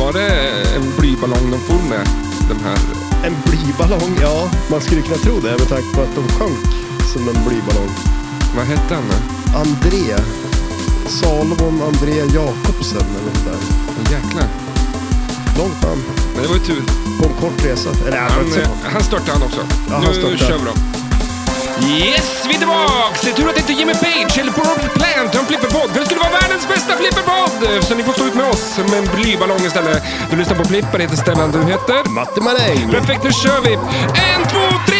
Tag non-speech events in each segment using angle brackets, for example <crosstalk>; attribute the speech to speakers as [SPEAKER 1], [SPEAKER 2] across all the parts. [SPEAKER 1] Var det en blyballong de for med? Den här...
[SPEAKER 2] En blyballong, ja. Man skulle kunna tro det med tanke på att de sjönk som en blyballong.
[SPEAKER 1] Vad hette han?
[SPEAKER 2] André. Salomon André Jakobsen eller något där.
[SPEAKER 1] Åh, Jäklar.
[SPEAKER 2] Långt fram.
[SPEAKER 1] Men det var ju tur.
[SPEAKER 2] På en kort resa. Eller ja,
[SPEAKER 1] Han,
[SPEAKER 2] men så-
[SPEAKER 1] eh, han störtade han också.
[SPEAKER 2] Ja, han
[SPEAKER 1] nu
[SPEAKER 2] störtade.
[SPEAKER 1] kör vi då. Yes, vi är tillbaks! Det är tur att det inte är Jimmy Page eller Robert Plant har en flipperpodd. för Det skulle vara världens bästa flipperpodd! Eh, Så ni får stå ut med oss med en blyballong istället. Du lyssnar på Flipper, heter Stellan, du heter?
[SPEAKER 2] Matte Maräng.
[SPEAKER 1] Perfekt, nu kör vi! En, två, tre!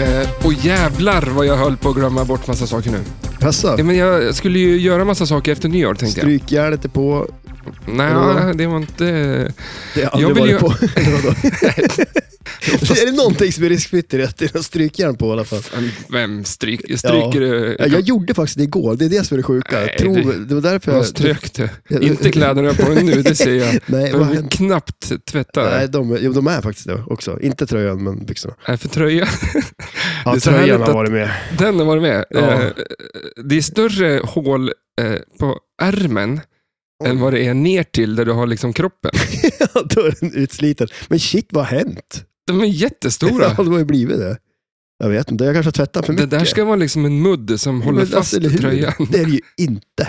[SPEAKER 1] Eh, och jävlar vad jag höll på att glömma bort massa saker nu.
[SPEAKER 2] Passa.
[SPEAKER 1] Ja, men jag skulle ju göra massa saker efter nyår tänkte jag.
[SPEAKER 2] Strykjärnet är på.
[SPEAKER 1] Nej, det var inte...
[SPEAKER 2] Det har
[SPEAKER 1] Jag
[SPEAKER 2] aldrig
[SPEAKER 1] vill
[SPEAKER 2] varit på.
[SPEAKER 1] <laughs>
[SPEAKER 2] är det någonting som är riskfritt i det? Att det är någon strykjärn på i alla fall.
[SPEAKER 1] Vem stryk, stryker eh, du?
[SPEAKER 2] Ja, jag gjorde faktiskt det igår. Det är det som är det sjuka.
[SPEAKER 1] Nej,
[SPEAKER 2] Tro,
[SPEAKER 1] det-
[SPEAKER 2] det... var därför
[SPEAKER 1] Vad
[SPEAKER 2] jag...
[SPEAKER 1] strök det?
[SPEAKER 2] Jag-
[SPEAKER 1] Inte kläderna på mig nu, det
[SPEAKER 2] <laughs>
[SPEAKER 1] ser jag.
[SPEAKER 2] Nej, vad
[SPEAKER 1] De är
[SPEAKER 2] hände?
[SPEAKER 1] knappt tvättade.
[SPEAKER 2] Nej, de, är- jo, de är faktiskt det också. Inte tröjan, men byxorna.
[SPEAKER 1] Nej, för tröja. <laughs>
[SPEAKER 2] Ja,
[SPEAKER 1] är så härligt
[SPEAKER 2] tröjan har
[SPEAKER 1] att-
[SPEAKER 2] varit med. <laughs>
[SPEAKER 1] Den har varit med.
[SPEAKER 2] Ja.
[SPEAKER 1] Eh, Det är större hål eh, på ärmen än vad det är ner till där du har liksom kroppen.
[SPEAKER 2] Ja, Då är den utsliten. Men shit, vad har hänt?
[SPEAKER 1] De är jättestora.
[SPEAKER 2] <laughs> Ja, det har ju blivit det. Jag vet inte, jag kanske har tvättat för
[SPEAKER 1] Det
[SPEAKER 2] mycket.
[SPEAKER 1] där ska vara liksom en mudd som
[SPEAKER 2] Men
[SPEAKER 1] håller
[SPEAKER 2] alltså,
[SPEAKER 1] fast
[SPEAKER 2] eller hur?
[SPEAKER 1] tröjan.
[SPEAKER 2] Det är det ju
[SPEAKER 1] <laughs>
[SPEAKER 2] inte.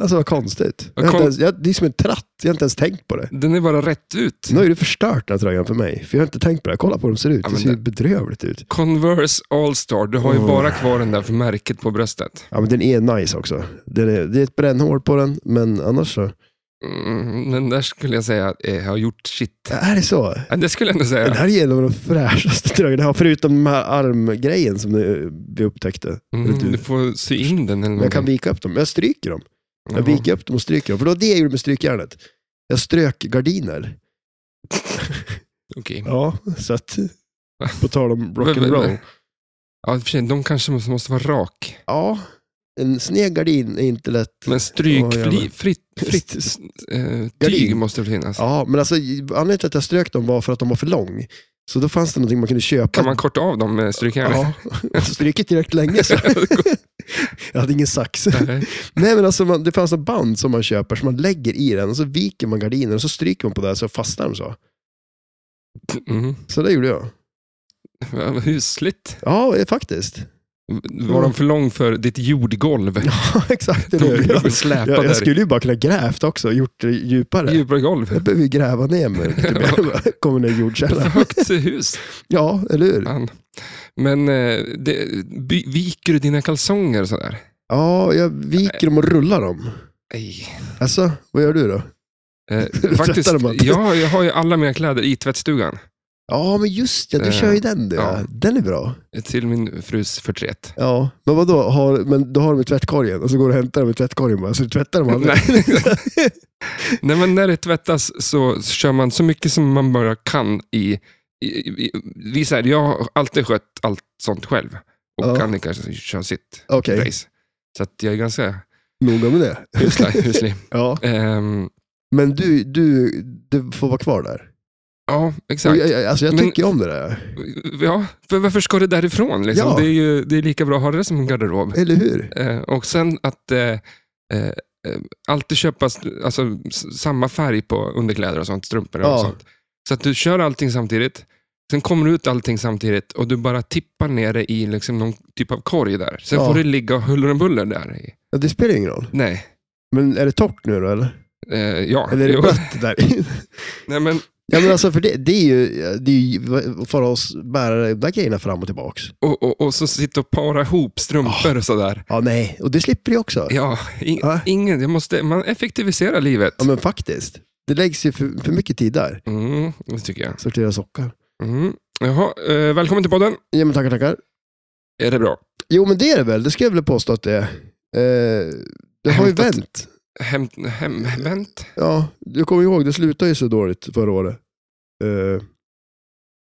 [SPEAKER 2] Alltså vad konstigt. Jag
[SPEAKER 1] Vad
[SPEAKER 2] har inte
[SPEAKER 1] kon-
[SPEAKER 2] ens, jag, det är som en tratt, jag har inte ens tänkt på det.
[SPEAKER 1] Den är bara rätt ut.
[SPEAKER 2] Nu har ju du förstört den här tröjan för mig, för jag har inte tänkt på det. Kolla på hur de ser ut,
[SPEAKER 1] Ja,
[SPEAKER 2] det
[SPEAKER 1] men
[SPEAKER 2] ser ju
[SPEAKER 1] det-
[SPEAKER 2] bedrövligt ut.
[SPEAKER 1] Converse All-Star, du har ju
[SPEAKER 2] Oh.
[SPEAKER 1] bara kvar den där för märket på bröstet.
[SPEAKER 2] Ja, men den är nice också. Den är, det är ett brännhål på den, men annars så.
[SPEAKER 1] Mm, den där skulle jag säga eh, har gjort shit.
[SPEAKER 2] Är det så?
[SPEAKER 1] Ja, det skulle jag ändå
[SPEAKER 2] <laughs> Den
[SPEAKER 1] säga.
[SPEAKER 2] här är en av de fräschaste tröjorna jag har, förutom den här armgrejen som eh, vi upptäckte.
[SPEAKER 1] Mm,
[SPEAKER 2] Eller
[SPEAKER 1] du
[SPEAKER 2] du.
[SPEAKER 1] får sy in den eller
[SPEAKER 2] Men jag kan
[SPEAKER 1] någonting.
[SPEAKER 2] vika upp dem. Jag stryker dem. Jag
[SPEAKER 1] Ja.
[SPEAKER 2] viker upp dem och stryker dem. För det var det jag gjorde med strykjärnet. Jag strök gardiner.
[SPEAKER 1] Okej.
[SPEAKER 2] Ja, så att... På tal om rock'n'roll.
[SPEAKER 1] Ja, i och för sig, de kanske måste, måste vara rak.
[SPEAKER 2] Ja, en sned gardin är inte lätt.
[SPEAKER 1] Men stryk,
[SPEAKER 2] Åh, jävlar.
[SPEAKER 1] fli, fritt,
[SPEAKER 2] <laughs>
[SPEAKER 1] fritt s- eh, tyg
[SPEAKER 2] Gardin.
[SPEAKER 1] måste det finnas.
[SPEAKER 2] Ja, men alltså anledningen till att jag strök dem var för att de var för lång. Så då fanns det någonting man kunde köpa.
[SPEAKER 1] Kan man korta av dem med strykjärnet?
[SPEAKER 2] Ja, stryket direkt länge <laughs> så. Jag hade ingen sax.
[SPEAKER 1] <laughs> Nej.
[SPEAKER 2] Nej, men alltså, man, det fanns en band som man köper som man lägger i den och så viker man gardinen och så stryker man på det så fastnar de så.
[SPEAKER 1] Mm.
[SPEAKER 2] Så det gjorde jag.
[SPEAKER 1] Ja, vad Husligt.
[SPEAKER 2] Ja, eh, faktiskt. <laughs>
[SPEAKER 1] Var de för lång för ditt jordgolv?
[SPEAKER 2] Ja, exakt. Det
[SPEAKER 1] De
[SPEAKER 2] är det.
[SPEAKER 1] blev släpade
[SPEAKER 2] Jag, jag
[SPEAKER 1] där.
[SPEAKER 2] skulle ju bara kunna grävt också och gjort det djupare.
[SPEAKER 1] Djupare golv.
[SPEAKER 2] Jag behöver ju gräva ner mig
[SPEAKER 1] <laughs>
[SPEAKER 2] lite mer. Kommer ner i
[SPEAKER 1] För
[SPEAKER 2] jordkällan.
[SPEAKER 1] högt hus.
[SPEAKER 2] Ja, eller hur?
[SPEAKER 1] Fan. Men eh, det, by, viker du dina kalsonger sådär?
[SPEAKER 2] Ja, jag viker dem och rullar dem.
[SPEAKER 1] Nej.
[SPEAKER 2] Alltså, vad gör du då?
[SPEAKER 1] Eh, faktiskt,
[SPEAKER 2] <laughs> Tvättar man?
[SPEAKER 1] jag, jag har ju alla mina kläder i tvättstugan.
[SPEAKER 2] Ja, men just det. Du
[SPEAKER 1] Eh,
[SPEAKER 2] kör ju den du.
[SPEAKER 1] ja.
[SPEAKER 2] Ja. Den är bra.
[SPEAKER 1] Till min frus förtret.
[SPEAKER 2] Ja, men vadå? Har, men då har de i tvättkorgen och så går du och hämtar dem i tvättkorgen bara. Så du tvättar dem aldrig.
[SPEAKER 1] Nej. Nej, men när det tvättas så kör man så mycket som man bara kan i... i, i vi är så här, jag har alltid skött allt sånt själv. Och
[SPEAKER 2] Ja.
[SPEAKER 1] Annika kör sitt
[SPEAKER 2] <laughs> Okej,
[SPEAKER 1] race. Så att jag är
[SPEAKER 2] <laughs>
[SPEAKER 1] ganska
[SPEAKER 2] noga med det.
[SPEAKER 1] huslig. <laughs> huslig.
[SPEAKER 2] Ja.
[SPEAKER 1] Ehm,
[SPEAKER 2] Men du, du, du får vara kvar där.
[SPEAKER 1] ja,
[SPEAKER 2] Och
[SPEAKER 1] exakt.
[SPEAKER 2] jag, jag- alltså, jag
[SPEAKER 1] Men-
[SPEAKER 2] tycker ju om det där.
[SPEAKER 1] Ja, för varför ska det därifrån? Liksom?
[SPEAKER 2] Ja.
[SPEAKER 1] Det, är ju, det är lika bra att ha det som en garderob.
[SPEAKER 2] Eller hur?
[SPEAKER 1] Eh, och sen att eh, eh, eh, alltid köpa s- alltså, s- samma färg på underkläder och sånt, strumpor och
[SPEAKER 2] Ja.
[SPEAKER 1] sånt. Så att du kör allting samtidigt, sen kommer ut allting samtidigt och du bara tippar ner det i liksom någon typ av korg där. Sen
[SPEAKER 2] Ja.
[SPEAKER 1] får det ligga huller om buller där. i.
[SPEAKER 2] Ja, det spelar ju ingen roll.
[SPEAKER 1] Nej.
[SPEAKER 2] Men är det torrt nu då eller?
[SPEAKER 1] Eh, ja.
[SPEAKER 2] Eller är det
[SPEAKER 1] Jo.
[SPEAKER 2] blött där <laughs>
[SPEAKER 1] Nej, men,
[SPEAKER 2] Ja men alltså för det, det är ju, det är ju för oss bära de där grejerna fram och tillbaks.
[SPEAKER 1] och, och, och så sitta och para ihop strumpor och sådär.
[SPEAKER 2] Ja nej, och det slipper du också.
[SPEAKER 1] Ja, in,
[SPEAKER 2] Ja.
[SPEAKER 1] ingen, jag måste, man effektiviserar livet.
[SPEAKER 2] Ah. Ja men faktiskt. Det läggs ju för, för mycket tid där.
[SPEAKER 1] Mm, det tycker jag.
[SPEAKER 2] Sortera sockar.
[SPEAKER 1] Mm. Jaha, eh, välkommen till podden.
[SPEAKER 2] Ja men tackar, tackar.
[SPEAKER 1] Är det bra?
[SPEAKER 2] Jo men det är det väl, det ska jag väl påstå att det är. Eh, det har ju
[SPEAKER 1] Hämtat-
[SPEAKER 2] vänt.
[SPEAKER 1] Hem, hem, vänt?
[SPEAKER 2] Ja, du kommer ihåg, det slutade ju så dåligt förra året. eh,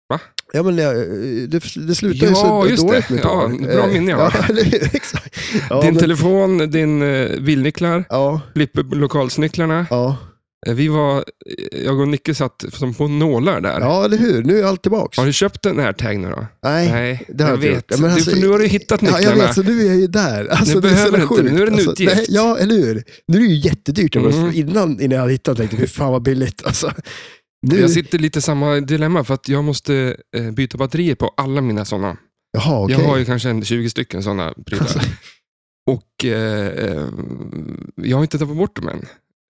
[SPEAKER 1] Va?
[SPEAKER 2] Ja, men jag- eh, det, det slutar ju
[SPEAKER 1] Ja,
[SPEAKER 2] så
[SPEAKER 1] just
[SPEAKER 2] dåligt
[SPEAKER 1] det.
[SPEAKER 2] mitt
[SPEAKER 1] Ja,
[SPEAKER 2] år.
[SPEAKER 1] bra
[SPEAKER 2] Eh,
[SPEAKER 1] minne, ja.
[SPEAKER 2] ja. <laughs> eller hur? Exakt. Ja,
[SPEAKER 1] din
[SPEAKER 2] men-
[SPEAKER 1] telefon, din eh, bilnycklar,
[SPEAKER 2] Ja,
[SPEAKER 1] Flippe lokalsnycklarna.
[SPEAKER 2] ja.
[SPEAKER 1] Eh, Vi var, eh, jag och Nicke satt som på nålar där.
[SPEAKER 2] ja, eller hur? Nu är allt tillbaks.
[SPEAKER 1] Har du köpt den här tag nu då?
[SPEAKER 2] Nej, det har
[SPEAKER 1] jag
[SPEAKER 2] jag inte
[SPEAKER 1] vet.
[SPEAKER 2] gjort. Ja, men
[SPEAKER 1] du,
[SPEAKER 2] alltså-
[SPEAKER 1] för nu har du hittat
[SPEAKER 2] Ja,
[SPEAKER 1] nycklarna.
[SPEAKER 2] jag vet, så nu är jag ju där. Alltså,
[SPEAKER 1] Nu
[SPEAKER 2] det är
[SPEAKER 1] behöver
[SPEAKER 2] så
[SPEAKER 1] du inte
[SPEAKER 2] sjukt.
[SPEAKER 1] det. Nu är det
[SPEAKER 2] alltså,
[SPEAKER 1] nyutgift.
[SPEAKER 2] nej, Ja, eller hur? Nu är det ju jättedyrt. Jag bara,
[SPEAKER 1] Mm.
[SPEAKER 2] Innan, innan jag hade hittat tänkte jag, "Fy fan vad billigt. Alltså, nu,
[SPEAKER 1] Jag sitter lite i samma dilemma för att jag måste eh, byta batterier på alla mina sådana.
[SPEAKER 2] Jaha, okej.
[SPEAKER 1] Jag har ju kanske en 20 stycken sådana prylar.
[SPEAKER 2] Alltså.
[SPEAKER 1] Och eh, eh, jag har inte tappat bort dem än.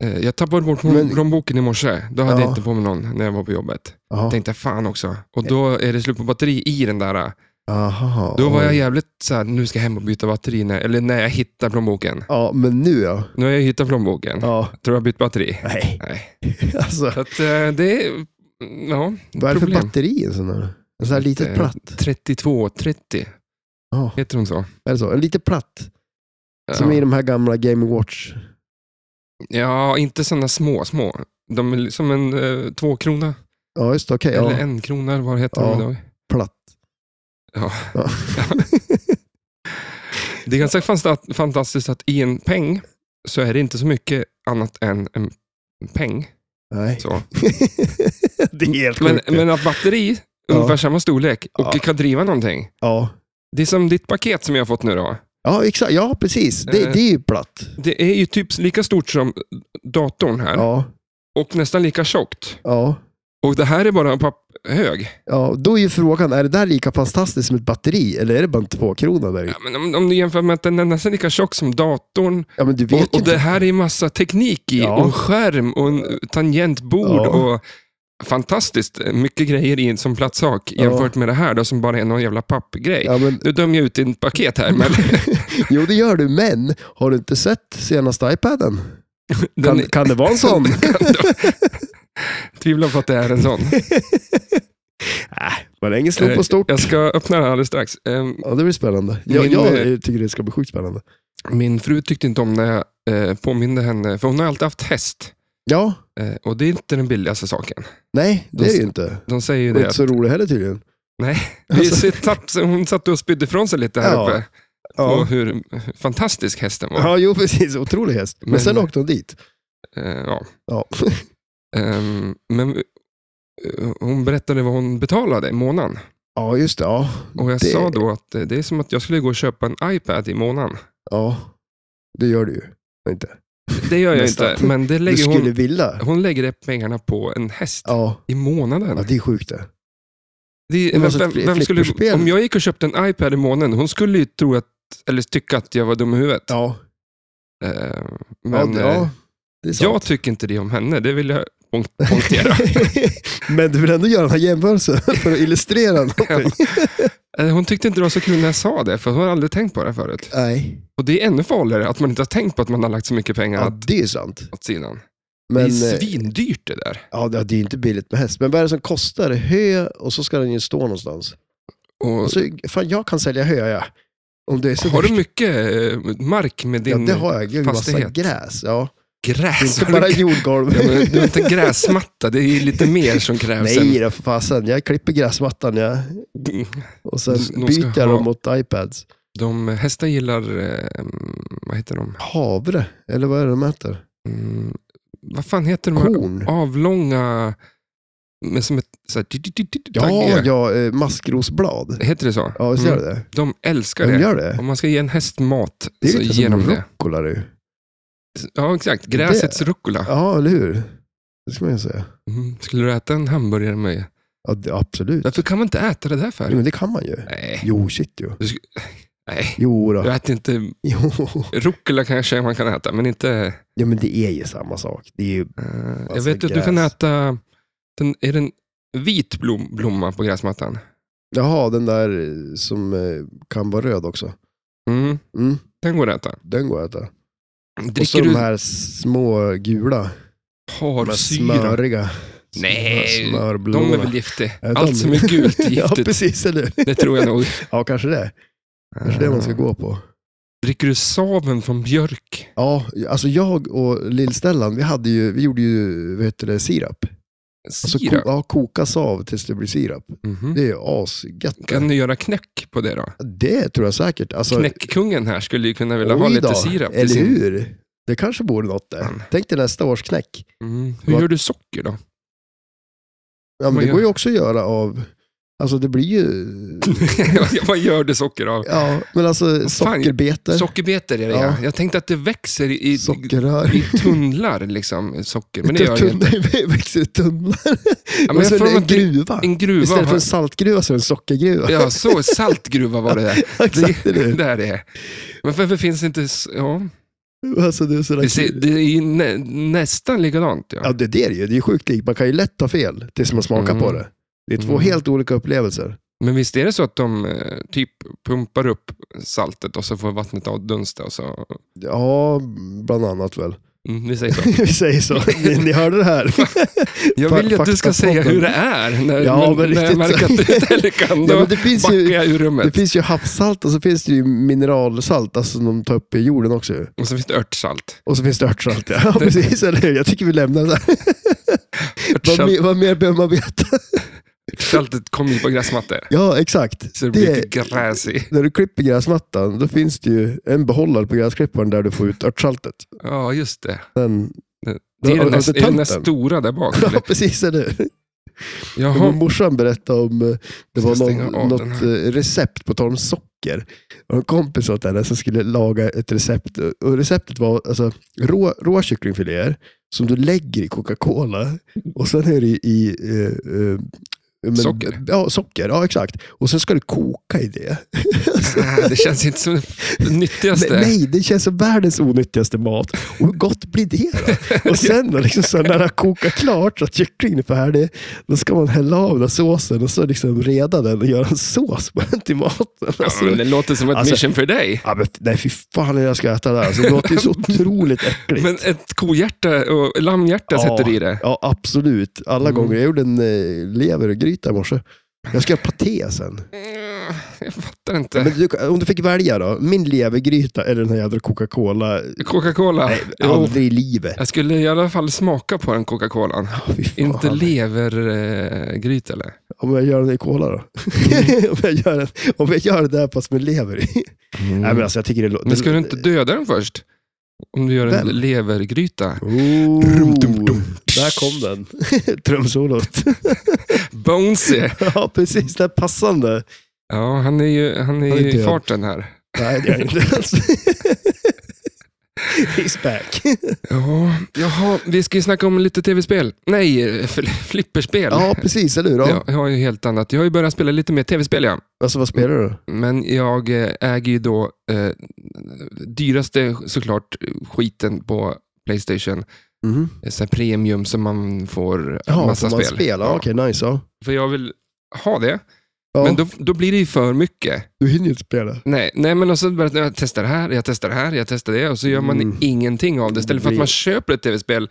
[SPEAKER 1] Eh, jag tappade bort hon-
[SPEAKER 2] Men-
[SPEAKER 1] plånboken i morse. Då hade
[SPEAKER 2] Ja.
[SPEAKER 1] jag inte på mig någon när jag var på jobbet.
[SPEAKER 2] Jaha.
[SPEAKER 1] Tänkte fan också. Och då är det slut på batteri i den där. eh.
[SPEAKER 2] Aha,
[SPEAKER 1] Då var
[SPEAKER 2] oj.
[SPEAKER 1] jag jävligt såhär, nu ska jag hem och byta batteri. När, eller när jag hittar plånboken.
[SPEAKER 2] Ja, men nu ja.
[SPEAKER 1] Nu har jag hittat plånboken.
[SPEAKER 2] ja.
[SPEAKER 1] Tror jag bytt batteri.
[SPEAKER 2] Nej,
[SPEAKER 1] Nej.
[SPEAKER 2] <laughs> alltså.
[SPEAKER 1] Så att eh, det är, ja,
[SPEAKER 2] Vad är det för
[SPEAKER 1] problem.
[SPEAKER 2] batteri i en sån här? En sån här litet
[SPEAKER 1] Eh,
[SPEAKER 2] platt?
[SPEAKER 1] 3230,
[SPEAKER 2] Ja,
[SPEAKER 1] heter hon så?
[SPEAKER 2] är det så? En liten platt? Som
[SPEAKER 1] ja.
[SPEAKER 2] i de här gamla Game Watch?
[SPEAKER 1] ja, inte sådana små, små. De är li- som en eh, tvåkrona,
[SPEAKER 2] Ja, just det. Okej,
[SPEAKER 1] eller
[SPEAKER 2] ja.
[SPEAKER 1] en krona, eller vad heter
[SPEAKER 2] Ja.
[SPEAKER 1] de idag?
[SPEAKER 2] Platt.
[SPEAKER 1] Ja.
[SPEAKER 2] Ja.
[SPEAKER 1] Det är ganska fanta- fantastiskt att i en peng så är det inte så mycket annat än en peng.
[SPEAKER 2] Nej.
[SPEAKER 1] Så.
[SPEAKER 2] <laughs> det är helt
[SPEAKER 1] Men,
[SPEAKER 2] sjukt.
[SPEAKER 1] men att batteri,
[SPEAKER 2] Ja.
[SPEAKER 1] ungefär samma storlek, och
[SPEAKER 2] Ja.
[SPEAKER 1] kan driva någonting.
[SPEAKER 2] Ja.
[SPEAKER 1] Det är som ditt paket som jag har fått nu då.
[SPEAKER 2] ja, exakt. Ja, precis. Det,
[SPEAKER 1] Eh.
[SPEAKER 2] det är ju platt.
[SPEAKER 1] Det är ju typ lika stort som datorn här
[SPEAKER 2] Ja,
[SPEAKER 1] och nästan lika tjockt.
[SPEAKER 2] ja.
[SPEAKER 1] Och det här är bara en papphög.
[SPEAKER 2] Ja, då är ju frågan, är det där lika fantastiskt som ett batteri eller är det bara en tvåkrona där i?
[SPEAKER 1] Ja, men om, om du jämför med att den är nästan lika tjock som datorn.
[SPEAKER 2] Ja, men du vet
[SPEAKER 1] Och,
[SPEAKER 2] ju
[SPEAKER 1] och det
[SPEAKER 2] inte.
[SPEAKER 1] här är ju massa teknik i.
[SPEAKER 2] Ja.
[SPEAKER 1] Och en skärm och en tangentbord.
[SPEAKER 2] Ja.
[SPEAKER 1] och Fantastiskt mycket grejer i en som plattsak
[SPEAKER 2] Ja.
[SPEAKER 1] jämfört med det här då, som bara är någon jävla pappgrej.
[SPEAKER 2] Ja, men,
[SPEAKER 1] Nu dömer jag ut din paket här,
[SPEAKER 2] <laughs>
[SPEAKER 1] men
[SPEAKER 2] jo, det gör du, men har du inte sett senaste iPaden? Kan,
[SPEAKER 1] den
[SPEAKER 2] kan det vara
[SPEAKER 1] <laughs>
[SPEAKER 2] en sån?
[SPEAKER 1] tvivlar på att det är en sån.
[SPEAKER 2] Nej, man är ingen slog på stort.
[SPEAKER 1] Eh, Jag ska öppna den alldeles strax. Ehm,
[SPEAKER 2] Ja, det blir spännande. Jag,
[SPEAKER 1] Min, eh,
[SPEAKER 2] jag tycker det ska bli sjukt spännande.
[SPEAKER 1] Min fru tyckte inte om när jag eh, påminde henne, för hon har alltid haft häst.
[SPEAKER 2] Ja,
[SPEAKER 1] Eh, och det är inte den billigaste saken.
[SPEAKER 2] nej, det är det ju inte.
[SPEAKER 1] De säger ju
[SPEAKER 2] Det är
[SPEAKER 1] det.
[SPEAKER 2] inte så roligt heller tydligen.
[SPEAKER 1] Nej, vi
[SPEAKER 2] Alltså.
[SPEAKER 1] satt, hon satt och spydde ifrån sig lite här
[SPEAKER 2] Ja.
[SPEAKER 1] uppe. Och
[SPEAKER 2] Ja,
[SPEAKER 1] hur fantastisk hästen var.
[SPEAKER 2] ja jo precis. Otrolig häst. Men,
[SPEAKER 1] Men-
[SPEAKER 2] sen åkte hon dit.
[SPEAKER 1] Eh, ja. <laughs>
[SPEAKER 2] Ja.
[SPEAKER 1] Ehm, men eh, hon berättade vad hon betalade i månaden.
[SPEAKER 2] ja, just det. Ja.
[SPEAKER 1] Och jag
[SPEAKER 2] Det-
[SPEAKER 1] sa då att eh, det är som att jag skulle gå och köpa en iPad i månaden.
[SPEAKER 2] ja, det gör du ju. Inte.
[SPEAKER 1] Det gör jag
[SPEAKER 2] Nästan.
[SPEAKER 1] inte, men det
[SPEAKER 2] Du
[SPEAKER 1] lägger
[SPEAKER 2] skulle
[SPEAKER 1] hon,
[SPEAKER 2] vilja.
[SPEAKER 1] hon lägger det pengarna på en häst
[SPEAKER 2] Ja.
[SPEAKER 1] i månaden.
[SPEAKER 2] ja, det är sjukt det.
[SPEAKER 1] Det,
[SPEAKER 2] Det
[SPEAKER 1] vem,
[SPEAKER 2] var så
[SPEAKER 1] vem,
[SPEAKER 2] alltså ett
[SPEAKER 1] vem skulle,
[SPEAKER 2] flipperspel.
[SPEAKER 1] om jag gick och köpte en iPad i månaden, hon skulle ju tro att, eller tycka att jag var dum i huvudet.
[SPEAKER 2] Ja,
[SPEAKER 1] Eh, men
[SPEAKER 2] ja,
[SPEAKER 1] eh,
[SPEAKER 2] ja, det är sant.
[SPEAKER 1] jag tycker inte det om henne, det vill jag punk-
[SPEAKER 2] <laughs>
[SPEAKER 1] punktera.
[SPEAKER 2] Men du vill ändå göra den
[SPEAKER 1] <laughs>
[SPEAKER 2] här jämförelsen för att illustrera någonting.
[SPEAKER 1] Eh, hon tyckte inte det var så kul när jag sa det, för hon har aldrig tänkt på det förut.
[SPEAKER 2] Nej,
[SPEAKER 1] Och det är ännu farligare att man inte har tänkt på att man har lagt så mycket pengar
[SPEAKER 2] ja,
[SPEAKER 1] åt,
[SPEAKER 2] det är ju sant.
[SPEAKER 1] åt sidan.
[SPEAKER 2] Men,
[SPEAKER 1] det är
[SPEAKER 2] eh,
[SPEAKER 1] svindyrt det där.
[SPEAKER 2] ja, det det är ju inte billigt med häst. Men vad är det som kostar? Hö och så ska den ju stå någonstans.
[SPEAKER 1] Och,
[SPEAKER 2] Och så, fan, jag kan sälja hö, ja. Om det är så
[SPEAKER 1] har du
[SPEAKER 2] värst.
[SPEAKER 1] mycket eh, mark med
[SPEAKER 2] Ja,
[SPEAKER 1] din
[SPEAKER 2] det har jag. Gud, massa
[SPEAKER 1] fastighet?
[SPEAKER 2] gräs. Ja.
[SPEAKER 1] Gräs?
[SPEAKER 2] Inte
[SPEAKER 1] Har
[SPEAKER 2] bara
[SPEAKER 1] du,
[SPEAKER 2] jordgolv.
[SPEAKER 1] <laughs> Ja, men du har inte en gräsmatta, det är ju lite mer som krävs.
[SPEAKER 2] <laughs> Nej då, för fasen. Jag klipper gräsmattan jag.
[SPEAKER 1] än-
[SPEAKER 2] och sen
[SPEAKER 1] De ska
[SPEAKER 2] byter jag
[SPEAKER 1] ha-
[SPEAKER 2] dem mot iPads.
[SPEAKER 1] De hästar gillar, eh, vad heter de?
[SPEAKER 2] Havre, eller vad är det de äter?
[SPEAKER 1] Mm, vad fan heter de här
[SPEAKER 2] Korn.
[SPEAKER 1] avlånga, men som ett så här,
[SPEAKER 2] Ja, ja, eh, maskrosblad.
[SPEAKER 1] Heter det så?
[SPEAKER 2] Ja, visst gör
[SPEAKER 1] Mm,
[SPEAKER 2] det det?
[SPEAKER 1] De älskar
[SPEAKER 2] De
[SPEAKER 1] det.
[SPEAKER 2] gör det.
[SPEAKER 1] Om man ska ge en häst mat
[SPEAKER 2] Det är
[SPEAKER 1] så
[SPEAKER 2] lite
[SPEAKER 1] ger
[SPEAKER 2] som
[SPEAKER 1] de det.
[SPEAKER 2] rucola du.
[SPEAKER 1] Ja, exakt. Gräsets rucola.
[SPEAKER 2] Ja, eller hur? Det ska man ju säga.
[SPEAKER 1] Mm, skulle du äta en hamburgare med?
[SPEAKER 2] Ja, det, absolut.
[SPEAKER 1] Varför kan man inte äta det där för?
[SPEAKER 2] Jo, men det kan man ju.
[SPEAKER 1] Nej.
[SPEAKER 2] Jo, shit ju.
[SPEAKER 1] Du sk- Nej.
[SPEAKER 2] Jo då.
[SPEAKER 1] Jag äter inte,
[SPEAKER 2] <laughs> Jo.
[SPEAKER 1] rucola kanske man kan äta, men inte...
[SPEAKER 2] Ja, men det är ju samma sak. Det är ju...
[SPEAKER 1] Eh, jag
[SPEAKER 2] Alltså,
[SPEAKER 1] vet att du kan
[SPEAKER 2] gräs.
[SPEAKER 1] äta, den, är det en vit blom, blomma på gräsmattan?
[SPEAKER 2] Jaha, den där eh, som eh, kan vara röd också.
[SPEAKER 1] Mm,
[SPEAKER 2] Mm,
[SPEAKER 1] den går att äta.
[SPEAKER 2] den går att äta. Och så
[SPEAKER 1] Dricker
[SPEAKER 2] de
[SPEAKER 1] du
[SPEAKER 2] här små gula. Med
[SPEAKER 1] harsyra?
[SPEAKER 2] smöriga.
[SPEAKER 1] Nej,
[SPEAKER 2] smörblommorna.
[SPEAKER 1] De är väl giftig?
[SPEAKER 2] Ja, de-
[SPEAKER 1] Allt som är
[SPEAKER 2] <laughs>
[SPEAKER 1] gult är
[SPEAKER 2] Ja,
[SPEAKER 1] giftigt.
[SPEAKER 2] precis. Eller hur?
[SPEAKER 1] det tror jag nog.
[SPEAKER 2] Ja, kanske <laughs> det. Kanske det man ska gå på.
[SPEAKER 1] Dricker du saven från björk?
[SPEAKER 2] Ja, alltså jag och lill vi, hade ju, vi gjorde ju vad heter det, sirap. Alltså, ko-
[SPEAKER 1] Sirap?
[SPEAKER 2] ja, kokas av tills det blir sirap.
[SPEAKER 1] Mhm.
[SPEAKER 2] Det är ju asgött.
[SPEAKER 1] Kan du göra knäck på det då?
[SPEAKER 2] Det tror jag säkert. Alltså,
[SPEAKER 1] Knäckkungen här skulle ju kunna vilja ha
[SPEAKER 2] oj
[SPEAKER 1] lite
[SPEAKER 2] då,
[SPEAKER 1] sirap
[SPEAKER 2] Eller
[SPEAKER 1] till sin...
[SPEAKER 2] hur? Det kanske borde något det.
[SPEAKER 1] Fan.
[SPEAKER 2] Tänk dig nästa års knäck.
[SPEAKER 1] Mm. Hur
[SPEAKER 2] Vad-
[SPEAKER 1] gör du socker då? <laughs>
[SPEAKER 2] Ja, men
[SPEAKER 1] Vad
[SPEAKER 2] det
[SPEAKER 1] gör-
[SPEAKER 2] går ju också att göra av... Alltså det blir ju...
[SPEAKER 1] <laughs> Vad gör du socker av?
[SPEAKER 2] Ja, men alltså sockerbetor,
[SPEAKER 1] Sockerbetor är det
[SPEAKER 2] Ja.
[SPEAKER 1] ja. Jag tänkte att det växer i, i,
[SPEAKER 2] sockerrör. <laughs>
[SPEAKER 1] i tunnlar, liksom, socker. Men det gör det inte.
[SPEAKER 2] det växer i tunnlar.
[SPEAKER 1] Ja,
[SPEAKER 2] men
[SPEAKER 1] men
[SPEAKER 2] så
[SPEAKER 1] jag
[SPEAKER 2] är
[SPEAKER 1] får
[SPEAKER 2] det en
[SPEAKER 1] att det-
[SPEAKER 2] gruva.
[SPEAKER 1] en gruva.
[SPEAKER 2] Istället för
[SPEAKER 1] har-
[SPEAKER 2] en saltgruva så är det en sockergruva.
[SPEAKER 1] Ja, så saltgruva var det där.
[SPEAKER 2] <laughs> Exakt det är det.
[SPEAKER 1] Det här är. Men varför finns det inte... s- Ja,
[SPEAKER 2] Alltså, det, är sådär
[SPEAKER 1] det, ser, det är ju nä, nästan likadant.
[SPEAKER 2] Ja,
[SPEAKER 1] Ja.
[SPEAKER 2] det, det är det ju. Det är ju sjukt likt. Man kan ju lätt ta fel tills man smakar
[SPEAKER 1] Mm.
[SPEAKER 2] på det. Det är två
[SPEAKER 1] Mm.
[SPEAKER 2] helt olika upplevelser.
[SPEAKER 1] Men visst är det så att de eh, typ pumpar upp saltet och så får vattnet avdunsta och så...
[SPEAKER 2] Ja, bland annat väl. <laughs>
[SPEAKER 1] Mm, vi säger så.
[SPEAKER 2] Vi säger så. Ni hörde
[SPEAKER 1] <laughs>
[SPEAKER 2] det här.
[SPEAKER 1] Jag vill ju att du ska
[SPEAKER 2] Faktapodden.
[SPEAKER 1] säga hur det är när,
[SPEAKER 2] Ja, men
[SPEAKER 1] när, när jag märker
[SPEAKER 2] riktigt så.
[SPEAKER 1] att du inte heller kan. Då
[SPEAKER 2] <laughs> Ja, men det finns
[SPEAKER 1] backar
[SPEAKER 2] ju-
[SPEAKER 1] jag ur rummet.
[SPEAKER 2] Det finns ju havssalt och så finns det ju mineralsalt, alltså som de tar upp i jorden också. ju.
[SPEAKER 1] Och så finns det örtsalt.
[SPEAKER 2] Och så finns det
[SPEAKER 1] <laughs>
[SPEAKER 2] örtsalt. Ja, ja precis. Eller hur? Jag tycker vi lämnar det här. Vad,
[SPEAKER 1] Örtsalt,
[SPEAKER 2] mer- vad mer behöver man veta? <laughs>
[SPEAKER 1] saltet kommer ju på gräsmattor.
[SPEAKER 2] Ja, exakt.
[SPEAKER 1] Så det blir
[SPEAKER 2] Det-
[SPEAKER 1] lite gräs i.
[SPEAKER 2] När du klipper gräsmattan, då finns det ju en behållare på gräsklipparen där du får ut örtsaltet. <laughs>
[SPEAKER 1] Ja, just det.
[SPEAKER 2] Den,
[SPEAKER 1] Det är
[SPEAKER 2] Har-
[SPEAKER 1] den
[SPEAKER 2] har
[SPEAKER 1] där,
[SPEAKER 2] du
[SPEAKER 1] är den där
[SPEAKER 2] tömt den?
[SPEAKER 1] stora där bak.
[SPEAKER 2] ja, <laughs>
[SPEAKER 1] Eller?
[SPEAKER 2] precis. Eller hur? Men
[SPEAKER 1] Jaha.
[SPEAKER 2] morsan berättade om, eh, det
[SPEAKER 1] Ska
[SPEAKER 2] var
[SPEAKER 1] stänga
[SPEAKER 2] någon,
[SPEAKER 1] av den
[SPEAKER 2] något eh, recept, på tal om socker. Och en kompis åt henne som skulle laga ett recept. Och receptet var alltså, rå, rå kycklingfiléer som du lägger i Coca-Cola. Och sen är det i... i eh, eh, men-
[SPEAKER 1] Socker.
[SPEAKER 2] Ja, socker. Ja, exakt. Och sen ska du koka i det.
[SPEAKER 1] Ah, Det känns inte som det
[SPEAKER 2] Mm. <laughs> Nej,
[SPEAKER 1] nyttigaste.
[SPEAKER 2] nej, det känns som världens onyttigaste mat. Och hur gott blir det då? Och sen då, liksom så här, när det har kokat klart så att kycklingen är färdig, då ska man hälla av den här såsen och så liksom reda den och göra en sås på den till maten.
[SPEAKER 1] Ja,
[SPEAKER 2] Alltså,
[SPEAKER 1] men det låter som ett
[SPEAKER 2] Alltså-
[SPEAKER 1] mission för dig.
[SPEAKER 2] ja, men, nej, fy fan jag ska äta det här. Alltså, det låter ju
[SPEAKER 1] <laughs>
[SPEAKER 2] så otroligt äckligt.
[SPEAKER 1] Men ett kohjärta och lammhjärta sätter du i det.
[SPEAKER 2] Ja, absolut. Alla
[SPEAKER 1] Mm.
[SPEAKER 2] gånger. Jag gjorde en eh, levergryta i morse. Jag ska göra paté
[SPEAKER 1] <laughs>
[SPEAKER 2] sen.
[SPEAKER 1] Mm, Jag fattar inte.
[SPEAKER 2] Men du, om du fick välja då, min levergryta eller den här jädra Coca-Cola.
[SPEAKER 1] Coca-Cola.
[SPEAKER 2] Nej,
[SPEAKER 1] Jo.
[SPEAKER 2] aldrig i livet.
[SPEAKER 1] Jag skulle i alla fall smaka på den Coca-Colan.
[SPEAKER 2] Fy fan.
[SPEAKER 1] Inte levergryta eller?
[SPEAKER 2] Om jag gör den i cola då?
[SPEAKER 1] Mm.
[SPEAKER 2] <laughs> om, jag gör den, om jag gör det där fast med lever i? Nej, men alltså jag tycker det låter...
[SPEAKER 1] Men ska du inte döda den först? Om du gör en
[SPEAKER 2] Vem?
[SPEAKER 1] levergryta.
[SPEAKER 2] Oh,
[SPEAKER 1] Dum, dum, dum.
[SPEAKER 2] Där kom den. <laughs>
[SPEAKER 1] <laughs>
[SPEAKER 2] Trumsolot.
[SPEAKER 1] Bonesy.
[SPEAKER 2] ja, precis. Det är passande.
[SPEAKER 1] Ja, han är ju, han är
[SPEAKER 2] Han är
[SPEAKER 1] ju i
[SPEAKER 2] död.
[SPEAKER 1] farten här.
[SPEAKER 2] Nej, det är inte
[SPEAKER 1] <laughs>
[SPEAKER 2] ens. <laughs> He's back.
[SPEAKER 1] Ja, jaha, vi ska ju snacka om lite tv-spel. Nej, eh, fl- flipperspel.
[SPEAKER 2] Ja, precis. Eller hur?
[SPEAKER 1] Jag,
[SPEAKER 2] Ja.
[SPEAKER 1] jag har ju helt annat. Jag har ju börjat spela lite mer tv-spel, ja.
[SPEAKER 2] Alltså, vad spelar du?
[SPEAKER 1] Men jag eh, äger ju då eh, dyraste såklart skiten på Playstation.
[SPEAKER 2] Mm.
[SPEAKER 1] Eh, Så här premium som man får
[SPEAKER 2] Ja,
[SPEAKER 1] massa
[SPEAKER 2] får man
[SPEAKER 1] spel.
[SPEAKER 2] spela? Ja. Okej, nice. Ja.
[SPEAKER 1] För jag vill ha det,
[SPEAKER 2] Ja,
[SPEAKER 1] men då, då blir det ju för mycket.
[SPEAKER 2] Du hinner ju inte spela.
[SPEAKER 1] Nej, nej men och så börjar jag testa det här, jag testar det här, jag testar det och så gör man
[SPEAKER 2] Mm.
[SPEAKER 1] ingenting av det. Istället för att man köper ett tv-spel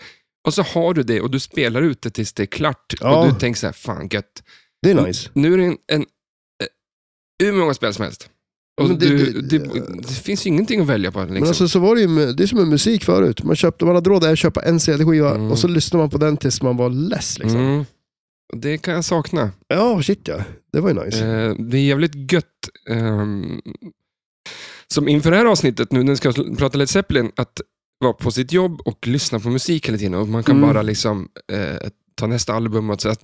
[SPEAKER 1] och så har du det och du spelar ut det tills det är klart.
[SPEAKER 2] Ja.
[SPEAKER 1] Och du tänker så här, fan gött.
[SPEAKER 2] Det är nice.
[SPEAKER 1] Nu är det en, en, eh, hur många spel som helst. Och
[SPEAKER 2] Men det-
[SPEAKER 1] du,
[SPEAKER 2] det-
[SPEAKER 1] det, det finns ju ingenting att välja på. Liksom.
[SPEAKER 2] Men alltså, så var det, ju med, det är som med musik förut. Man, köpte, man hade råd att köpa en CD-skiva
[SPEAKER 1] Mm.
[SPEAKER 2] och så lyssnade man på den tills man var less. Liksom.
[SPEAKER 1] Mm. Och Det kan jag sakna.
[SPEAKER 2] Ja, shit ja. Det var ju nice.
[SPEAKER 1] Mm. Eh, det är jävligt gött. ehm, som inför det här avsnittet, nu när vi ska sl- prata Led Zeppelin, att vara på sitt jobb och lyssna på musik hela tiden. Och man kan
[SPEAKER 2] Mm.
[SPEAKER 1] bara liksom eh, ta nästa album och så. Att,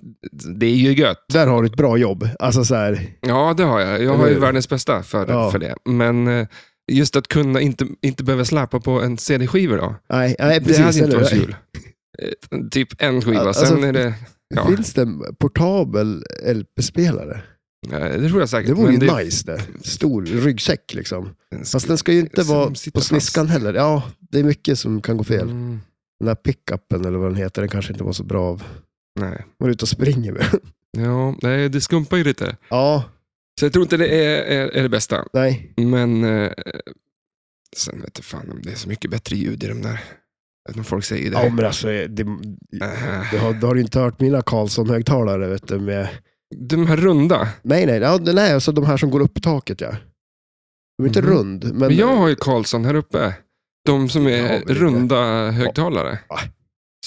[SPEAKER 1] det är ju gött.
[SPEAKER 2] Där har du ett bra jobb. Alltså så här,
[SPEAKER 1] Ja, det har jag. Jag har
[SPEAKER 2] Eller
[SPEAKER 1] ju
[SPEAKER 2] hur?
[SPEAKER 1] världens bästa för,
[SPEAKER 2] Ja.
[SPEAKER 1] för det. Men eh, just att kunna inte, inte behöva släpa på en CD-skiva då.
[SPEAKER 2] nej, nej
[SPEAKER 1] det
[SPEAKER 2] Eh, precis.
[SPEAKER 1] hade inte
[SPEAKER 2] eller
[SPEAKER 1] varit så
[SPEAKER 2] hur?
[SPEAKER 1] kul. Eh, Typ en skiva,
[SPEAKER 2] Alltså,
[SPEAKER 1] sen är det... Ja,
[SPEAKER 2] Finns det en portabel LP-spelare?
[SPEAKER 1] eh, det tror jag säkert.
[SPEAKER 2] Det vore ju
[SPEAKER 1] men det-
[SPEAKER 2] nice det. Stor ryggsäck liksom. Fast den ska ju inte
[SPEAKER 1] Som
[SPEAKER 2] vara
[SPEAKER 1] sitter
[SPEAKER 2] på
[SPEAKER 1] fast.
[SPEAKER 2] sniskan heller. Ja, det är mycket som kan gå fel.
[SPEAKER 1] Mm,
[SPEAKER 2] Den här pickupen eller vad den heter, den kanske inte var så bra av.
[SPEAKER 1] nej.
[SPEAKER 2] Man är ute och springer med.
[SPEAKER 1] Ja, nej, det skumpar ju lite.
[SPEAKER 2] Ja,
[SPEAKER 1] Så jag tror inte det är, är, är det bästa.
[SPEAKER 2] nej.
[SPEAKER 1] Men eh, sen vet jag fan om det är så mycket bättre ljud i de där. Även om folk säger det.
[SPEAKER 2] Ja, men alltså, det,
[SPEAKER 1] Eh,
[SPEAKER 2] du har, du har ju inte hört mina Karlsson-högtalare vet du. Med...
[SPEAKER 1] de här runda.
[SPEAKER 2] Nej, nej, ja, nej, alltså de här som går upp i taket ja. De är inte
[SPEAKER 1] Mhm.
[SPEAKER 2] rund, men...
[SPEAKER 1] Men jag har ju Karlsson här uppe. De som
[SPEAKER 2] Ja,
[SPEAKER 1] är
[SPEAKER 2] men det-
[SPEAKER 1] runda högtalare.
[SPEAKER 2] Ja.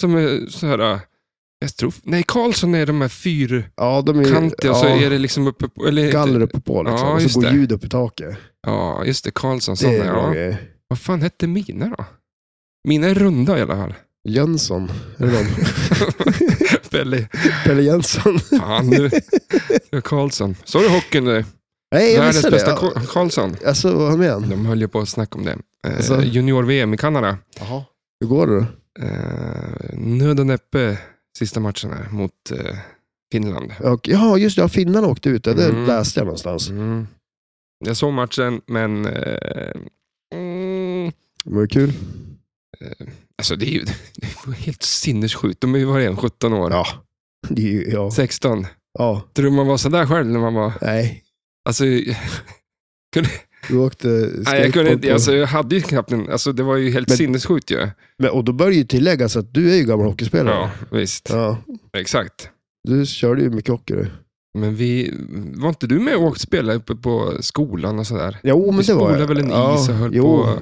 [SPEAKER 1] Som är så här, eh, Jag tror, nej, Karlsson är de här
[SPEAKER 2] Ja, de är
[SPEAKER 1] fyrkantiga och så
[SPEAKER 2] ja,
[SPEAKER 1] är det liksom uppe på... Eller,
[SPEAKER 2] galler uppe på liksom.
[SPEAKER 1] Ja,
[SPEAKER 2] och
[SPEAKER 1] just
[SPEAKER 2] så går
[SPEAKER 1] det.
[SPEAKER 2] ljud upp i taket.
[SPEAKER 1] Ja, just det. Karlsson.
[SPEAKER 2] Det
[SPEAKER 1] Sådana,
[SPEAKER 2] är bra
[SPEAKER 1] ja.
[SPEAKER 2] grejer.
[SPEAKER 1] Vad fan hette mina då? Mina är runda i alla
[SPEAKER 2] <laughs>
[SPEAKER 1] fall.
[SPEAKER 2] Jönsson, är
[SPEAKER 1] <laughs>
[SPEAKER 2] det någon?
[SPEAKER 1] Pelle.
[SPEAKER 2] Pelle Jönsson.
[SPEAKER 1] Fan, du. Det var Karlsson. Såg du hockeyn nu?
[SPEAKER 2] Nej, jag
[SPEAKER 1] Världens
[SPEAKER 2] missade det.
[SPEAKER 1] bästa
[SPEAKER 2] Ja,
[SPEAKER 1] Ka- Karlsson.
[SPEAKER 2] Alltså, vad menar han?
[SPEAKER 1] De höll ju på att snacka om det. Eh,
[SPEAKER 2] Alltså.
[SPEAKER 1] Junior-VM i Kanada.
[SPEAKER 2] Jaha. Hur går det då?
[SPEAKER 1] Eh, nöd och näppe sista matchen här mot eh, Finland.
[SPEAKER 2] Och, ja, just det. Ja, finnarna åkte ut. Det
[SPEAKER 1] Mm.
[SPEAKER 2] läste jag någonstans.
[SPEAKER 1] Mm. Jag såg matchen, men... Eh, mm,
[SPEAKER 2] Det var ju kul.
[SPEAKER 1] alltså det är ju <laughs> det är ju helt sinnessjukt. De är ju var en 17 år.
[SPEAKER 2] Ja. Det är ju, ja.
[SPEAKER 1] 16.
[SPEAKER 2] ja.
[SPEAKER 1] Tror du man var sådär själv när man var...
[SPEAKER 2] Nej.
[SPEAKER 1] Alltså,
[SPEAKER 2] Du åkte
[SPEAKER 1] nej, jag,
[SPEAKER 2] skateboard
[SPEAKER 1] kunde, inte-
[SPEAKER 2] på-
[SPEAKER 1] alltså, jag hade ju knappt en... Alltså, det var ju helt
[SPEAKER 2] Men-
[SPEAKER 1] sinnessjukt ju.
[SPEAKER 2] Men, och då bör ju tilläggas att du är ju gammal hockeyspelare.
[SPEAKER 1] Ja, visst.
[SPEAKER 2] Ja.
[SPEAKER 1] Exakt.
[SPEAKER 2] Du körde ju mycket hockey du.
[SPEAKER 1] Men vi... Var inte du med och åkte spela uppe på skolan och sådär?
[SPEAKER 2] Jo, men
[SPEAKER 1] Vi
[SPEAKER 2] det var
[SPEAKER 1] spolade väl en is och höll
[SPEAKER 2] jo.
[SPEAKER 1] på-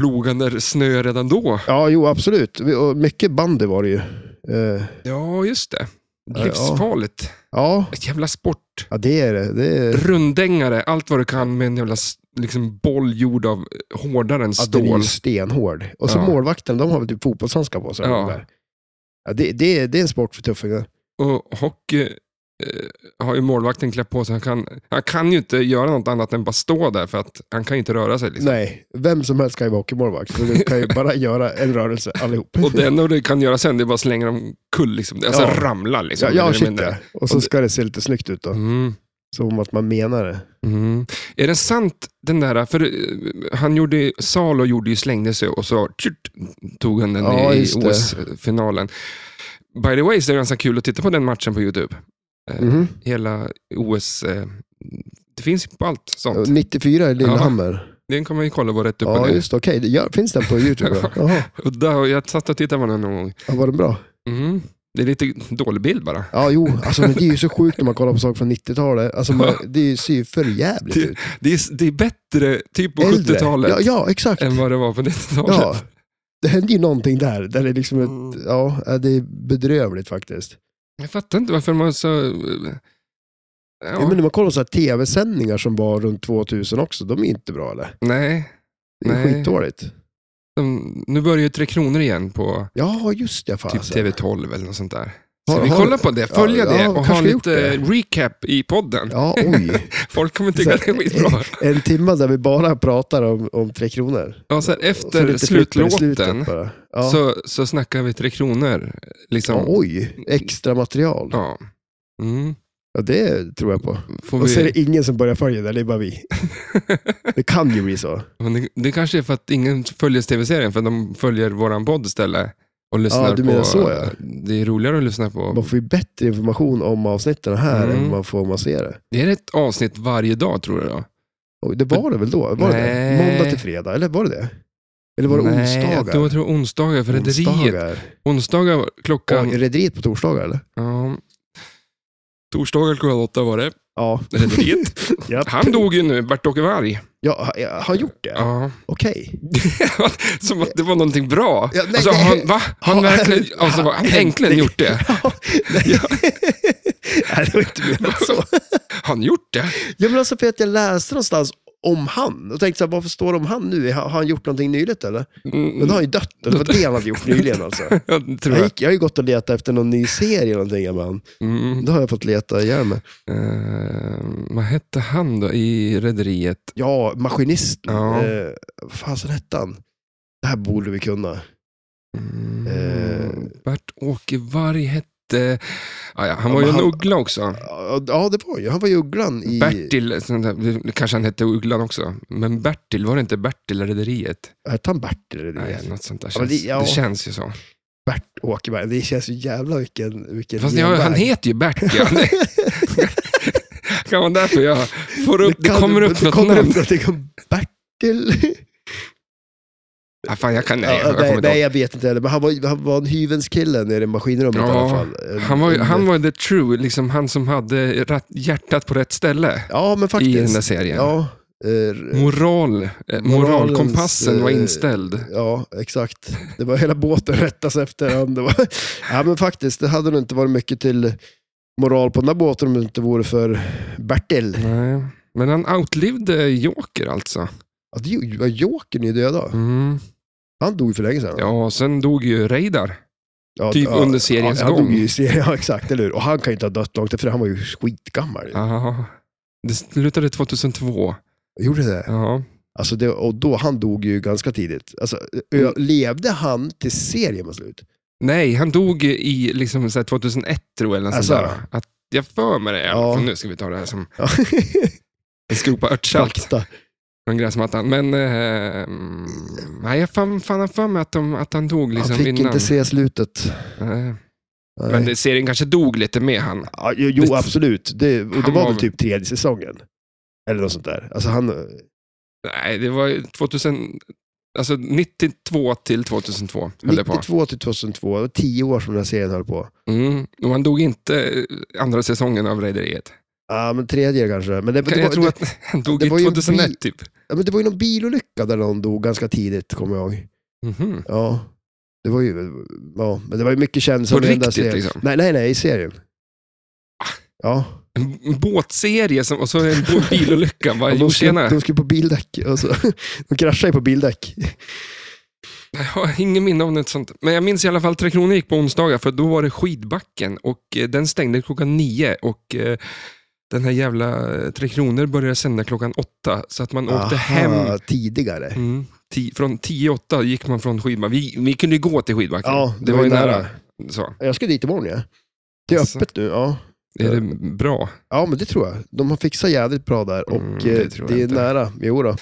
[SPEAKER 1] Plogande snö redan då?
[SPEAKER 2] Ja, jo absolut. Vi- Och mycket bandy var det ju. Eh,
[SPEAKER 1] Ja, just det.
[SPEAKER 2] Ja.
[SPEAKER 1] Livsfarligt.
[SPEAKER 2] ja.
[SPEAKER 1] Ett jävla sport.
[SPEAKER 2] ja, det är det. det är...
[SPEAKER 1] Runddängare, allt vad du kan med en jävla s- liksom, boll gjord av hårdare än
[SPEAKER 2] Ja, den är
[SPEAKER 1] stål.
[SPEAKER 2] ju stenhård. Och så
[SPEAKER 1] Ja.
[SPEAKER 2] målvakten, de har väl typ fotbollshandskar på sig.
[SPEAKER 1] Ja.
[SPEAKER 2] Ja. Ja, det, det, är- det är en sport för tuffingar.
[SPEAKER 1] Och hockey eh, har ju målvakten klätt på sig. Han kan, han kan ju inte göra något annat än bara stå där för att han kan ju inte röra sig. Liksom.
[SPEAKER 2] Nej, vem som helst kan ju vara hockeymålvakt. För
[SPEAKER 1] <laughs>
[SPEAKER 2] du kan ju bara göra en rörelse allihop.
[SPEAKER 1] Och det enda du kan göra sen det är bara slänga dem kull. Liksom. Alltså
[SPEAKER 2] Ja.
[SPEAKER 1] ramla liksom.
[SPEAKER 2] ja,
[SPEAKER 1] Det är
[SPEAKER 2] ja,
[SPEAKER 1] det jag
[SPEAKER 2] shit
[SPEAKER 1] menar.
[SPEAKER 2] ja. Och så ska det se lite snyggt ut då.
[SPEAKER 1] Mm.
[SPEAKER 2] Som att man menar det.
[SPEAKER 1] Mm. Är det sant den där, för eh, han gjorde, Salo gjorde ju, slängde sig och så tjurt, tog han den
[SPEAKER 2] Ja,
[SPEAKER 1] i
[SPEAKER 2] just det.
[SPEAKER 1] OS-finalen. By the way, så är det ganska kul att titta på den matchen på YouTube. Eh,
[SPEAKER 2] Mhm.
[SPEAKER 1] Hela OS, eh, det finns ju på allt sånt.
[SPEAKER 2] 94 i Lillehammer.
[SPEAKER 1] Den kan man ju kolla på rätt upp och
[SPEAKER 2] Ja,
[SPEAKER 1] ner.
[SPEAKER 2] just det. Okej, det gör- finns den på YouTube?
[SPEAKER 1] <laughs>
[SPEAKER 2] då? Jaha,
[SPEAKER 1] Och där, jag satt och tittade på den någon gång.
[SPEAKER 2] ja, var den bra?
[SPEAKER 1] Mm. Det är lite dålig bild bara.
[SPEAKER 2] Ja, jo. Alltså, men det är ju så sjukt när man kollar på saker från 90-talet. Alltså, man, det är ju- ser ju för jävligt ut.
[SPEAKER 1] Det är, det är bättre typ på
[SPEAKER 2] Äldre.
[SPEAKER 1] 70-talet
[SPEAKER 2] Ja, ja exakt.
[SPEAKER 1] än vad det var på 90-talet.
[SPEAKER 2] Ja. Det händer ju någonting där. där det, är liksom ett,
[SPEAKER 1] Mm.
[SPEAKER 2] ja, det är bedrövligt faktiskt.
[SPEAKER 1] Jag fattar inte varför man så... Ja.
[SPEAKER 2] Ja. men när man kollar på så här tv-sändningar som var runt 2000 också, de är inte bra eller?
[SPEAKER 1] Nej.
[SPEAKER 2] Det är
[SPEAKER 1] Nej.
[SPEAKER 2] skitdåligt.
[SPEAKER 1] De, nu börjar ju Tre Kronor igen på
[SPEAKER 2] Ja, just det. Fan,
[SPEAKER 1] typ
[SPEAKER 2] alltså.
[SPEAKER 1] TV12 eller något sånt där. Så
[SPEAKER 2] Har-
[SPEAKER 1] vi
[SPEAKER 2] har-
[SPEAKER 1] kollar på det, följa
[SPEAKER 2] ja,
[SPEAKER 1] det
[SPEAKER 2] ja,
[SPEAKER 1] och
[SPEAKER 2] kanske
[SPEAKER 1] ha
[SPEAKER 2] vi gjort
[SPEAKER 1] lite recap i podden.
[SPEAKER 2] Ja,
[SPEAKER 1] <laughs>
[SPEAKER 2] oj.
[SPEAKER 1] Folk kommer tycka att det är skitbra.
[SPEAKER 2] En timme där vi bara pratar om, om Tre Kronor.
[SPEAKER 1] Ja, så här,
[SPEAKER 2] Och så
[SPEAKER 1] Alltså, efter
[SPEAKER 2] lite flipper i slutet
[SPEAKER 1] slutlåten
[SPEAKER 2] bara. Ja.
[SPEAKER 1] så, så snackar vi Tre Kronor.
[SPEAKER 2] ja,
[SPEAKER 1] Liksom.
[SPEAKER 2] oj, extra material.
[SPEAKER 1] Ja. Mm.
[SPEAKER 2] Ja, det tror jag på.
[SPEAKER 1] Får
[SPEAKER 2] Och så är
[SPEAKER 1] vi,
[SPEAKER 2] det ingen som börjar följa det, det är
[SPEAKER 1] <laughs>
[SPEAKER 2] bara vi. Det kan ju bli så.
[SPEAKER 1] Men det, det kanske är för att ingen följer tv-serien, för de följer våran podd istället. Och lyssnar
[SPEAKER 2] du menar
[SPEAKER 1] på,
[SPEAKER 2] så, ja.
[SPEAKER 1] Det är roligare att lyssna på
[SPEAKER 2] Man får ju bättre information om avsnitten här
[SPEAKER 1] Mm.
[SPEAKER 2] än man får om man ser det.
[SPEAKER 1] Det är ett avsnitt varje dag tror jag. då.
[SPEAKER 2] Och det var det väl då? Var det det?
[SPEAKER 1] Nej.
[SPEAKER 2] Måndag till fredag, eller var det det? Eller var det
[SPEAKER 1] Nej,
[SPEAKER 2] onsdagar?
[SPEAKER 1] Då tror jag onsdagar för rederiet.
[SPEAKER 2] onsdagar.
[SPEAKER 1] Onsdagar klockan...
[SPEAKER 2] Och är rederiet på torsdagar eller?
[SPEAKER 1] ja, torsdagar klockan åtta var det.
[SPEAKER 2] Ja.
[SPEAKER 1] Rederiet.
[SPEAKER 2] <laughs> Japp.
[SPEAKER 1] Han dog ju nu, Bert-Åke Varg.
[SPEAKER 2] Ja, ha- ja, har gjort det?
[SPEAKER 1] Ja. <laughs>
[SPEAKER 2] Okej.
[SPEAKER 1] Som att det var någonting bra.
[SPEAKER 2] Ja, nej,
[SPEAKER 1] alltså,
[SPEAKER 2] nej.
[SPEAKER 1] han, va? Han
[SPEAKER 2] Ja. <laughs>
[SPEAKER 1] verkligen... Alltså, han har äntligen gjort det.
[SPEAKER 2] Ja, nej. <laughs> nej, det var inte menat så.
[SPEAKER 1] Han gjort det? <laughs>
[SPEAKER 2] Ja, men alltså för att jag läste någonstans om han och tänkte så här, varför står det om han nu? Har har han gjort någonting nyligt eller?
[SPEAKER 1] Mm.
[SPEAKER 2] Men då har han ju dött. Det var det han hade gjort nyligen alltså.
[SPEAKER 1] <laughs> Jag tror
[SPEAKER 2] Jag,
[SPEAKER 1] jag.
[SPEAKER 2] gick, jag har ju gått och letat efter någon ny serie eller någonting med han.
[SPEAKER 1] Mm.
[SPEAKER 2] Då har jag fått leta ihjäl mig.
[SPEAKER 1] Eh, vad hette han då i Rederiet?
[SPEAKER 2] Ja, maskinisten.
[SPEAKER 1] Ja.
[SPEAKER 2] Eh, vad fasen hette han? Det här borde vi kunna.
[SPEAKER 1] Mm.
[SPEAKER 2] Eh.
[SPEAKER 1] Bert-Åke Varg hette... Ah, ja, han var
[SPEAKER 2] men
[SPEAKER 1] ju en
[SPEAKER 2] han-
[SPEAKER 1] uggla också.
[SPEAKER 2] Ja, ja, det var ju. Han var ju ugglan i...
[SPEAKER 1] Bertil, sånt där, det kanske han hette ugglan också. Men Bertil, var det inte Bertil Rederiet?
[SPEAKER 2] Hette han Bertil? eller
[SPEAKER 1] Nej,
[SPEAKER 2] det?
[SPEAKER 1] något sånt där.
[SPEAKER 2] Ja, men
[SPEAKER 1] Känns,
[SPEAKER 2] det- ja.
[SPEAKER 1] Det känns ju så.
[SPEAKER 2] Bert Åkerberg. Det känns ju jävla vilken... vilken
[SPEAKER 1] Fast jag, han
[SPEAKER 2] genväg.
[SPEAKER 1] heter ju Bert.
[SPEAKER 2] <laughs>
[SPEAKER 1] Ja. Det <laughs> kan vara därför jag får upp, det,
[SPEAKER 2] kan-
[SPEAKER 1] kommer upp
[SPEAKER 2] det
[SPEAKER 1] något
[SPEAKER 2] kommer
[SPEAKER 1] namn.
[SPEAKER 2] upp någonting om Bertil.
[SPEAKER 1] Ah, fan, jag kan, <laughs> nej,
[SPEAKER 2] Nej,
[SPEAKER 1] jag kommer
[SPEAKER 2] nej,
[SPEAKER 1] inte
[SPEAKER 2] nej,
[SPEAKER 1] ihåg.
[SPEAKER 2] jag vet inte heller. Men han var, han var en hyvens kille nere i maskinrummet i alla
[SPEAKER 1] Ja,
[SPEAKER 2] fall. En-
[SPEAKER 1] han var, ju-
[SPEAKER 2] en-
[SPEAKER 1] han var the true, liksom han som hade rat- hjärtat på rätt ställe
[SPEAKER 2] Ja, men faktiskt.
[SPEAKER 1] i den där serien.
[SPEAKER 2] Ja, Eh,
[SPEAKER 1] Moral, eh, moralkompassen var inställd.
[SPEAKER 2] Ja, exakt. Det var hela båten <laughs> rättas efter han. Det var, ja, men faktiskt, det hade nog inte varit mycket till moral på den här båten om det inte vore för Bertil.
[SPEAKER 1] Nej. Men han outlivde Joker alltså.
[SPEAKER 2] Ja, det är ju- ja, Jokern är ju döda.
[SPEAKER 1] Mm.
[SPEAKER 2] Han dog ju för länge sedan.
[SPEAKER 1] Ja, och sen dog ju Reidar.
[SPEAKER 2] Ja,
[SPEAKER 1] typ under seriens
[SPEAKER 2] ja, han
[SPEAKER 1] gång.
[SPEAKER 2] dog ju i serien, ja, exakt. Eller hur? Och han kan ju inte ha dött långt efter, han var ju skitgammal. Ja.
[SPEAKER 1] Ja. Det slutade 2002.
[SPEAKER 2] Gjorde det?
[SPEAKER 1] Ja.
[SPEAKER 2] Alltså det? Och då, han dog ju ganska tidigt. Alltså, ö-
[SPEAKER 1] Mm.
[SPEAKER 2] Levde han till serien var slut?
[SPEAKER 1] Nej, han dog i liksom, så här, 2001 tror jag. Eller något
[SPEAKER 2] Alltså.
[SPEAKER 1] sånt där. Att, jag för mig det. i alla
[SPEAKER 2] Ja.
[SPEAKER 1] fall. Nu ska vi ta det här som <laughs>
[SPEAKER 2] Ja.
[SPEAKER 1] en skopa örtsalt
[SPEAKER 2] Fakta.
[SPEAKER 1] från gräsmattan. Men eh, mm, nej, jag fan, fan har för mig att, de, att han dog liksom
[SPEAKER 2] han fick
[SPEAKER 1] innan.
[SPEAKER 2] inte se slutet.
[SPEAKER 1] Nej.
[SPEAKER 2] Nej.
[SPEAKER 1] Men det, serien kanske dog lite med han.
[SPEAKER 2] Ja, jo, jo,
[SPEAKER 1] Det-
[SPEAKER 2] absolut. Det, och det
[SPEAKER 1] Han
[SPEAKER 2] var
[SPEAKER 1] var-
[SPEAKER 2] väl typ tredje säsongen. Eller något sånt där. Alltså han,
[SPEAKER 1] Nej, det var ju 2000, alltså 92 till 2002 höll det på.
[SPEAKER 2] 92 till 2002, det var tio år som den här serien höll på.
[SPEAKER 1] Mm. Och han dog inte eh, andra säsongen av Rederiet.
[SPEAKER 2] Ja, men tredje kanske. Men det, det,
[SPEAKER 1] Jag
[SPEAKER 2] var,
[SPEAKER 1] tror
[SPEAKER 2] det,
[SPEAKER 1] att <laughs> han dog
[SPEAKER 2] det
[SPEAKER 1] i
[SPEAKER 2] var ju en
[SPEAKER 1] 2001
[SPEAKER 2] bi-
[SPEAKER 1] typ.
[SPEAKER 2] ja, men det var ju någon bilolycka där någon dog ganska tidigt, kommer jag ihåg.
[SPEAKER 1] Mhm.
[SPEAKER 2] Ja, det var ju, ja, men det var ju mycket kändisar
[SPEAKER 1] På
[SPEAKER 2] i den där
[SPEAKER 1] riktigt,
[SPEAKER 2] serien.
[SPEAKER 1] liksom? Ah.
[SPEAKER 2] Nej, nej, nej, i serien. Ja,
[SPEAKER 1] En b- båtserie som, och så en bo- bilolycka.
[SPEAKER 2] <laughs>
[SPEAKER 1] Bara,
[SPEAKER 2] Och
[SPEAKER 1] jo,
[SPEAKER 2] de, skulle,
[SPEAKER 1] tjena.
[SPEAKER 2] de skulle på bildäck. Alltså, <laughs> de kraschade ju på bildäck.
[SPEAKER 1] Jag har ingen minne om något sånt. Men jag minns i alla fall Tre Kronor gick på onsdagar, för då var det skidbacken och eh, den stängde klockan nio och eh, den här jävla eh, Tre Kronor började sända klockan åtta, så att man åkte hem
[SPEAKER 2] Aha, tidigare.
[SPEAKER 1] Mm. Ti- från 10-8 gick man från skidbacken. Vi, vi kunde ju gå till skidbacken.
[SPEAKER 2] Ja, det, var ju nära.
[SPEAKER 1] Så.
[SPEAKER 2] Jag ska dit imorgon, ja. Det är
[SPEAKER 1] Alltså.
[SPEAKER 2] öppet nu, ja.
[SPEAKER 1] Är det bra?
[SPEAKER 2] Ja, men det tror jag. De har fixat jävligt bra där och
[SPEAKER 1] Mm, det
[SPEAKER 2] det,
[SPEAKER 1] tror jag
[SPEAKER 2] det är
[SPEAKER 1] inte.
[SPEAKER 2] nära. Jo då.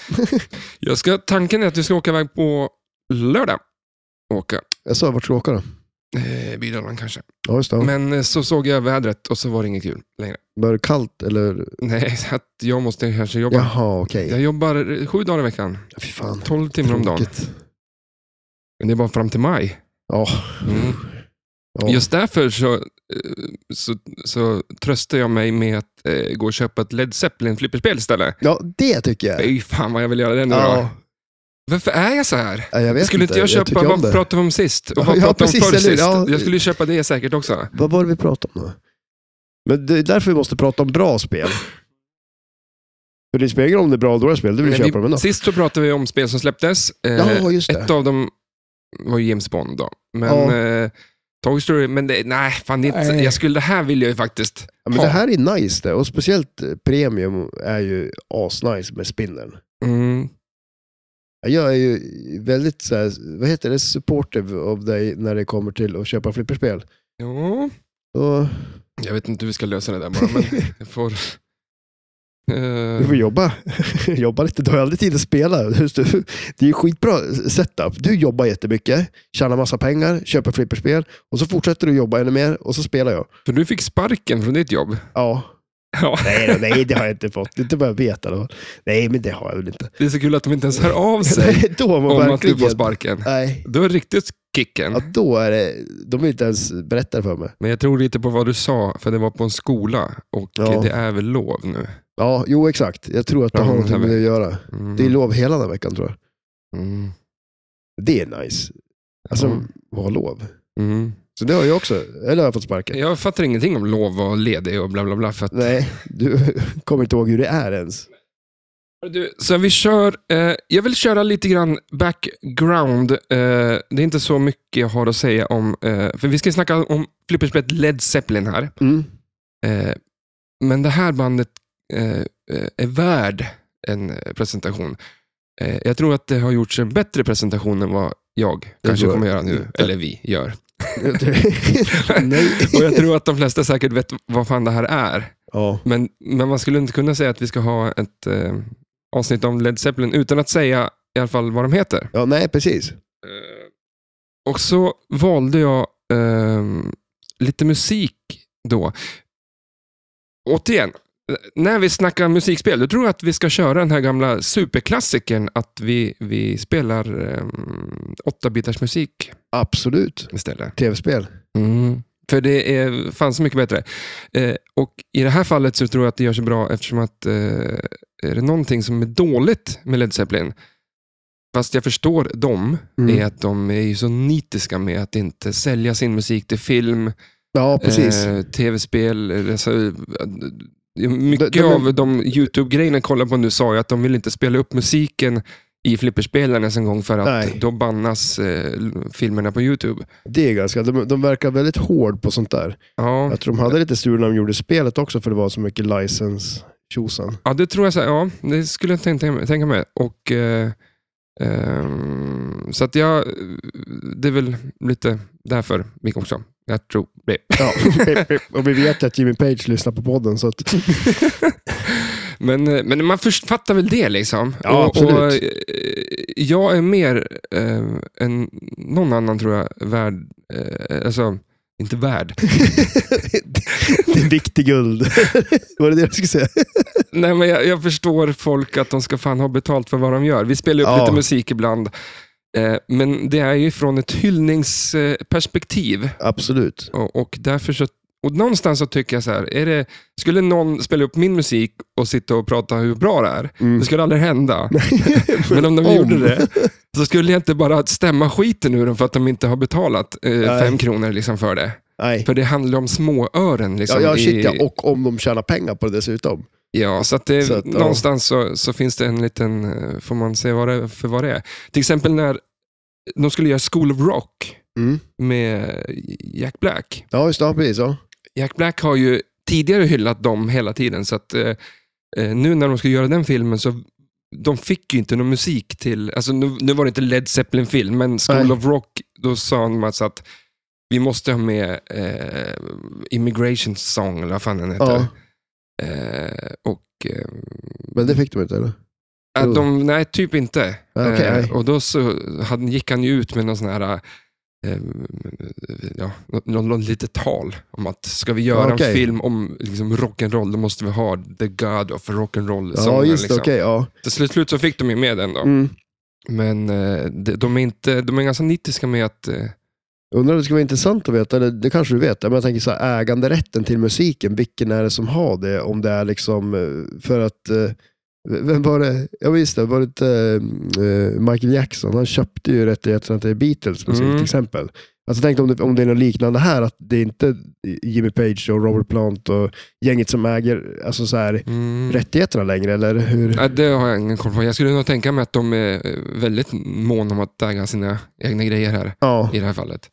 [SPEAKER 1] Jag ska, tanken är att vi ska åka iväg på lördag. Åka.
[SPEAKER 2] Jag sa, vart ska jag åka då?
[SPEAKER 1] Eh, Bydalen kanske.
[SPEAKER 2] Ja, just det. Men...
[SPEAKER 1] Men eh, så såg jag vädret och så var det inget kul längre.
[SPEAKER 2] Var det kallt eller?
[SPEAKER 1] Nej, <laughs> så att jag måste kanske jobba.
[SPEAKER 2] Jaha, okej.
[SPEAKER 1] Jag jobbar eh, sju dagar i veckan.
[SPEAKER 2] Ja, Fy fan.
[SPEAKER 1] 12 timmar om dagen.
[SPEAKER 2] Tråkigt.
[SPEAKER 1] Men det är bara fram till maj.
[SPEAKER 2] Ja.
[SPEAKER 1] Mm.
[SPEAKER 2] ja.
[SPEAKER 1] Just därför så, eh, så, så tröstar jag mig med att eh, gå och köpa ett Led Zeppelin-flipperspel istället.
[SPEAKER 2] ja, det tycker jag.
[SPEAKER 1] Fy fan vad jag vill göra det nu då.
[SPEAKER 2] Ja,
[SPEAKER 1] Varför är jag så här?
[SPEAKER 2] ja, jag vet
[SPEAKER 1] skulle inte jag köpa,
[SPEAKER 2] tycker om
[SPEAKER 1] vad
[SPEAKER 2] det.
[SPEAKER 1] pratade vi om sist? Och
[SPEAKER 2] Ja,
[SPEAKER 1] vad
[SPEAKER 2] ja,
[SPEAKER 1] pratade vi om
[SPEAKER 2] precis,
[SPEAKER 1] förr
[SPEAKER 2] eller hur?
[SPEAKER 1] sist?
[SPEAKER 2] Ja.
[SPEAKER 1] Jag skulle ju köpa det säkert också.
[SPEAKER 2] Vad var det vi pratade om då? Men det är därför vi måste prata om bra spel. För det spelar ingen roll om det är bra eller dåliga spel, du vill
[SPEAKER 1] Men
[SPEAKER 2] köpa
[SPEAKER 1] Eh, vi,
[SPEAKER 2] dem ändå.
[SPEAKER 1] Sist så pratade vi om spel som släpptes. Eh,
[SPEAKER 2] Ja, just det.
[SPEAKER 1] ett av dem var ju James Bond då. Men,
[SPEAKER 2] Ja.
[SPEAKER 1] eh, Toy Story, men det, nej, fan det är inte,
[SPEAKER 2] Nej.
[SPEAKER 1] jag skulle, det här vill jag ju faktiskt
[SPEAKER 2] Ja, men
[SPEAKER 1] ha.
[SPEAKER 2] det här är nice det, och speciellt eh, premium är ju asnice med spindeln.
[SPEAKER 1] Mm.
[SPEAKER 2] Ja, Jag är ju väldigt, så här, vad heter det, supportive av dig när det kommer till att köpa flipperspel.
[SPEAKER 1] Jo,
[SPEAKER 2] Och
[SPEAKER 1] jag vet inte hur vi ska lösa det där bara,
[SPEAKER 2] <laughs>
[SPEAKER 1] men jag får... Eh,
[SPEAKER 2] du får jobba. <laughs> jobba lite, du har aldrig tid att spela. Just det. Det är ju skitbra setup. Du jobbar jättemycket, tjänar massa pengar, köper flipperspel och så fortsätter du jobba ännu mer och så spelar jag.
[SPEAKER 1] Eh, för du fick sparken från ditt jobb.
[SPEAKER 2] Ja.
[SPEAKER 1] Ja.
[SPEAKER 2] Nej, då, nej, det har jag inte fått. Inte vad jag vet i alla fall. Nej, men det har jag väl inte.
[SPEAKER 1] <laughs> Det är så kul att de inte ens hör av sig
[SPEAKER 2] Nej, då har man
[SPEAKER 1] om att
[SPEAKER 2] verkligen...
[SPEAKER 1] du får sparken.
[SPEAKER 2] Nej,
[SPEAKER 1] Du har riktigt kicken.
[SPEAKER 2] ja, då är det... De vill inte ens berätta det för mig.
[SPEAKER 1] Men jag tror lite på vad du sa, för det var på en skola och
[SPEAKER 2] Ja.
[SPEAKER 1] det är väl lov nu.
[SPEAKER 2] Ja, jo exakt. Jag tror att det
[SPEAKER 1] Ja,
[SPEAKER 2] har
[SPEAKER 1] men
[SPEAKER 2] något med
[SPEAKER 1] det-
[SPEAKER 2] det att göra.
[SPEAKER 1] Mm.
[SPEAKER 2] Det är lov hela den här veckan tror jag.
[SPEAKER 1] Mm.
[SPEAKER 2] Det är nice. Alltså,
[SPEAKER 1] Ja.
[SPEAKER 2] ha lov.
[SPEAKER 1] Mm.
[SPEAKER 2] Så det har jag också. Eller har jag fått sparken?
[SPEAKER 1] Jag fattar ingenting om lov och ledig och bla bla bla. För att...
[SPEAKER 2] Nej, du <laughs> kommer inte ihåg hur det är ens.
[SPEAKER 1] du, så vi kör, eh, jag vill köra lite grann background. Eh, det är inte så mycket jag har att säga om, eh, för vi ska snacka om flipperspelet Led Zeppelin här.
[SPEAKER 2] Mm. <laughs>
[SPEAKER 1] Eh, men det här bandet eh, eh, är värd en eh, presentation. Eh, jag tror att det har gjorts en bättre presentation än vad jag
[SPEAKER 2] Det
[SPEAKER 1] kanske
[SPEAKER 2] tror jag.
[SPEAKER 1] kommer göra nu, eller vi gör.
[SPEAKER 2] Nej.
[SPEAKER 1] <laughs> Och jag tror att de flesta säkert vet vad fan det här är.
[SPEAKER 2] Ja.
[SPEAKER 1] Men, men man skulle inte kunna säga att vi ska ha ett eh, avsnitt om Led Zeppelin utan att säga i alla fall vad de heter.
[SPEAKER 2] ja, nej precis.
[SPEAKER 1] Eh, och så valde jag ehm, lite musik då. Återigen, eh, när vi snackar musikspel, då tror jag att vi ska köra den här gamla superklassikern att vi, vi spelar ehm, 8-bitars musik
[SPEAKER 2] Absolut.
[SPEAKER 1] istället.
[SPEAKER 2] Tv-spel.
[SPEAKER 1] Mm. För det är fan så mycket bättre. Eh, och I det här fallet så tror jag att det gör sig bra eftersom att eh, är det någonting som är dåligt med Led Zeppelin, fast jag förstår dem,
[SPEAKER 2] Mm.
[SPEAKER 1] är att de är ju så nitiska med att inte sälja sin musik till film,
[SPEAKER 2] Ja, precis.
[SPEAKER 1] eh, tv-spel. eh, Alltså, eh, mycket
[SPEAKER 2] De- de är-
[SPEAKER 1] av de YouTube-grejerna jag kollar på nu sa ju att de vill inte spela upp musiken i flipperspelen ens en gång för att
[SPEAKER 2] Nej.
[SPEAKER 1] då bannas eh, filmerna på YouTube.
[SPEAKER 2] Det är ganska, de, de verkar väldigt hård på sånt där.
[SPEAKER 1] Ja.
[SPEAKER 2] Jag tror de hade lite strul när de gjorde spelet också för det var så mycket license tjosan.
[SPEAKER 1] Ja, det tror jag. Så här, ja, det skulle jag tänka, tänka mig. Och, eh, ehm, så att jag, det är väl lite därför vi också. Jag tror det. <laughs>
[SPEAKER 2] Ja. och <laughs> vi vet att Jimmy Page lyssnar på
[SPEAKER 1] <laughs>
[SPEAKER 2] podden. Så att, <laughs>
[SPEAKER 1] Men, eh, men man först- fattar väl det liksom.
[SPEAKER 2] Ja, absolut.
[SPEAKER 1] eh, jag är mer eh, än någon annan tror jag värd, eh, alltså inte värd. <laughs>
[SPEAKER 2] det är viktig guld. <laughs> var det det du skulle säga?
[SPEAKER 1] Nej, men jag, jag förstår folk att de ska fan ha betalt för vad de gör. Vi spelar upp
[SPEAKER 2] Ja.
[SPEAKER 1] lite musik ibland. eh, Men det är ju från ett hyllningsperspektiv.
[SPEAKER 2] Absolut.
[SPEAKER 1] Och, och därför så, och någonstans så tycker jag så här, är det, skulle någon spela upp min musik och sitta och prata hur bra det är,
[SPEAKER 2] Mm.
[SPEAKER 1] det skulle aldrig
[SPEAKER 2] <laughs>
[SPEAKER 1] hända. Men om de
[SPEAKER 2] Om.
[SPEAKER 1] gjorde det, så skulle jag inte bara stämma skiten ur dem för att de inte har betalat eh,
[SPEAKER 2] Nej.
[SPEAKER 1] fem kronor liksom för det.
[SPEAKER 2] Nej.
[SPEAKER 1] För det handlar om småören. Liksom,
[SPEAKER 2] Ja, ja, shit,
[SPEAKER 1] i-
[SPEAKER 2] ja. Och om de tjänar pengar på det dessutom.
[SPEAKER 1] Ja, så att det,
[SPEAKER 2] Så att, ja.
[SPEAKER 1] någonstans så, så finns det en liten, eh, får man se vad det, är för vad det är. Till exempel när de skulle göra School of Rock
[SPEAKER 2] Mm.
[SPEAKER 1] med Jack Black.
[SPEAKER 2] Ja, just det. Ja, precis. Ja.
[SPEAKER 1] Jack Black har ju tidigare hyllat dem hela tiden, så att eh, eh, nu när de ska göra den filmen så de fick ju inte någon musik till, alltså nu, nu var det inte Led Zeppelin-film, men School
[SPEAKER 2] Nej.
[SPEAKER 1] of Rock, då sa de alltså att vi måste ha med eh, Immigration Song, eller vad fan den heter.
[SPEAKER 2] Ja.
[SPEAKER 1] Eh, och, eh,
[SPEAKER 2] Men det fick de inte, eller?
[SPEAKER 1] att
[SPEAKER 2] Oh.
[SPEAKER 1] de, nej, typ inte.
[SPEAKER 2] Ja, okej, nej.
[SPEAKER 1] eh, och då så hade, gick han ju ut med någon sån här, eh, ja, någon, någon litet tal om att ska vi göra
[SPEAKER 2] Ja, okej.
[SPEAKER 1] en film om liksom, rock'n'roll, då måste vi ha the god of rock'n'roll.
[SPEAKER 2] Ja, just det.
[SPEAKER 1] liksom.
[SPEAKER 2] Okej, ja.
[SPEAKER 1] Till slut, slut så fick de ju med den då.
[SPEAKER 2] Mm.
[SPEAKER 1] Men eh, de, de, är inte, de är ganska nitiska med att, eh,
[SPEAKER 2] Undrar om det skulle vara intressant att veta, eller det kanske du vet, men jag tänker så här, äganderätten till musiken, vilken är det som har det? Om det är liksom eh, för att, eh, vem var det? Ja just det, var det inte eh, Michael Jackson? Han köpte ju rättigheterna till Beatles musik
[SPEAKER 1] Mm.
[SPEAKER 2] till exempel. Alltså tänk om det, om det är något liknande här, att det är inte Jimmy Page och Robert Plant och gänget som äger alltså så här,
[SPEAKER 1] mm,
[SPEAKER 2] rättigheterna längre, eller hur?
[SPEAKER 1] nej, det har jag ingen koll på. Jag skulle nog tänka mig att de är eh, väldigt måna om att äga sina egna grejer här.
[SPEAKER 2] Ja.
[SPEAKER 1] i det här fallet.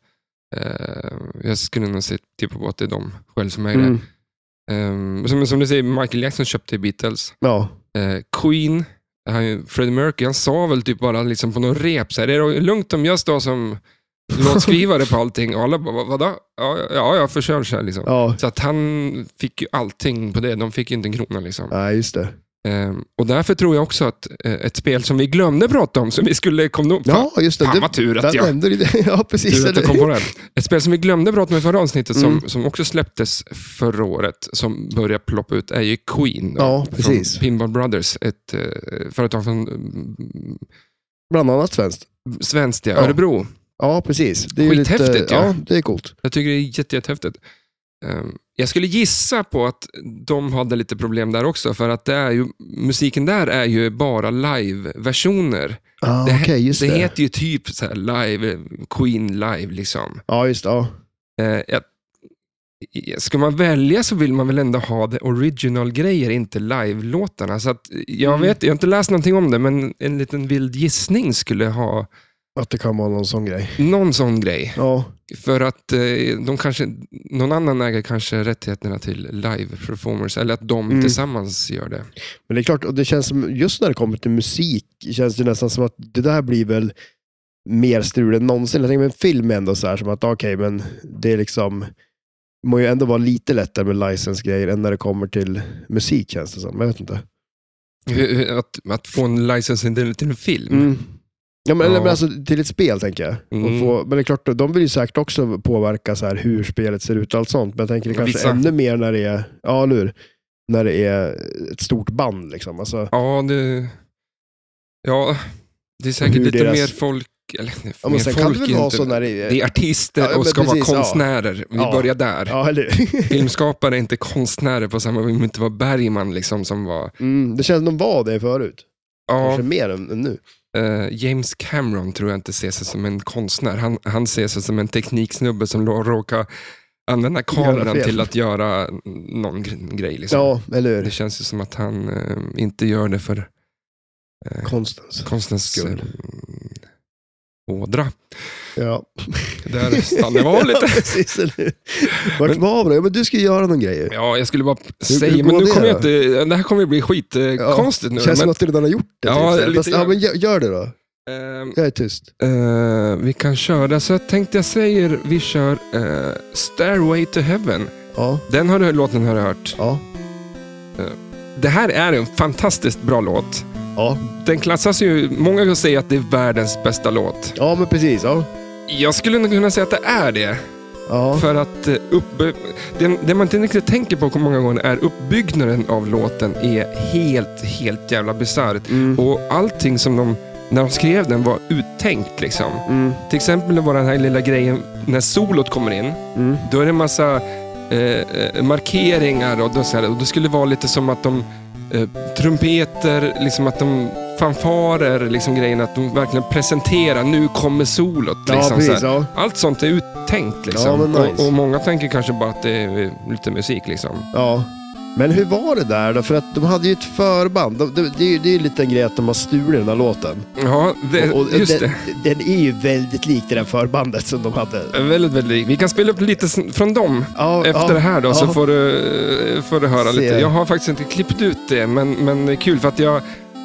[SPEAKER 1] Eh, jag skulle nog se typ på att det är de själv som äger
[SPEAKER 2] Mm.
[SPEAKER 1] det. Eh, som, som du säger, Michael Jackson köpte Beatles.
[SPEAKER 2] ja.
[SPEAKER 1] Eh, Queen, han, ju- Freddie Mercury, han sa väl typ bara liksom på någon rep, så här, är det lugnt om jag står som låtskrivare på allting? Och alla bara, "Va- vadå? Ja, ja, jag försörjer så här liksom.
[SPEAKER 2] ja.
[SPEAKER 1] Så att han fick ju allting på det, de fick ju inte en krona. Liksom.
[SPEAKER 2] Nej, just det.
[SPEAKER 1] Eh, och därför tror jag också att eh, ett spel som vi glömde prata om, som vi skulle komma upp
[SPEAKER 2] Ja, just det.
[SPEAKER 1] Fan,
[SPEAKER 2] det-
[SPEAKER 1] vad tur att
[SPEAKER 2] där
[SPEAKER 1] jag-
[SPEAKER 2] nämnde du det. <laughs> Ja, precis.
[SPEAKER 1] Tur att jag
[SPEAKER 2] eller-
[SPEAKER 1] kom på det. här. Ett spel som vi glömde prata om i förra avsnittet,
[SPEAKER 2] Mm.
[SPEAKER 1] som, som också släpptes förra året, som börjar ploppa ut, är ju Queen. Då,
[SPEAKER 2] Ja, precis.
[SPEAKER 1] Från Pinball Brothers, ett eh, företag från mm,
[SPEAKER 2] Bland annat svenskt.
[SPEAKER 1] svenskt, ja,
[SPEAKER 2] Ja.
[SPEAKER 1] Örebro.
[SPEAKER 2] Ja, precis. Det är ju
[SPEAKER 1] Skithäftigt,
[SPEAKER 2] lite,
[SPEAKER 1] ja.
[SPEAKER 2] ja. det är coolt.
[SPEAKER 1] Jag tycker det är jätte, jättehäftigt. Ehm, Jag skulle gissa på att de hade lite problem där också, för att det är ju, musiken där är ju bara live-versioner.
[SPEAKER 2] Ah,
[SPEAKER 1] Det-
[SPEAKER 2] Okej, just
[SPEAKER 1] Det
[SPEAKER 2] det.
[SPEAKER 1] heter ju typ så här live, Queen live liksom.
[SPEAKER 2] Ja, just det. Ja.
[SPEAKER 1] Eh, jag, ska man välja så vill man väl ändå ha det original-grejer, inte live-låtarna. Så att, jag,
[SPEAKER 2] Mm.
[SPEAKER 1] vet, jag har inte läst någonting om det, men en liten vild gissning skulle ha
[SPEAKER 2] Att det kan vara någon sån grej.
[SPEAKER 1] någon sån grej.
[SPEAKER 2] Ja,
[SPEAKER 1] För att eh, de kanske, någon annan äger kanske rättigheterna till live-performers, eller att de
[SPEAKER 2] Mm.
[SPEAKER 1] tillsammans gör det.
[SPEAKER 2] men det är klart, och det känns som, just när det kommer till musik, känns det nästan som att det där blir väl mer strul än någonsin. Jag tänker med en film är ändå så här, som att okej, men det är liksom, må ju ändå vara lite lättare med licensgrejer än när det kommer till musik känns det som. Jag vet inte.
[SPEAKER 1] Hur- hur- Att, att få en license till till en film.
[SPEAKER 2] Mm. Ja, men,
[SPEAKER 1] Mm. Ja.
[SPEAKER 2] Eller, men alltså, till ett spel tänker jag.
[SPEAKER 1] Mm.
[SPEAKER 2] Och få, men det är klart, de vill ju säkert också påverka så här, hur spelet ser ut och allt sånt. Men jag tänker det kanske
[SPEAKER 1] Vissa.
[SPEAKER 2] ännu mer när det är, ja eller hur? när det är ett stort band. Liksom. Alltså,
[SPEAKER 1] Ja, det, ja, det är säkert
[SPEAKER 2] Hur
[SPEAKER 1] lite
[SPEAKER 2] deras-
[SPEAKER 1] mer folk folk, eller
[SPEAKER 2] Ja,
[SPEAKER 1] mer
[SPEAKER 2] men sen kan det
[SPEAKER 1] folk
[SPEAKER 2] väl vara
[SPEAKER 1] inte-
[SPEAKER 2] så när det
[SPEAKER 1] Det är artister
[SPEAKER 2] Ja, men
[SPEAKER 1] och ska
[SPEAKER 2] precis,
[SPEAKER 1] vara
[SPEAKER 2] ja.
[SPEAKER 1] konstnärer. Vi
[SPEAKER 2] Ja.
[SPEAKER 1] börjar där.
[SPEAKER 2] Ja, eller
[SPEAKER 1] Filmskapare är inte konstnärer på samma vi inte var Bergman liksom som var...
[SPEAKER 2] <laughs> mm, Det känns som de var det förut.
[SPEAKER 1] Ja,
[SPEAKER 2] Kanske mer än, än nu.
[SPEAKER 1] eh, James Cameron tror jag inte ser sig som en konstnär. Han, han ser sig som en tekniksnubbe som lå- råkar använda kameran
[SPEAKER 2] fel.
[SPEAKER 1] till att göra någon gre- grej. Liksom.
[SPEAKER 2] Ja, eller
[SPEAKER 1] Det
[SPEAKER 2] hur?
[SPEAKER 1] känns ju som att han eh, inte gör det för eh,
[SPEAKER 2] Konstens.
[SPEAKER 1] konstens eh,
[SPEAKER 2] Skull.
[SPEAKER 1] ådra.
[SPEAKER 2] Ja.
[SPEAKER 1] <laughs> Där stannade jag
[SPEAKER 2] <laughs> Ja,
[SPEAKER 1] lite.
[SPEAKER 2] precis, eller hur? Vart
[SPEAKER 1] Men-
[SPEAKER 2] var vi? Ja, men du ska ju göra någon grej ju.
[SPEAKER 1] Ja, jag skulle bara
[SPEAKER 2] Hur-
[SPEAKER 1] säga,
[SPEAKER 2] hur
[SPEAKER 1] men
[SPEAKER 2] går
[SPEAKER 1] nu
[SPEAKER 2] det
[SPEAKER 1] kommer jag
[SPEAKER 2] då?
[SPEAKER 1] inte, det här kommer ju bli skitkonstigt
[SPEAKER 2] Ja,
[SPEAKER 1] konstigt nu.
[SPEAKER 2] Känns
[SPEAKER 1] men,
[SPEAKER 2] som att du redan har gjort det.
[SPEAKER 1] Ja,
[SPEAKER 2] typ.
[SPEAKER 1] lite
[SPEAKER 2] Fast, ja,
[SPEAKER 1] grann.
[SPEAKER 2] men gör, gör det då.
[SPEAKER 1] ehm,
[SPEAKER 2] Jag är tyst.
[SPEAKER 1] eh, vi kan köra, så jag tänkte jag säger vi kör eh, Stairway to Heaven.
[SPEAKER 2] Ja,
[SPEAKER 1] Den har du, låten har du hört.
[SPEAKER 2] ja,
[SPEAKER 1] Det här är en fantastiskt bra låt.
[SPEAKER 2] ja.
[SPEAKER 1] Den klassas ju, många kan säga att det är världens bästa låt.
[SPEAKER 2] Ja, men precis. Ja.
[SPEAKER 1] Jag skulle nog kunna säga att det är det.
[SPEAKER 2] Ja.
[SPEAKER 1] För att eh, upp, det, det man inte riktigt tänker på många gånger är uppbyggnaden av låten är helt, helt jävla bisarr.
[SPEAKER 2] Mm.
[SPEAKER 1] Och allting som de, när de skrev den var uttänkt liksom.
[SPEAKER 2] Mm.
[SPEAKER 1] Till exempel var den här lilla grejen när solot kommer in.
[SPEAKER 2] Mm.
[SPEAKER 1] Då är det en massa eh, eh, markeringar och, då, så här, och det skulle vara lite som att de eh, trumpeter, liksom att de fanfarer, liksom grejen att de verkligen presenterar nu kommer solot.
[SPEAKER 2] Ja,
[SPEAKER 1] Liksom, så här.
[SPEAKER 2] precis. Ja.
[SPEAKER 1] Allt sånt är uttänkt liksom.
[SPEAKER 2] Ja, men nice.
[SPEAKER 1] och, och många tänker kanske bara att det är eh, lite musik liksom.
[SPEAKER 2] ja. Men hur var det där då? För att de hade ju ett förband. De, de, det är ju det är ju en liten grej att de har stulit den här låten.
[SPEAKER 1] Ja, det,
[SPEAKER 2] Och- och
[SPEAKER 1] just
[SPEAKER 2] den,
[SPEAKER 1] det.
[SPEAKER 2] Den är ju väldigt lik det där förbandet som de hade.
[SPEAKER 1] Väldigt, väldigt. Vi kan spela upp lite sn- från dem.
[SPEAKER 2] Ja,
[SPEAKER 1] Efter
[SPEAKER 2] ja,
[SPEAKER 1] det här då så
[SPEAKER 2] ja.
[SPEAKER 1] får du, eh, får du höra
[SPEAKER 2] Se.
[SPEAKER 1] lite. Jag har faktiskt inte klippt ut det, men, men det är kul för att jag,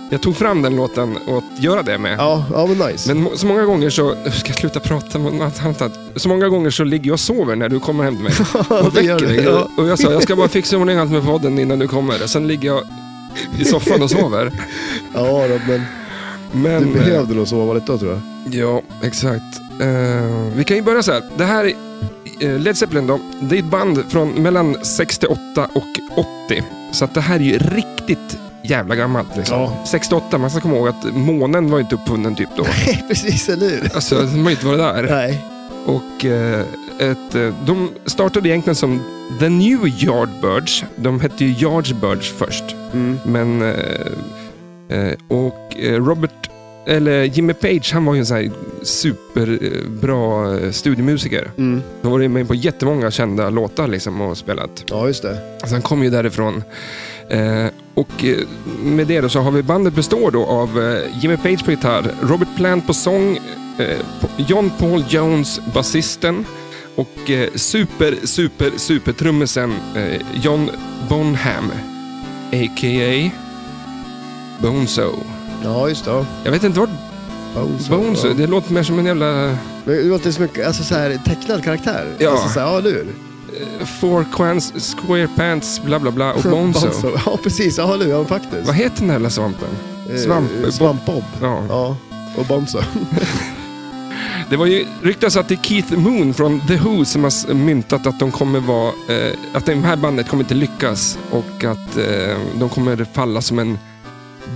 [SPEAKER 1] jag tog fram den låten och att göra det med.
[SPEAKER 2] Ja, ja men nice.
[SPEAKER 1] Men må- så många gånger så... Nu Ska jag sluta prata? om något annat? Så många gånger så ligger jag och sover när du kommer hem till mig.
[SPEAKER 2] <laughs> <laughs> Ja,
[SPEAKER 1] Och
[SPEAKER 2] det gör
[SPEAKER 1] väcker
[SPEAKER 2] det.
[SPEAKER 1] mig.
[SPEAKER 2] Ja.
[SPEAKER 1] Och jag sa, jag ska bara fixa i ordning allt med podden innan du kommer. Och sen ligger jag i soffan och sover.
[SPEAKER 2] ja, då, men
[SPEAKER 1] Men, eh,
[SPEAKER 2] du behövde nog sova lite då tror jag. <laughs>
[SPEAKER 1] Ja, exakt. Eh, vi kan ju börja så här. Det här är eh, Led Zeppelin då. Det är ett band från mellan 68 och 80. Så att det här är ju riktigt jävla gammalt. Liksom.
[SPEAKER 2] Ja.
[SPEAKER 1] 68, man ska komma ihåg att månen var ju inte uppfunnen typ då.
[SPEAKER 2] Nej, precis,
[SPEAKER 1] <laughs>
[SPEAKER 2] eller hur?
[SPEAKER 1] Alltså, man har ju inte varit där.
[SPEAKER 2] Nej.
[SPEAKER 1] Och eh, ett, eh, de startade egentligen som The New Yardbirds. De hette ju Yardbirds först.
[SPEAKER 2] Mm.
[SPEAKER 1] Men... Eh, eh, och eh, Robert... Eller Jimmy Page, han var ju en sån här superbra eh, studiomusiker.
[SPEAKER 2] Mm.
[SPEAKER 1] Han var ju med på jättemånga kända låtar liksom och spelat.
[SPEAKER 2] Ja, just det.
[SPEAKER 1] Så han kom ju därifrån. Eh, och eh, med det då så har vi bandet består då av eh, Jimmy Page på gitarr, Robert Plant på sång, eh, på- John Paul Jones, basisten och eh, super, super, super trummisen eh, John Bonham, a.k.a. Bonzo.
[SPEAKER 2] Ja, just det. Ja.
[SPEAKER 1] Jag vet inte vart
[SPEAKER 2] Bones.
[SPEAKER 1] Bonzo,
[SPEAKER 2] Ja.
[SPEAKER 1] det låter mer som en jävla eh,
[SPEAKER 2] Men Det låter som en alltså, så här, tecknad karaktär.
[SPEAKER 1] Ja.
[SPEAKER 2] Alltså, så här, ja, eller hur?
[SPEAKER 1] four quans, square pants, bla bla
[SPEAKER 2] <laughs>
[SPEAKER 1] bla och Bonzo.
[SPEAKER 2] Ja, precis. Ja, eller hur? Ja, faktiskt.
[SPEAKER 1] Vad heter den här jävla svampen?
[SPEAKER 2] Eh,
[SPEAKER 1] Svamp-
[SPEAKER 2] Svampbob.
[SPEAKER 1] Ja.
[SPEAKER 2] Ja, och Bonzo. <laughs>
[SPEAKER 1] Det var ju ryktas att det är Keith Moon från The Who som har s- myntat att de kommer vara, eh, att det här bandet kommer inte lyckas och att eh, de kommer falla som en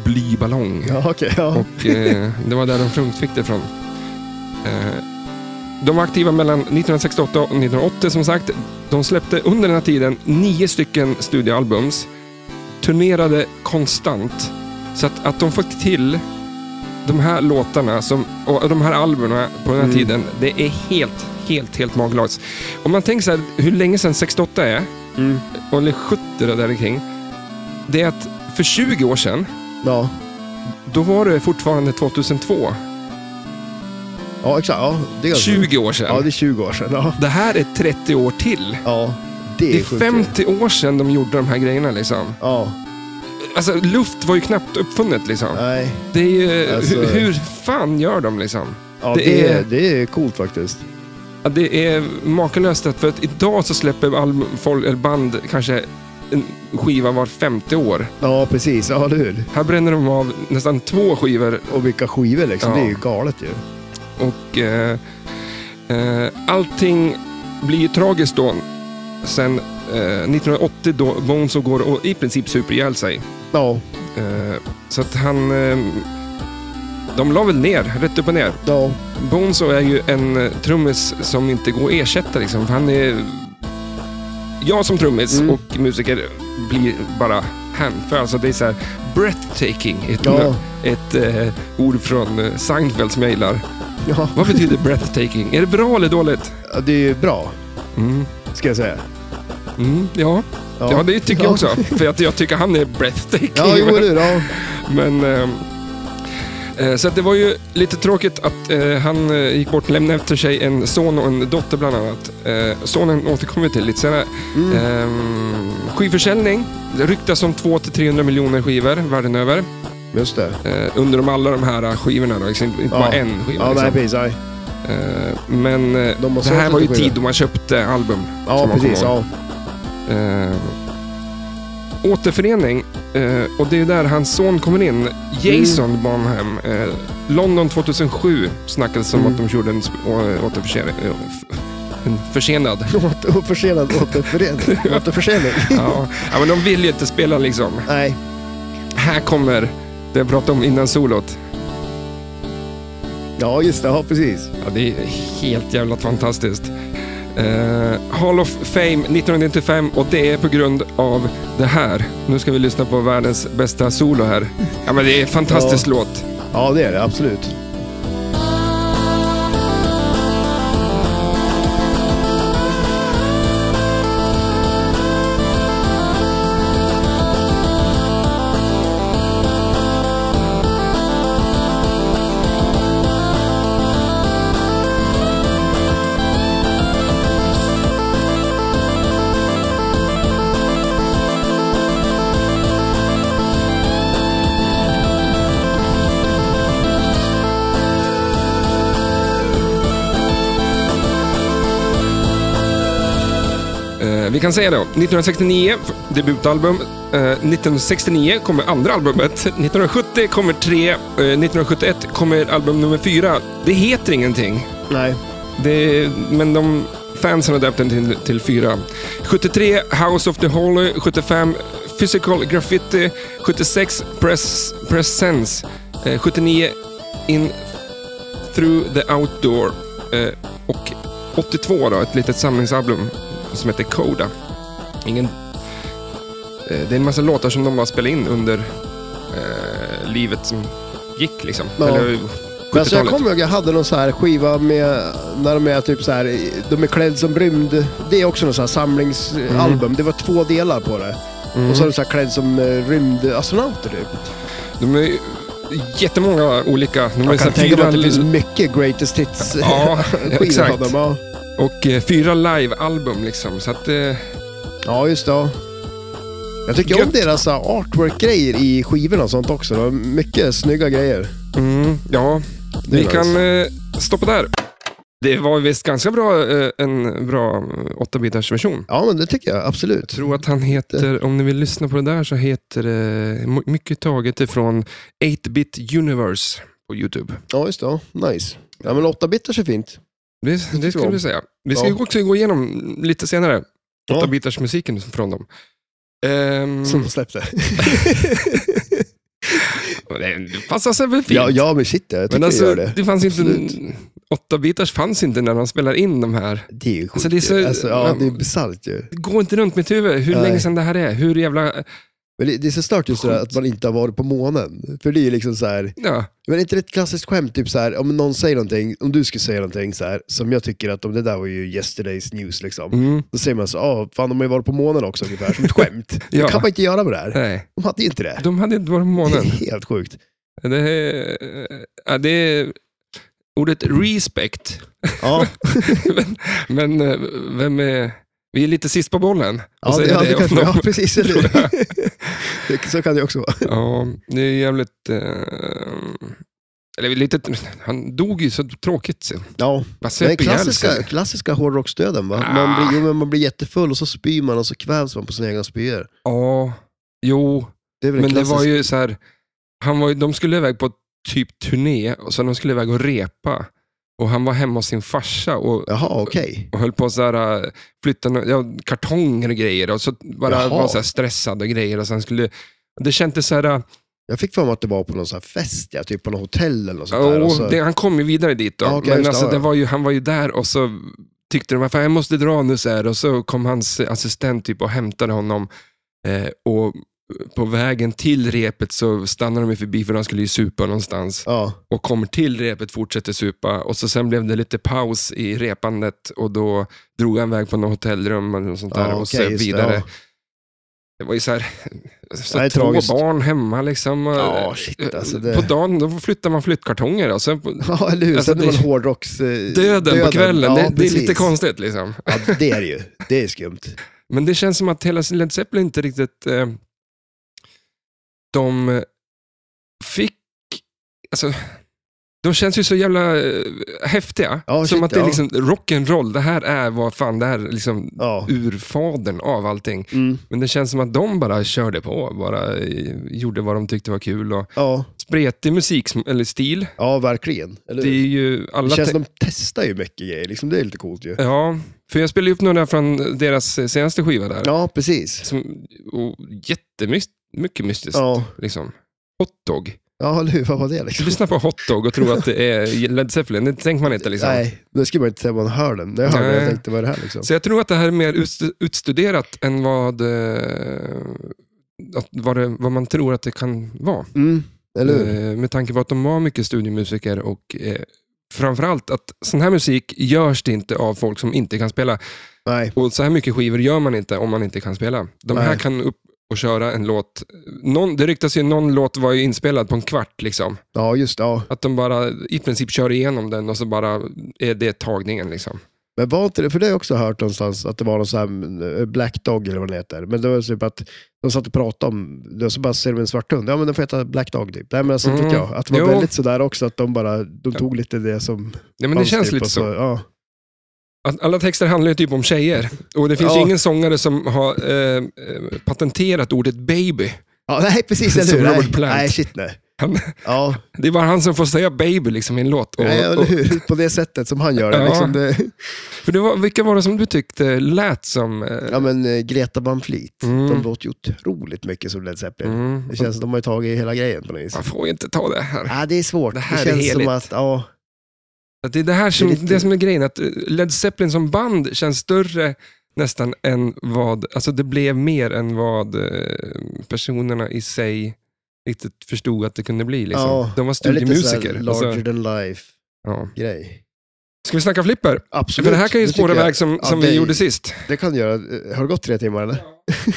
[SPEAKER 1] blyballong.
[SPEAKER 2] Ja, okej. ja.
[SPEAKER 1] Och eh, det var där de frum- fick det ifrån. Eh, de var aktiva mellan 1968 och 1980 som sagt. De släppte under den här tiden nio stycken studioalbums. Turnerade konstant. Så att, att de fick till de här låtarna som, och de här albumen på den här
[SPEAKER 2] Mm.
[SPEAKER 1] tiden, det är helt, helt, helt maglagligt. Om man tänker så här, hur länge sedan 68 är,
[SPEAKER 2] Mm.
[SPEAKER 1] och- eller 70 eller där kring. Det är att för 20 år sedan,
[SPEAKER 2] Ja.
[SPEAKER 1] då var det fortfarande 2002.
[SPEAKER 2] ja, exakt. Ja, det är
[SPEAKER 1] 20 år sedan.
[SPEAKER 2] Ja, det är 20 år sedan. Ja,
[SPEAKER 1] Det här är 30 år till.
[SPEAKER 2] ja det
[SPEAKER 1] Det
[SPEAKER 2] är
[SPEAKER 1] är
[SPEAKER 2] sjukt.
[SPEAKER 1] 50 år sedan de gjorde de här grejerna. Liksom.
[SPEAKER 2] Ja,
[SPEAKER 1] Alltså, luft var ju knappt uppfunnet. Liksom.
[SPEAKER 2] nej.
[SPEAKER 1] Det är ju,
[SPEAKER 2] Alltså-
[SPEAKER 1] hur, hur fan gör de? Liksom?
[SPEAKER 2] Ja,
[SPEAKER 1] Det
[SPEAKER 2] det,
[SPEAKER 1] är-
[SPEAKER 2] är... det är coolt faktiskt.
[SPEAKER 1] Ja, det är makalöst. att- För att idag så släpper all, folk, eller band kanske en skiva var 50 år.
[SPEAKER 2] Ja, precis. Ja, eller hur?
[SPEAKER 1] Här bränner de av nästan två skivor
[SPEAKER 2] Och vilka skivor liksom.
[SPEAKER 1] Ja.
[SPEAKER 2] Det är ju galet ju.
[SPEAKER 1] Och eh, eh, allting blir ju tragiskt då. Sen eh, 1980 då Bones och går och i princip super ihjäl sig.
[SPEAKER 2] Ja,
[SPEAKER 1] Eh, så att han... Eh, De la väl ner, rätt upp och ner.
[SPEAKER 2] Ja,
[SPEAKER 1] Bonzo är ju en eh, trummis som inte går att ersätta. Liksom. för Han är... Jag som trummis
[SPEAKER 2] Mm.
[SPEAKER 1] och musiker blir bara hänförd. Alltså det är så här breathtaking. Ett,
[SPEAKER 2] ja,
[SPEAKER 1] ett eh, ord från eh, Seinfeld som jag gillar.
[SPEAKER 2] ja.
[SPEAKER 1] Vad betyder breathtaking? Är det bra eller dåligt?
[SPEAKER 2] Ja, Det är ju bra,
[SPEAKER 1] Mm.
[SPEAKER 2] ska jag säga.
[SPEAKER 1] Mm, ja. ja, det tycker jag också. För att jag tycker han är breathtaking.
[SPEAKER 2] Ja, jo, det är det.
[SPEAKER 1] Men, ehm, eh, så att det var ju lite tråkigt att eh, han eh, gick bort och lämnade efter sig en son och en dotter bland annat. Eh, sonen återkommer vi till lite senare.
[SPEAKER 2] Mm.
[SPEAKER 1] Ehm, skivförsäljning. Det ryktas om 200-300 miljoner skivor världen över.
[SPEAKER 2] Just det.
[SPEAKER 1] Eh, under de alla de här eh, skivorna då. Liksom, inte
[SPEAKER 2] Ja.
[SPEAKER 1] bara en skiva.
[SPEAKER 2] Ja, nej,
[SPEAKER 1] liksom.
[SPEAKER 2] precis. nej.
[SPEAKER 1] eh, men eh,
[SPEAKER 2] De har
[SPEAKER 1] det här
[SPEAKER 2] sålt
[SPEAKER 1] var ju
[SPEAKER 2] lite skivor.
[SPEAKER 1] tid då man köpte album.
[SPEAKER 2] Ja,
[SPEAKER 1] Som man
[SPEAKER 2] precis.
[SPEAKER 1] kommer
[SPEAKER 2] Ja.
[SPEAKER 1] Eh, återförening. Eh, och det är där hans son kommer in. Jason
[SPEAKER 2] Mm.
[SPEAKER 1] Bonham. Eh, London 2007 snackades om
[SPEAKER 2] Mm.
[SPEAKER 1] att de gjorde en, sp- å- återförseri- eh, f- en försenad. <laughs>
[SPEAKER 2] Åter- och Försenad återförening. Återförsäljning.
[SPEAKER 1] ja. ja, men de vill ju inte spela liksom.
[SPEAKER 2] Nej.
[SPEAKER 1] Här kommer det jag pratade om innan solot.
[SPEAKER 2] Ja, just det. Ja, precis.
[SPEAKER 1] Ja, det är helt jävla fantastiskt. Eh, Hall of Fame 1995 och det är på grund av det här. Nu ska vi lyssna på världens bästa solo här. Ja, men det är en fantastisk låt.
[SPEAKER 2] Ja, det är det. Absolut.
[SPEAKER 1] Eh, vi kan säga då, 1969, debutalbum. Eh, 1969 kommer andra albumet. 1970 kommer tre. Eh, 1971 kommer album nummer fyra. Det heter ingenting.
[SPEAKER 2] Nej.
[SPEAKER 1] Det, men de fansen har döpt den till, till fyra. 73, House of the Holy. 75, Physical Graffiti. 76, Press, Presence. Eh, 79, In Through the Outdoor. Eh, och 82 då, ett litet samlingsalbum som heter Coda. Ingen, eh, det är en massa låtar som de har spelat in under eh, livet som gick liksom.
[SPEAKER 2] Ja.
[SPEAKER 1] Eller
[SPEAKER 2] Men alltså, jag
[SPEAKER 1] 70-talet.
[SPEAKER 2] kommer ihåg jag hade någon så här skiva med, när de är typ så här, de är klädda som rymd. Det är också någon så här samlingsalbum.
[SPEAKER 1] Mm.
[SPEAKER 2] Det var två delar på det. Och så är de så här klädda som eh, rymdastronauter typ.
[SPEAKER 1] De är ju jättemånga olika. De är
[SPEAKER 2] Jag
[SPEAKER 1] så
[SPEAKER 2] kan
[SPEAKER 1] här
[SPEAKER 2] tänka mig
[SPEAKER 1] fyra,
[SPEAKER 2] att det finns <laughs>
[SPEAKER 1] li-
[SPEAKER 2] mycket greatest hits
[SPEAKER 1] Ja,
[SPEAKER 2] <laughs> skivor av
[SPEAKER 1] exakt.
[SPEAKER 2] dem. Ja.
[SPEAKER 1] och eh, fyra live-album liksom. Så att, eh,
[SPEAKER 2] ja, just det. ja. Jag tycker om
[SPEAKER 1] Gött.
[SPEAKER 2] deras så här, artwork-grejer i skivorna och sånt också. Det var mycket snygga grejer.
[SPEAKER 1] mm, ja,
[SPEAKER 2] Det är
[SPEAKER 1] vi
[SPEAKER 2] nice.
[SPEAKER 1] kan eh, stoppa där. Det var visst ganska bra, eh, en bra 8-bitars version.
[SPEAKER 2] Ja, men det tycker jag absolut.
[SPEAKER 1] Jag tror att han heter, om ni vill lyssna på det där, så heter det my- mycket taget ifrån 8-bit universe på YouTube.
[SPEAKER 2] Ja, just det. ja. Nice. Ja, men 8-bitars är fint.
[SPEAKER 1] Det, det
[SPEAKER 2] tycker
[SPEAKER 1] skulle
[SPEAKER 2] jag.
[SPEAKER 1] vi säga. Vi ska
[SPEAKER 2] Ja.
[SPEAKER 1] också gå igenom lite senare,
[SPEAKER 2] Ja.
[SPEAKER 1] 8-bitars musiken från dem. Ehm,
[SPEAKER 2] Som
[SPEAKER 1] <laughs>
[SPEAKER 2] de släppte.
[SPEAKER 1] det passar sig väl fint.
[SPEAKER 2] ja, ja, men shit, jag tycker
[SPEAKER 1] Men
[SPEAKER 2] det
[SPEAKER 1] alltså,
[SPEAKER 2] gör
[SPEAKER 1] det.
[SPEAKER 2] det.
[SPEAKER 1] fanns inte...
[SPEAKER 2] Absolut.
[SPEAKER 1] Åtta bitars fanns inte när de spelade in de här.
[SPEAKER 2] Det är ju sjukt.
[SPEAKER 1] Alltså, det är så-
[SPEAKER 2] alltså, ja, det är bisarrt ju.
[SPEAKER 1] Gå inte runt mitt huvud hur
[SPEAKER 2] Nej.
[SPEAKER 1] länge sedan det här är. Hur jävla...
[SPEAKER 2] Men det, det är så stört just det där
[SPEAKER 1] Sjukt.
[SPEAKER 2] att man inte har varit på månen. För det är ju liksom så här,
[SPEAKER 1] Ja,
[SPEAKER 2] men är inte det ett klassiskt skämt? Typ så här, om någon säger någonting, om du skulle säga någonting så här, som jag tycker att om det där var ju yesterday's news liksom.
[SPEAKER 1] mm,
[SPEAKER 2] Då säger man så, ah, fan de har ju varit på månen också ungefär, som
[SPEAKER 1] <laughs>
[SPEAKER 2] ett skämt.
[SPEAKER 1] Ja.
[SPEAKER 2] Det kan man inte göra med det här.
[SPEAKER 1] nej.
[SPEAKER 2] De hade ju inte det.
[SPEAKER 1] De hade inte varit på
[SPEAKER 2] Det
[SPEAKER 1] månen.
[SPEAKER 2] är helt sjukt.
[SPEAKER 1] Det är... Ja, det är ordet respect. <laughs>
[SPEAKER 2] Ja,
[SPEAKER 1] men, men eh, vem är... Vi är lite sist på bollen. att
[SPEAKER 2] ja, det,
[SPEAKER 1] säga
[SPEAKER 2] ja, det
[SPEAKER 1] om
[SPEAKER 2] kanske,
[SPEAKER 1] någon.
[SPEAKER 2] ja precis. Eller? <laughs> Det- så kan det också vara.
[SPEAKER 1] Ja, det är jävligt... Eh, eller lite... Han dog ju så tråkigt. sen.
[SPEAKER 2] Ja.
[SPEAKER 1] Bara
[SPEAKER 2] Den
[SPEAKER 1] söp ihjäl
[SPEAKER 2] klassiska,
[SPEAKER 1] sig.
[SPEAKER 2] klassiska hårdrocksdöden va?
[SPEAKER 1] Ah.
[SPEAKER 2] Man, blir, jo, men man blir jättefull och så spyr man och så kvävs man på sina egna spyor.
[SPEAKER 1] Ja, jo.
[SPEAKER 2] Det är väl en
[SPEAKER 1] Men det
[SPEAKER 2] klassisk...
[SPEAKER 1] var ju så här, han var, ju- de skulle iväg på typ turné och sen de skulle iväg och repa. Och han var hemma hos sin farsa och,
[SPEAKER 2] Jaha, okej.
[SPEAKER 1] och höll på att så här, äh, flytta no- ja, kartonger och grejer. Och så bara
[SPEAKER 2] Jaha.
[SPEAKER 1] var så här stressad och grejer. Och sen skulle, det kändes så här, äh,
[SPEAKER 2] Jag fick för mig att det var på någon sån här fest, ja, typ på något hotell eller något sånt där.
[SPEAKER 1] Jo,
[SPEAKER 2] Och så,
[SPEAKER 1] det, han kom ju vidare dit då.
[SPEAKER 2] Ja, okej, just
[SPEAKER 1] men
[SPEAKER 2] det,
[SPEAKER 1] alltså,
[SPEAKER 2] ja,
[SPEAKER 1] det
[SPEAKER 2] ja.
[SPEAKER 1] var ju, han var ju där och så tyckte de att jag måste dra nu så här. Och så kom hans assistent typ och hämtade honom. Eh, och på vägen till repet så stannade de ju förbi för de skulle ju supa någonstans.
[SPEAKER 2] Ja,
[SPEAKER 1] Och kommer till repet, fortsätter supa. Och så sen blev det lite paus i repandet och då drog han iväg på något hotellrum och sånt där.
[SPEAKER 2] ja,
[SPEAKER 1] och
[SPEAKER 2] okej,
[SPEAKER 1] så
[SPEAKER 2] just det,
[SPEAKER 1] vidare.
[SPEAKER 2] ja.
[SPEAKER 1] Det var ju så här, så
[SPEAKER 2] Nej,
[SPEAKER 1] två
[SPEAKER 2] tragiskt.
[SPEAKER 1] barn hemma liksom. och-
[SPEAKER 2] Ja, shit, alltså det-
[SPEAKER 1] På dagen då flyttar man flyttkartonger och sen på,
[SPEAKER 2] Ja, eller hur?
[SPEAKER 1] Alltså,
[SPEAKER 2] Sen är
[SPEAKER 1] det-
[SPEAKER 2] man hårdrocks... eh,
[SPEAKER 1] Döden, på kvällen,
[SPEAKER 2] Ja,
[SPEAKER 1] det, det är
[SPEAKER 2] precis.
[SPEAKER 1] lite konstigt. liksom.
[SPEAKER 2] Ja, det är det ju. Det är skumt.
[SPEAKER 1] Men det känns som att hela Led Zeppelin inte riktigt... Eh, de eh, fick... Alltså, de känns ju så jävla eh, häftiga.
[SPEAKER 2] Ja,
[SPEAKER 1] som
[SPEAKER 2] shit,
[SPEAKER 1] att det är
[SPEAKER 2] ja.
[SPEAKER 1] liksom rock'n'roll. Det här är vad fan, det här är liksom
[SPEAKER 2] Ja.
[SPEAKER 1] urfadern av allting.
[SPEAKER 2] Mm.
[SPEAKER 1] Men det känns som att de bara körde på. Bara eh, gjorde vad de tyckte var kul. Och
[SPEAKER 2] Ja.
[SPEAKER 1] spretig musik, eller stil.
[SPEAKER 2] ja, verkligen. Eller
[SPEAKER 1] Det
[SPEAKER 2] hur?
[SPEAKER 1] är ju alla...
[SPEAKER 2] Det känns
[SPEAKER 1] te-
[SPEAKER 2] som de testar ju mycket grejer, liksom. det är lite coolt ju.
[SPEAKER 1] Ja, för jag spelade ju upp några från deras eh, senaste skiva där.
[SPEAKER 2] Ja, precis.
[SPEAKER 1] Som, och jättemycket mystiskt.
[SPEAKER 2] Ja,
[SPEAKER 1] Liksom. Hotdog.
[SPEAKER 2] ja eller hur? Vad var det
[SPEAKER 1] Du
[SPEAKER 2] liksom?
[SPEAKER 1] lyssnar på hotdog och tror att det är Led Zeppelin. Det tänker man inte. Liksom.
[SPEAKER 2] Nej, det skulle man inte säga man hör den. När jag hörde den
[SPEAKER 1] Nej.
[SPEAKER 2] jag tänkte, vad är det här liksom?
[SPEAKER 1] Så jag tror att det här är mer utstu- utstuderat än vad, eh, att, vad, det, vad man tror att det kan vara.
[SPEAKER 2] Mm. Eller hur?
[SPEAKER 1] Eh, med tanke på att de var mycket studiomusiker och eh, framförallt att sån här musik görs det inte av folk som inte kan spela.
[SPEAKER 2] Nej.
[SPEAKER 1] Och så här mycket skivor gör man inte om man inte kan spela. De här
[SPEAKER 2] Nej.
[SPEAKER 1] kan upp och köra en låt. Någon, det ryktas ju någon låt var ju inspelad på en kvart. liksom.
[SPEAKER 2] Ja, just det. Ja.
[SPEAKER 1] Att de bara i princip kör igenom den och så bara är det tagningen. liksom.
[SPEAKER 2] Men var inte det, för det har jag också hört någonstans, att det var någon sån här eh, Black Dog eller vad den heter. Men det var typ att de satt och pratade om, det, och så bara ser de en svart hund, ja men den får heta Black Dog typ. Nej men alltså
[SPEAKER 1] Mm.
[SPEAKER 2] tycker jag, att det var
[SPEAKER 1] Jo.
[SPEAKER 2] väldigt sådär också, att de bara, de tog lite det som
[SPEAKER 1] Ja, men det
[SPEAKER 2] fanns
[SPEAKER 1] känns
[SPEAKER 2] typ,
[SPEAKER 1] lite
[SPEAKER 2] och
[SPEAKER 1] så.
[SPEAKER 2] Ja.
[SPEAKER 1] Att alla texter handlar ju typ om tjejer. Och det finns ju
[SPEAKER 2] Ja.
[SPEAKER 1] ingen sångare som har eh, eh, patenterat ordet baby.
[SPEAKER 2] ja, nej
[SPEAKER 1] <laughs>
[SPEAKER 2] precis, eller
[SPEAKER 1] Som
[SPEAKER 2] hur?
[SPEAKER 1] Robert
[SPEAKER 2] Nej,
[SPEAKER 1] Plant.
[SPEAKER 2] nej, shit nej.
[SPEAKER 1] Han- <laughs>
[SPEAKER 2] Ja,
[SPEAKER 1] Det är bara han som får säga baby liksom, i en låt. Och,
[SPEAKER 2] nej, eller
[SPEAKER 1] och,
[SPEAKER 2] hur? På det sättet som han gör det.
[SPEAKER 1] Ja.
[SPEAKER 2] Liksom det
[SPEAKER 1] för det var, vilka var det som du tyckte lät som... Eh,
[SPEAKER 2] ja men eh, Greta Van Fleet,
[SPEAKER 1] Mm.
[SPEAKER 2] de låter ju otroligt mycket som Led Zeppelin.
[SPEAKER 1] mm,
[SPEAKER 2] Det känns som de har ju tagit hela grejen på något vis.
[SPEAKER 1] man får ju inte ta det här.
[SPEAKER 2] Ja, det är svårt.
[SPEAKER 1] Det
[SPEAKER 2] Det,
[SPEAKER 1] här är
[SPEAKER 2] känns som
[SPEAKER 1] heligt.
[SPEAKER 2] att, ja,
[SPEAKER 1] Att det är det här som,
[SPEAKER 2] Det
[SPEAKER 1] det
[SPEAKER 2] är lite-
[SPEAKER 1] som är grejen, att eh, Led Zeppelin som band känns större nästan än vad, alltså det blev mer än vad eh, personerna i sig riktigt förstod att det kunde bli. Liksom.
[SPEAKER 2] Ja,
[SPEAKER 1] De var
[SPEAKER 2] det är lite sådär
[SPEAKER 1] studiemusiker.
[SPEAKER 2] larger
[SPEAKER 1] Alltså,
[SPEAKER 2] than life
[SPEAKER 1] ja.
[SPEAKER 2] grej.
[SPEAKER 1] Ska vi snacka flipper?
[SPEAKER 2] Absolut.
[SPEAKER 1] För det här kan ju
[SPEAKER 2] det tycker
[SPEAKER 1] spåra
[SPEAKER 2] jag.
[SPEAKER 1] iväg som,
[SPEAKER 2] Ja,
[SPEAKER 1] som
[SPEAKER 2] det-
[SPEAKER 1] vi gjorde sist.
[SPEAKER 2] Det kan göra. Eh, Har det gått tre timmar eller?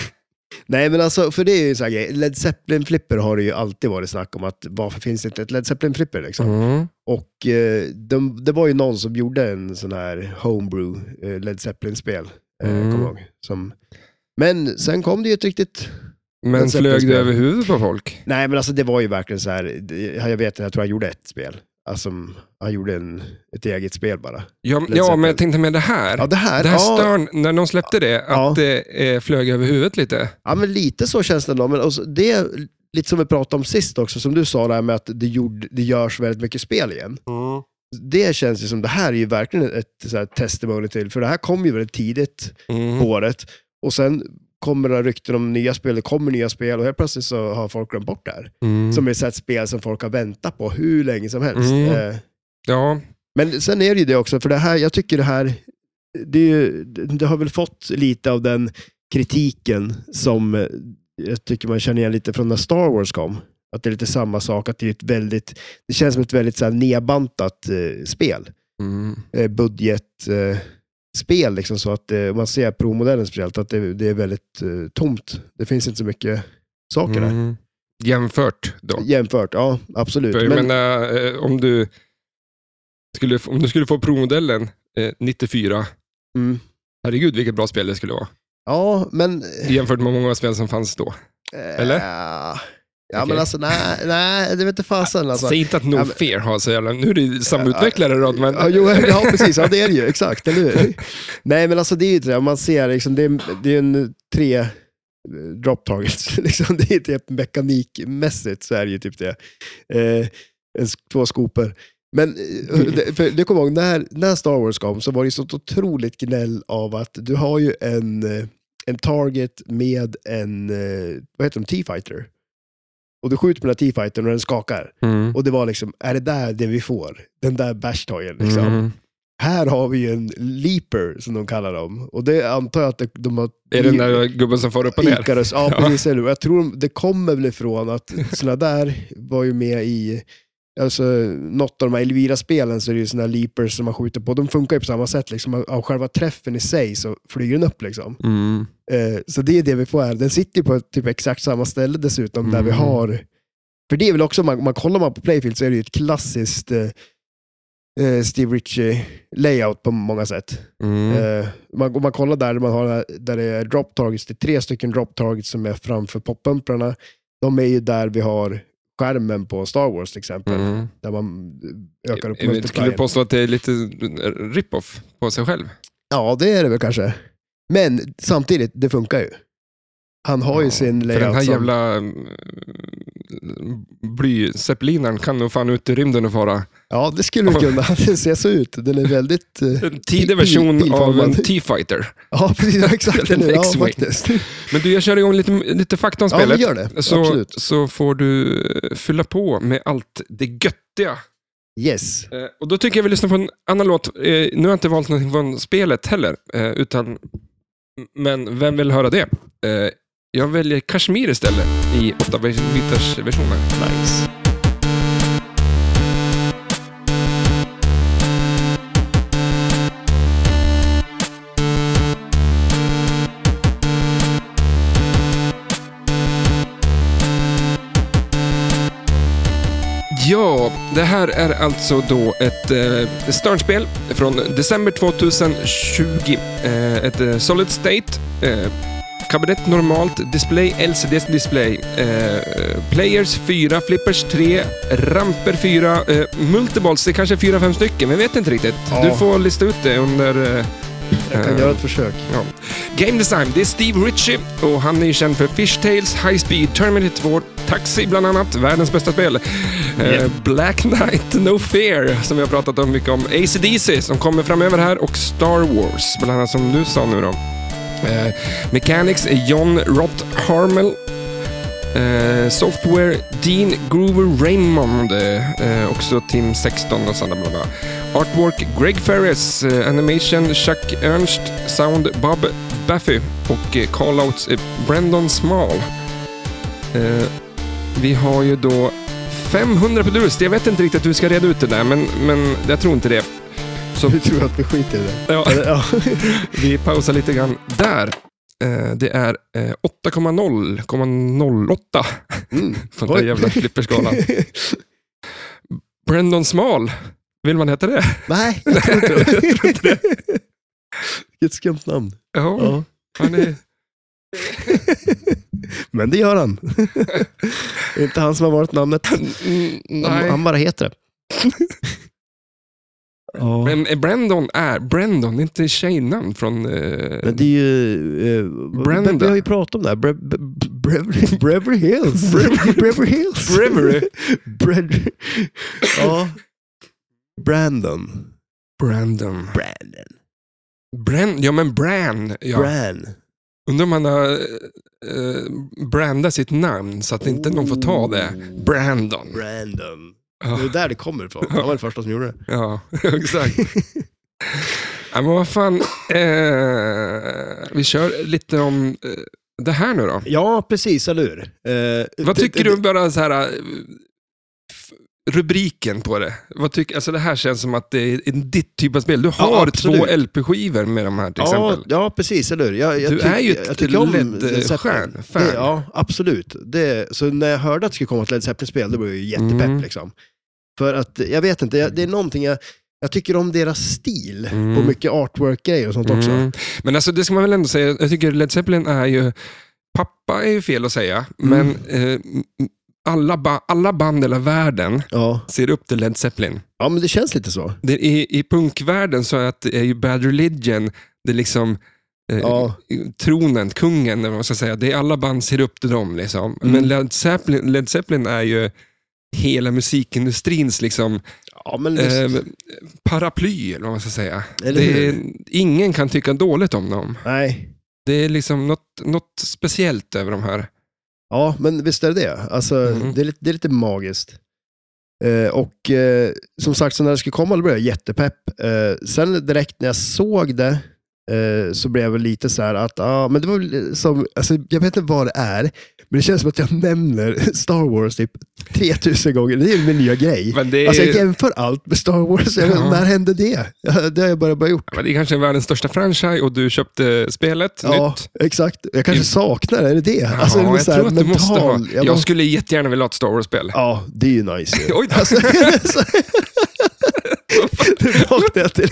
[SPEAKER 2] <laughs> Nej men alltså, för det är ju så här grej. Led Zeppelin-flipper har det ju alltid varit snack om att varför finns det inte ett Led Zeppelin-flipper liksom?
[SPEAKER 1] Mm.
[SPEAKER 2] Och eh, de, det var ju någon som gjorde en sån här homebrew eh, Led Zeppelin-spel, eh,
[SPEAKER 1] Mm.
[SPEAKER 2] kommer jag ihåg. Som, men sen kom det ju ett riktigt...
[SPEAKER 1] Men
[SPEAKER 2] Led Zeppelin
[SPEAKER 1] flög det
[SPEAKER 2] spel.
[SPEAKER 1] över huvudet på folk?
[SPEAKER 2] Nej men alltså det var ju verkligen så här, det- jag vet jag tror han gjorde ett spel. Alltså han gjorde en, ett eget spel bara.
[SPEAKER 1] Ja,
[SPEAKER 2] Led
[SPEAKER 1] ja
[SPEAKER 2] Zeppelin.
[SPEAKER 1] men jag tänkte med det här.
[SPEAKER 2] Ja det här,
[SPEAKER 1] Det här
[SPEAKER 2] ja,
[SPEAKER 1] störn, när de släppte det,
[SPEAKER 2] Ja.
[SPEAKER 1] att det eh, flög över huvudet lite.
[SPEAKER 2] Ja, men lite så känns det ändå. Men alltså, det är lite som vi pratade om sist också, som du sa, det här med att det, gjord, det görs väldigt mycket spel igen. Det känns ju som, det här är ju verkligen ett så här, testimony till, för det här kom ju väldigt tidigt
[SPEAKER 1] Mm.
[SPEAKER 2] på året. Och sen kommer det rykten om nya spel, det kommer nya spel och helt plötsligt så har folk glömt bort det här.
[SPEAKER 1] Mm.
[SPEAKER 2] Som är så här ett spel som folk har väntat på hur länge som helst.
[SPEAKER 1] Mm.
[SPEAKER 2] Eh,
[SPEAKER 1] Ja,
[SPEAKER 2] Men sen är det ju det också, för det här, jag tycker det här, det, är ju, det har väl fått lite av den kritiken som eh, jag tycker man känner igen lite från när Star Wars kom. Att det är lite samma sak, att det är ett väldigt, det känns som ett väldigt så här nedbantat eh, spel.
[SPEAKER 1] Mm.
[SPEAKER 2] Eh, budget, eh, spel liksom så att eh, om man ser provmodellen speciellt, att det, det är väldigt eh, tomt. Det finns inte så mycket saker där.
[SPEAKER 1] Mm. Jämfört då.
[SPEAKER 2] Jämfört, ja absolut.
[SPEAKER 1] För jag
[SPEAKER 2] Men-
[SPEAKER 1] menar, eh, om du skulle, om du skulle få provmodellen eh, 94,
[SPEAKER 2] mm.
[SPEAKER 1] herregud vilket bra spel det skulle vara.
[SPEAKER 2] Ja, men...
[SPEAKER 1] Jämfört med många spel som fanns då. Eller?
[SPEAKER 2] Eh, Ja,
[SPEAKER 1] Okej.
[SPEAKER 2] men alltså nej, nej det vete fasen. Alltså.
[SPEAKER 1] Säg inte att No
[SPEAKER 2] ja, men-
[SPEAKER 1] Fear har så jävla... Nu är det samutvecklare då, men...
[SPEAKER 2] Ja, jo, ja, precis. Ja, det är det ju. Exakt, eller hur? Nej, men alltså det är ju det. Man ser liksom, det är, det är en tre eh, drop targets. <laughs> Liksom, det är typ mekanikmässigt så är det ju typ det. Eh, en, s- två skopor. Men eh, det, för, det kommer jag ihåg, när, när Star Wars kom så var det ju sånt otroligt gnäll av att du har ju en, eh, en target med en, eh, vad heter de, T-fighter. Och du skjuter med den här T-fightern och den skakar.
[SPEAKER 1] Mm.
[SPEAKER 2] Och det var liksom, är det där det vi får? Den där bashtoyen liksom.
[SPEAKER 1] Mm.
[SPEAKER 2] Här har vi ju en leaper som de kallar dem. Och det antar jag att de, de har...
[SPEAKER 1] Är det den där gubben som far upp och ner?
[SPEAKER 2] Icarus, ja
[SPEAKER 1] <laughs> Ja.
[SPEAKER 2] precis. eller hur? Och Jag tror det kommer väl ifrån att sådana där var ju med i Alltså, något av de här Elvira-spelen så är det ju sådana leapers som man skjuter på. De funkar ju på samma sätt. Liksom. Av- Av själva träffen i sig så flyger den upp. Liksom.
[SPEAKER 1] Mm.
[SPEAKER 2] Eh, så det är det vi får här. Den sitter ju på typ exakt samma ställe dessutom där vi
[SPEAKER 1] Mm.
[SPEAKER 2] har... För det är väl också, man, man kollar man på Playfield så är det ju ett klassiskt eh, eh, Steve Ritchie-layout på många sätt.
[SPEAKER 1] Mm.
[SPEAKER 2] Eh, man, om man kollar där, man har, den här- där det är drop targets, det är tre stycken drop targets som är framför poppumprarna. De är ju där vi har skärmen på Star Wars till exempel,
[SPEAKER 1] Mm.
[SPEAKER 2] där man eh, ökar
[SPEAKER 1] Jag
[SPEAKER 2] upp
[SPEAKER 1] skulle
[SPEAKER 2] multipliern.
[SPEAKER 1] påstå att det är lite rip-off på sig själv.
[SPEAKER 2] Ja, det är det väl kanske. Men samtidigt, det funkar ju. Han har ju
[SPEAKER 1] Ja,
[SPEAKER 2] sin
[SPEAKER 1] För
[SPEAKER 2] layout
[SPEAKER 1] den här
[SPEAKER 2] som-
[SPEAKER 1] jävla mm, blyzeppelinaren kan nog fan ut i rymden och fara.
[SPEAKER 2] Ja, det skulle du kunna. <laughs> Den ser så ut. Den är väldigt... eh,
[SPEAKER 1] En tidig version
[SPEAKER 2] Bilformad.
[SPEAKER 1] av en T-fighter.
[SPEAKER 2] Ja, <laughs> precis. Exakt. Den är, ja,
[SPEAKER 1] X-Wing.
[SPEAKER 2] <laughs> faktiskt.
[SPEAKER 1] Men du, jag kör igång lite, lite fakta om
[SPEAKER 2] Ja, men
[SPEAKER 1] spelet.
[SPEAKER 2] gör det.
[SPEAKER 1] så,
[SPEAKER 2] Absolut.
[SPEAKER 1] så får du eh, fylla på med allt det göttiga.
[SPEAKER 2] Yes.
[SPEAKER 1] Eh, och då tycker jag vi lyssnar på en annan låt. Eh, nu har jag inte valt någonting från spelet heller, eh, utan... Men vem vill höra det? Eh, jag väljer Kashmir istället i 8-bitars versionen.
[SPEAKER 2] Nice.
[SPEAKER 1] Ja, det här är alltså då ett eh, Stern-spel från december 2020. Eh, ett eh, Solid State. Eh, kabinett normalt, display LCD display. Eh, players 4, flippers 3, ramper 4, eh, multiballs, det är kanske 4-5 stycken, men jag vet inte riktigt.
[SPEAKER 2] Ja.
[SPEAKER 1] Du får lista ut det under... Eh,
[SPEAKER 2] Jag kan
[SPEAKER 1] eh,
[SPEAKER 2] göra ett försök. <laughs>
[SPEAKER 1] Ja. Game Design, det är Steve Ritchie och han är ju känd för Fish Tales, High Speed, Terminator 2, Taxi bland annat, världens bästa spel. Eh,
[SPEAKER 2] Yep.
[SPEAKER 1] Black Knight, No Fear, som vi har pratat om mycket om. AC/DC som kommer framöver här och Star Wars, bland annat som du sa nu då. Eh, Mechanics är John Roth Harmel. Eh, software Dean Groover Raymond, eh, också Team 16 och sådana bla bla. Artwork Greg Ferris, eh, Animation Chuck Ernst, Sound Bob Baffy och eh, callouts eh, Brandon Small. Eh, vi har ju då 500 Pelurus. Jag vet inte riktigt hur vi ska reda ut det där, men, men jag tror inte det. Så,
[SPEAKER 2] Du tror att vi skiter i det?
[SPEAKER 1] ja,
[SPEAKER 2] Eller, Ja.
[SPEAKER 1] vi pausar lite grann där. Eh, det är eh, 8,0,08
[SPEAKER 2] Mm.
[SPEAKER 1] <laughs> på den där
[SPEAKER 2] Oj.
[SPEAKER 1] jävla
[SPEAKER 2] <laughs>
[SPEAKER 1] flipperskalan. Brandon Small, vill man heta det?
[SPEAKER 2] Nej, jag tror inte det. <laughs> Vilket skumt namn. <laughs>
[SPEAKER 1] Ja,
[SPEAKER 2] Ja.
[SPEAKER 1] han är...
[SPEAKER 2] Men det gör han. <laughs> det är inte han som har varit namnet.
[SPEAKER 1] Mm,
[SPEAKER 2] Han,
[SPEAKER 1] nej.
[SPEAKER 2] han bara heter <laughs> det. ja.
[SPEAKER 1] Men eh, Brandon är Brandon, det är inte tjejnamn från... eh,
[SPEAKER 2] Men det är ju... Eh,
[SPEAKER 1] Brenda.
[SPEAKER 2] Vi har ju pratat om det här. Bre, Bre- Beverly-
[SPEAKER 1] <laughs>
[SPEAKER 2] Beverly Hills.
[SPEAKER 1] Beverly-
[SPEAKER 2] Beverly Hills.
[SPEAKER 1] Beverly.
[SPEAKER 2] Bred, ja. Brandon.
[SPEAKER 1] Brandon.
[SPEAKER 2] Brandon.
[SPEAKER 1] Brand, ja, men Bran. Ja.
[SPEAKER 2] Bran.
[SPEAKER 1] Undrar om han har eh, brandat sitt namn så att inte någon får ta det. Brandon.
[SPEAKER 2] Brandon.
[SPEAKER 1] Ja.
[SPEAKER 2] Det är där det kommer ifrån. Han var den första som gjorde det.
[SPEAKER 1] Ja, <laughs> exakt. ja, men vad fan. Eh, vi kör lite om eh, det här nu då.
[SPEAKER 2] Ja, precis, eller hur? Eh,
[SPEAKER 1] Vad
[SPEAKER 2] det-
[SPEAKER 1] tycker
[SPEAKER 2] det-
[SPEAKER 1] du om bara så här, eh, f- rubriken på det? Vad tycker, alltså det här känns som att det är en- ditt typ av spel. Du har
[SPEAKER 2] absolut.
[SPEAKER 1] två LP-skivor med de här till
[SPEAKER 2] Ja,
[SPEAKER 1] exempel.
[SPEAKER 2] ja, precis, eller hur? Jag, jag
[SPEAKER 1] Du
[SPEAKER 2] tyck-
[SPEAKER 1] är ju ett
[SPEAKER 2] jag tycker om
[SPEAKER 1] Led
[SPEAKER 2] Led Zeppelin.
[SPEAKER 1] Stjärn, fan.
[SPEAKER 2] Det- Ja, absolut. Det, så när jag hörde att det skulle komma ett Led Zeppelin-spel, då blev jag ju jättepepp.
[SPEAKER 1] Mm.
[SPEAKER 2] Liksom. För att, jag vet inte, jag, det är någonting jag, jag tycker om deras stil
[SPEAKER 1] Mm.
[SPEAKER 2] och mycket artwork-grejer och sånt också.
[SPEAKER 1] Mm. Men alltså det ska man väl ändå säga, jag tycker Led Zeppelin är ju, pappa är ju fel att säga,
[SPEAKER 2] Mm.
[SPEAKER 1] men eh, alla, ba, alla band i hela världen
[SPEAKER 2] Ja.
[SPEAKER 1] ser upp till Led Zeppelin.
[SPEAKER 2] ja, men det känns lite så.
[SPEAKER 1] Det, i, I punkvärlden så är, att, är ju Bad Religion, det är liksom eh,
[SPEAKER 2] Ja.
[SPEAKER 1] tronen, kungen, eller vad man ska säga. Det är alla band ser upp till dem. Liksom.
[SPEAKER 2] Mm.
[SPEAKER 1] Men Led Zeppelin, Led Zeppelin är ju hela musikindustrins liksom,
[SPEAKER 2] Ja, men
[SPEAKER 1] eh,
[SPEAKER 2] visst.
[SPEAKER 1] paraply, eller vad man ska säga.
[SPEAKER 2] Eller
[SPEAKER 1] Det
[SPEAKER 2] hur?
[SPEAKER 1] är, ingen kan tycka dåligt om dem.
[SPEAKER 2] Nej.
[SPEAKER 1] Det är liksom något, något speciellt över de här.
[SPEAKER 2] Ja, men visst är det det. Alltså,
[SPEAKER 1] Mhm.
[SPEAKER 2] det, är lite, det är lite magiskt. Eh, och eh, som sagt, så när det skulle komma då blev jag jättepepp. Eh, sen direkt när jag såg det eh, så blev jag väl lite så här att, ja, men det var väl som, alltså, jag vet inte vad det är, men det känns som att jag nämner <laughs> Star Wars typ 3000 gånger. Det är ju min nya grej.
[SPEAKER 1] Men det, är,
[SPEAKER 2] Alltså jag jämför allt med Star Wars. Jag vet,
[SPEAKER 1] Ja.
[SPEAKER 2] När hände det? Det har jag bara, bara gjort.
[SPEAKER 1] men det är kanske världens största franchise och du köpte spelet
[SPEAKER 2] Ja,
[SPEAKER 1] nytt.
[SPEAKER 2] exakt. Jag kanske
[SPEAKER 1] I-
[SPEAKER 2] saknar det. Är det det? Alltså, det
[SPEAKER 1] ja,
[SPEAKER 2] är
[SPEAKER 1] jag
[SPEAKER 2] så här
[SPEAKER 1] tror att du måste ha.
[SPEAKER 2] mental-
[SPEAKER 1] Jag,
[SPEAKER 2] bara-
[SPEAKER 1] skulle jättegärna vilja ha ett Star Wars-spel.
[SPEAKER 2] Ja, det är ju nice. ju.
[SPEAKER 1] Oj då.
[SPEAKER 2] Alltså, <laughs>
[SPEAKER 1] <laughs>
[SPEAKER 2] alltså, det vaknade
[SPEAKER 1] <laughs>
[SPEAKER 2] jag till.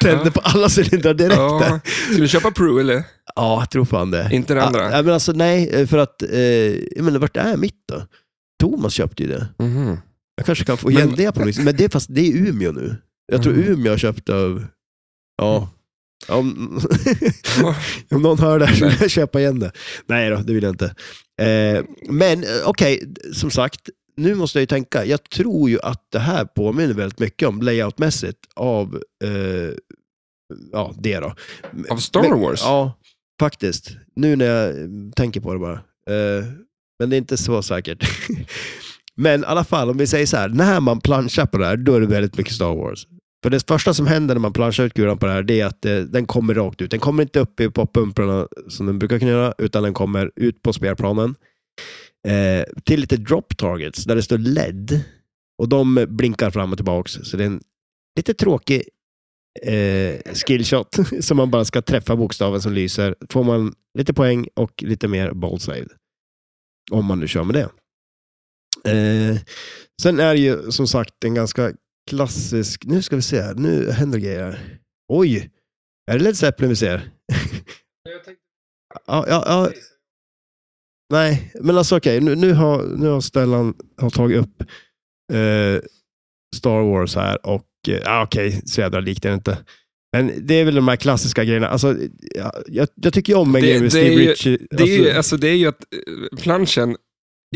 [SPEAKER 2] Tände
[SPEAKER 1] Ja.
[SPEAKER 2] på alla cylindrar direkt. där.
[SPEAKER 1] Ja. Ska du köpa Pro eller?
[SPEAKER 2] Ja, jag tror fan det.
[SPEAKER 1] Inte det andra?
[SPEAKER 2] Ja, nej, men alltså, nej, för att, eh, jag menar, vart är mitt då? Thomas köpte ju det.
[SPEAKER 1] Mhm.
[SPEAKER 2] Jag kanske kan få
[SPEAKER 1] Men-
[SPEAKER 2] igen det på något vis. Men det är, fast det är Umeå nu. Jag tror
[SPEAKER 1] Mm.
[SPEAKER 2] Umeå har köpt av... Ja. mm. Om, <laughs>
[SPEAKER 1] Ja.
[SPEAKER 2] om någon hör det här så vill jag köpa igen det. Nej då, det vill jag inte. Eh, men eh, okej, d- som sagt. Nu måste jag ju tänka. Jag tror ju att det här påminner väldigt mycket om layoutmässigt av eh, ja, det då.
[SPEAKER 1] Av Star
[SPEAKER 2] Men-
[SPEAKER 1] Wars?
[SPEAKER 2] Ja, faktiskt. Nu när jag eh, tänker på det bara. Eh, men det är inte så säkert. <laughs> men i alla fall, om vi säger så här. När man planchar på det här, då är det väldigt mycket Star Wars. För det första som händer när man planchar ut guran på det här, det är att eh, den kommer rakt ut. Den kommer inte upp i poppumprarna som den brukar kunna göra, utan den kommer ut på spelplanen. Eh, till lite drop targets, där det står LED. Och de blinkar fram och tillbaks. Så det är en lite tråkig eh, skillshot <laughs> som man bara ska träffa bokstaven som lyser. Får man lite poäng och lite mer ballsave. Om man nu kör med det. Eh, sen är det ju som sagt en ganska klassisk... Nu ska vi se här. Nu händer grejer här. Oj! Är det Led Zeppelin vi ser? ja, ja, ja. Nej, men alltså okej. nu, nu, har, nu har Stellan har tagit upp eh, Star Wars här och eh, ja, okej, så jävla likt är det inte. Men det är väl de här klassiska grejerna. Alltså, jag, jag, jag tycker ju om en
[SPEAKER 1] Det-
[SPEAKER 2] grej med
[SPEAKER 1] det
[SPEAKER 2] Steve
[SPEAKER 1] är ju-
[SPEAKER 2] Ritchie.
[SPEAKER 1] Det är, ju,
[SPEAKER 2] Alltså,
[SPEAKER 1] alltså, det är ju att eh, planschen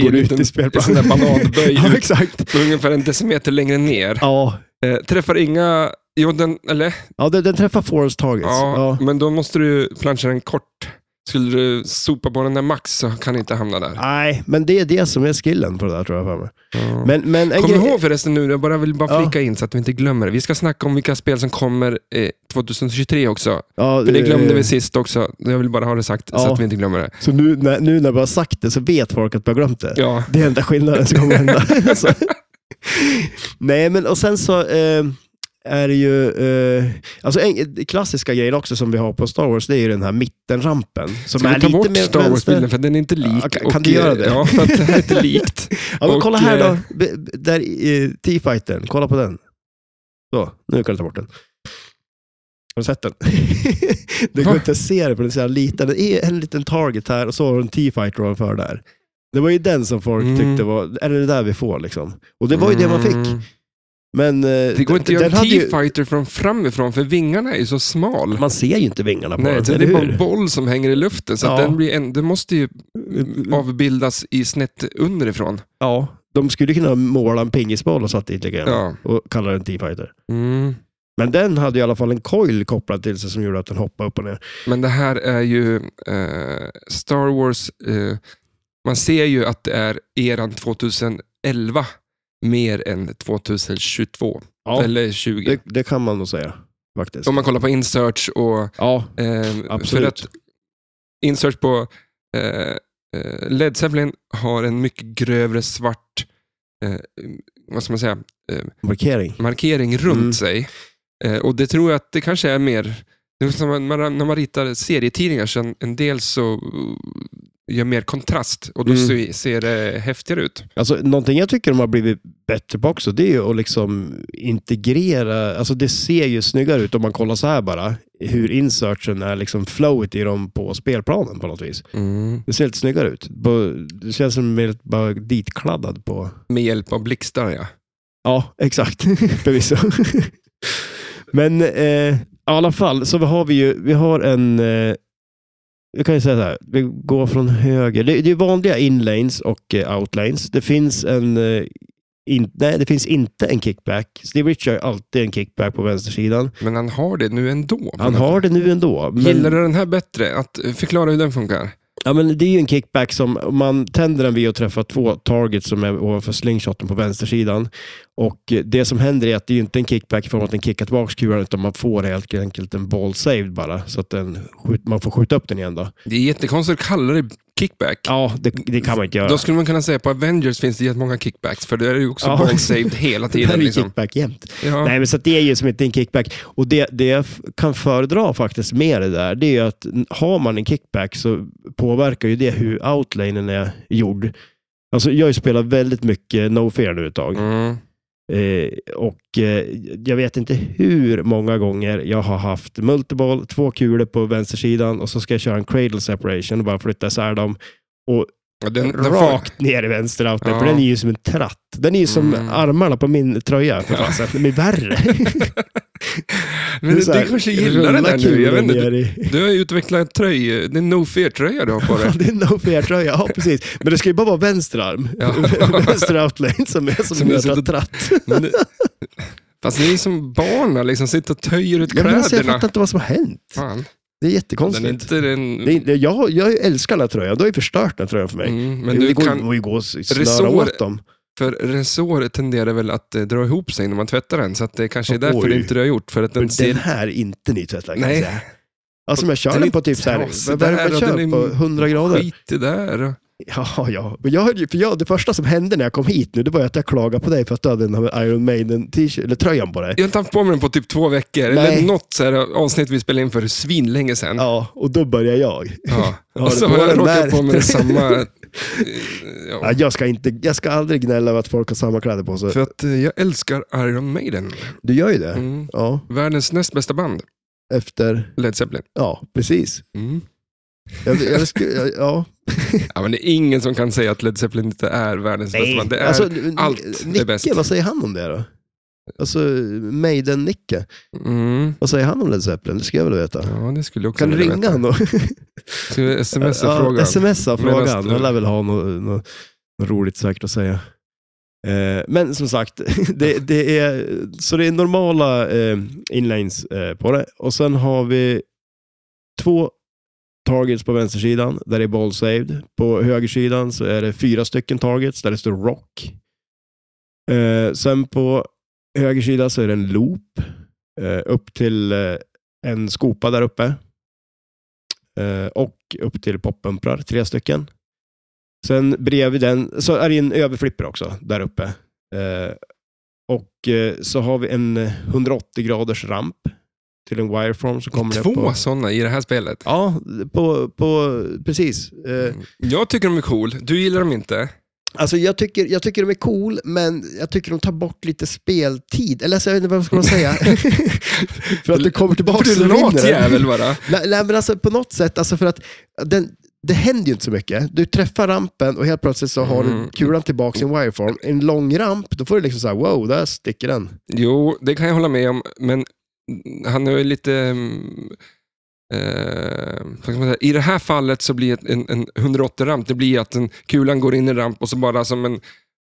[SPEAKER 1] är
[SPEAKER 2] går
[SPEAKER 1] en
[SPEAKER 2] ut
[SPEAKER 1] liten
[SPEAKER 2] i spelplanen.
[SPEAKER 1] sån där bananböj
[SPEAKER 2] <laughs> ja,
[SPEAKER 1] ut,
[SPEAKER 2] exakt.
[SPEAKER 1] ungefär en decimeter längre ner.
[SPEAKER 2] Ja,
[SPEAKER 1] Eh, träffar inga... Jo, den, eller?
[SPEAKER 2] ja den, den träffar Forrest Targets.
[SPEAKER 1] Ja,
[SPEAKER 2] Ja.
[SPEAKER 1] men då måste du planscha den kort. Skulle du sopa på den där max så kan du inte hamna där.
[SPEAKER 2] Nej, men det är det som är skillen på det där tror jag. För mig.
[SPEAKER 1] Ja.
[SPEAKER 2] Men, men en
[SPEAKER 1] Kom
[SPEAKER 2] grej-
[SPEAKER 1] ihåg förresten nu, jag bara vill bara
[SPEAKER 2] Ja.
[SPEAKER 1] flika in så att vi inte glömmer. Vi ska snacka om vilka spel som kommer eh, 2023 också.
[SPEAKER 2] Ja,
[SPEAKER 1] För det glömde
[SPEAKER 2] eh,
[SPEAKER 1] vi sist också. Jag vill bara ha det sagt så
[SPEAKER 2] Ja.
[SPEAKER 1] att vi inte glömmer det.
[SPEAKER 2] Så nu när, nu när vi har sagt det så vet folk att vi har glömt det.
[SPEAKER 1] Ja.
[SPEAKER 2] Det är enda skillnaden som kommer
[SPEAKER 1] <laughs>
[SPEAKER 2] hända. Så. Nej, men och sen så eh, är det ju... Eh, alltså en, klassiska grejer också som vi har på Star Wars, det är ju den här mittenrampen. Som
[SPEAKER 1] Ska
[SPEAKER 2] är
[SPEAKER 1] vi ta
[SPEAKER 2] lite
[SPEAKER 1] bort
[SPEAKER 2] mer
[SPEAKER 1] Star
[SPEAKER 2] vänster.
[SPEAKER 1] Wars-bilden för den är inte lik? eh,
[SPEAKER 2] Ja, kan- kan du göra det?
[SPEAKER 1] Ja, för att det här är inte likt.
[SPEAKER 2] Ja, men
[SPEAKER 1] Och,
[SPEAKER 2] kolla här
[SPEAKER 1] eh,
[SPEAKER 2] då. B- b- Där eh, T-fightern. Kolla på den. Så, nu kan du ta bort den. Har du sett den? <laughs> det går
[SPEAKER 1] Va?
[SPEAKER 2] inte att se det, för den är så här liten. Det är en liten target här och så har du en T-fighter ovanför där. Det var ju den som folk
[SPEAKER 1] Mm.
[SPEAKER 2] tyckte var, är det det där vi får liksom? Och det var ju det man fick.
[SPEAKER 1] Mm.
[SPEAKER 2] Men eh,
[SPEAKER 1] Det går inte
[SPEAKER 2] den-
[SPEAKER 1] att göra
[SPEAKER 2] den
[SPEAKER 1] en
[SPEAKER 2] hade ju-
[SPEAKER 1] T-fighter från framifrån för vingarna är ju så smal.
[SPEAKER 2] Man ser ju inte vingarna på
[SPEAKER 1] Nej,
[SPEAKER 2] den,
[SPEAKER 1] så det
[SPEAKER 2] eller
[SPEAKER 1] är bara
[SPEAKER 2] hur?
[SPEAKER 1] en boll som hänger i luften. Så att
[SPEAKER 2] Ja. Mm.
[SPEAKER 1] den, blir en, den måste ju avbildas i snett underifrån.
[SPEAKER 2] Ja, de skulle kunna måla en pingisboll och satt dit lika gärna.
[SPEAKER 1] Ja.
[SPEAKER 2] Och kalla den T-fighter.
[SPEAKER 1] Mm.
[SPEAKER 2] Men den hade ju i alla fall en coil kopplad till sig som gjorde att den hoppade upp och ner.
[SPEAKER 1] Men det här är ju eh, Star Wars. Eh, man ser ju att det är eran 2011 mer än 2022.
[SPEAKER 2] Ja.
[SPEAKER 1] Eller 20.
[SPEAKER 2] Det, det kan man nog säga faktiskt.
[SPEAKER 1] Om man kollar på InSearch och
[SPEAKER 2] Ja,
[SPEAKER 1] Ehm,
[SPEAKER 2] Absolut.
[SPEAKER 1] För att insert på eh, eh, Led Zeppelin har en mycket grövre svart eh, vad ska man säga,
[SPEAKER 2] markering.
[SPEAKER 1] markering runt
[SPEAKER 2] Mm.
[SPEAKER 1] sig. Eh, och det tror jag att det kanske är mer, det är som när man, när man ritar serietidningar så en, en del så eh, gör mer kontrast och då
[SPEAKER 2] Mm.
[SPEAKER 1] ser, ser det häftigare ut.
[SPEAKER 2] Alltså, någonting jag tycker de har blivit bättre på också, det är ju att liksom integrera, alltså det ser ju snyggare ut om man kollar så här bara, hur insertion är liksom flowet i dem på spelplanen på något vis. Det ser lite snyggare ut. På- Det känns som mer bara ditkladdad på...
[SPEAKER 1] Med hjälp av blixtar ja.
[SPEAKER 2] Ja, exakt. <laughs> Förvisso. Men eh, i alla fall, så har vi ju, vi har en, eh, jag kan ju säga så här, vi går från höger. Det, det är vanliga inlanes och eh, outlanes. Det finns en, eh, in, nej det finns inte en kickback. Steve Richard har alltid en kickback på vänstersidan.
[SPEAKER 1] Men han har det nu ändå.
[SPEAKER 2] Han har det nu ändå. Men,
[SPEAKER 1] Gillar du den här bättre? Att eh, förklara hur den funkar.
[SPEAKER 2] Ja, men det är ju en kickback som om man tänder den vid att träffa två targets som är ovanför slingshoten på vänstersidan. Och eh, det som händer är att det är ju inte en kickback i form av att den kickar tillbaka kulan utan man får helt enkelt en ball saved bara. Så att den, skjut- man får skjuta upp den igen då.
[SPEAKER 1] Det är jättekonstigt att kalla det kickback.
[SPEAKER 2] Ja, det, det kan man inte göra.
[SPEAKER 1] Då skulle man kunna säga på Avengers finns det jättemånga kickbacks, för det är ju också
[SPEAKER 2] Ja.
[SPEAKER 1] ball saved hela
[SPEAKER 2] <laughs> Det är
[SPEAKER 1] tiden.
[SPEAKER 2] ju
[SPEAKER 1] Liksom.
[SPEAKER 2] kickback jämt.
[SPEAKER 1] Ja.
[SPEAKER 2] Nej, men så att det är ju som inte en kickback. Och det, det jag f- kan föredra faktiskt med det där, det är ju att n- har man en kickback så påverkar ju det hur outlanen är gjord. Alltså jag har ju spelat väldigt mycket no fear nu ett tag.
[SPEAKER 1] Mm.
[SPEAKER 2] Eh, och eh, jag vet inte hur många gånger jag har haft multiball, två kulor på vänstersidan och så ska jag köra en cradle separation och bara flytta isär dem. Och
[SPEAKER 1] Ja, Den, den får,
[SPEAKER 2] rakt ner i vänster outlet,
[SPEAKER 1] Ja.
[SPEAKER 2] för den är ju som en tratt. Den är ju som
[SPEAKER 1] Mm.
[SPEAKER 2] armarna på min tröja för fasen. Den
[SPEAKER 1] <laughs>
[SPEAKER 2] är värre.
[SPEAKER 1] men
[SPEAKER 2] är
[SPEAKER 1] du,
[SPEAKER 2] så här,
[SPEAKER 1] du kanske gillar det där
[SPEAKER 2] rulla
[SPEAKER 1] nu? Jag vet
[SPEAKER 2] kulan
[SPEAKER 1] inte.
[SPEAKER 2] ner i-
[SPEAKER 1] Du har ju utvecklat tröja, det är no fear-tröja du har på
[SPEAKER 2] Ja, <laughs>
[SPEAKER 1] dig.
[SPEAKER 2] det är en no fair tröja, ja precis. Men det ska ju bara vara vänster arm.
[SPEAKER 1] Ja.
[SPEAKER 2] <laughs> vänster outlane som är som,
[SPEAKER 1] Som
[SPEAKER 2] en
[SPEAKER 1] är som
[SPEAKER 2] jävla
[SPEAKER 1] det-
[SPEAKER 2] tratt.
[SPEAKER 1] Men det- Fast ni är som barn, här, liksom, sitter och töjer ut
[SPEAKER 2] Ja, men alltså, jag
[SPEAKER 1] kläderna.
[SPEAKER 2] fattar inte vad som har hänt.
[SPEAKER 1] Fan,
[SPEAKER 2] Det är
[SPEAKER 1] den är
[SPEAKER 2] jättekonstigt.
[SPEAKER 1] inte den...
[SPEAKER 2] Det är, det- jag, jag älskar den här tröjan, du har ju förstört den tröjan för mig.
[SPEAKER 1] Mm, men
[SPEAKER 2] det
[SPEAKER 1] du
[SPEAKER 2] går
[SPEAKER 1] kan,
[SPEAKER 2] går ju gå och snöra
[SPEAKER 1] Resor-
[SPEAKER 2] åt dem.
[SPEAKER 1] för resår tenderar väl att eh, dra ihop sig när man tvättar den, så att det kanske är därför
[SPEAKER 2] Oj.
[SPEAKER 1] det inte du har gjort. För att den
[SPEAKER 2] Men den
[SPEAKER 1] ser...
[SPEAKER 2] här är inte nytvättad kan
[SPEAKER 1] Nej.
[SPEAKER 2] jag säga. Alltså om jag kör
[SPEAKER 1] Den
[SPEAKER 2] den,
[SPEAKER 1] är
[SPEAKER 2] på typ så här,
[SPEAKER 1] trasig
[SPEAKER 2] vad
[SPEAKER 1] där
[SPEAKER 2] är det
[SPEAKER 1] och den
[SPEAKER 2] kör
[SPEAKER 1] är
[SPEAKER 2] på 100 grader?
[SPEAKER 1] Skit i det där.
[SPEAKER 2] Ja, ja. Men jag, hörde ju- för jag, det första som hände när jag kom hit nu, det var ju att jag klagade på dig för att du hade den här Iron Maiden t-shirt, eller tröjan på dig.
[SPEAKER 1] Jag har inte haft på mig den på typ två veckor. Eller
[SPEAKER 2] Nej.
[SPEAKER 1] något så här avsnitt vi spelade in för svinlänge sedan.
[SPEAKER 2] Ja, och då började jag.
[SPEAKER 1] Ja.
[SPEAKER 2] Har
[SPEAKER 1] Och
[SPEAKER 2] du
[SPEAKER 1] så
[SPEAKER 2] på
[SPEAKER 1] har jag
[SPEAKER 2] den
[SPEAKER 1] råkat
[SPEAKER 2] där?
[SPEAKER 1] på mig samma... eh,
[SPEAKER 2] <laughs> Ja,
[SPEAKER 1] Ja.
[SPEAKER 2] jag, ska inte, jag ska aldrig gnälla över att folk har samma kläder på sig.
[SPEAKER 1] För att eh, jag älskar Iron Maiden.
[SPEAKER 2] Du gör ju det.
[SPEAKER 1] Mm.
[SPEAKER 2] Ja,
[SPEAKER 1] Världens näst bästa band,
[SPEAKER 2] efter...
[SPEAKER 1] Led Zeppelin.
[SPEAKER 2] Ja, precis.
[SPEAKER 1] Mm.
[SPEAKER 2] Jag, jag, skulle- jag, ja.
[SPEAKER 1] Ja, men det är ingen som kan säga att Led Zeppelin inte är världens bästa band. Det är,
[SPEAKER 2] Alltså, Ni-
[SPEAKER 1] allt är
[SPEAKER 2] Nicke,
[SPEAKER 1] bäst.
[SPEAKER 2] vad säger han om det då? Alltså, Maiden-Nicke.
[SPEAKER 1] mm.
[SPEAKER 2] Vad säger han om Led Zeppelin? Det ska jag väl veta.
[SPEAKER 1] Ja, det skulle jag också
[SPEAKER 2] Kan du
[SPEAKER 1] vilja
[SPEAKER 2] ringa
[SPEAKER 1] veta.
[SPEAKER 2] honom?
[SPEAKER 1] Ska vi smsa
[SPEAKER 2] Ja,
[SPEAKER 1] frågan?
[SPEAKER 2] Smsa frågan.
[SPEAKER 1] Medan du-
[SPEAKER 2] Han lär väl ha något, något, något roligt säkert att säga. Eh, men som sagt, <laughs> det, det är, så det är normala eh, inlines eh, på det. Och sen har vi två targets på vänstersidan där det är ball saved. På högersidan så är det fyra stycken targets där det står rock. Eh, sen på högersida så är det en loop eh, upp till eh, en skopa där uppe. Eh, och upp till poppumprar, tre stycken. Sen bredvid den så är det en överflipper också där uppe. Eh, och eh, så har vi en 180 graders ramp till en wireform. Så kommer det på...
[SPEAKER 1] Två sådana i det här spelet.
[SPEAKER 2] Ja, på, på, precis. Eh,
[SPEAKER 1] Jag tycker de är cool. Du gillar dem inte.
[SPEAKER 2] alltså jag tycker, jag tycker de är cool, men jag tycker de tar bort lite speltid. Eller alltså, jag vet inte vad man ska säga. <laughs> för att det kommer tillbaka
[SPEAKER 1] För du
[SPEAKER 2] så
[SPEAKER 1] är lat
[SPEAKER 2] vinner den.
[SPEAKER 1] jävel bara.
[SPEAKER 2] Nej, nej, men alltså på något sätt, alltså för att den, det händer ju inte så mycket. Du träffar rampen och helt plötsligt så har
[SPEAKER 1] Mm.
[SPEAKER 2] du kulan tillbaka i en wireform. En lång ramp, då får du liksom så här, wow, där sticker den.
[SPEAKER 1] Jo, det kan jag hålla med om, men han är ju lite... mm, Eh, vad ska man säga? I det här fallet så blir ett- en, en 180-ramp, det blir att en, kulan går in i en ramp och så bara som en,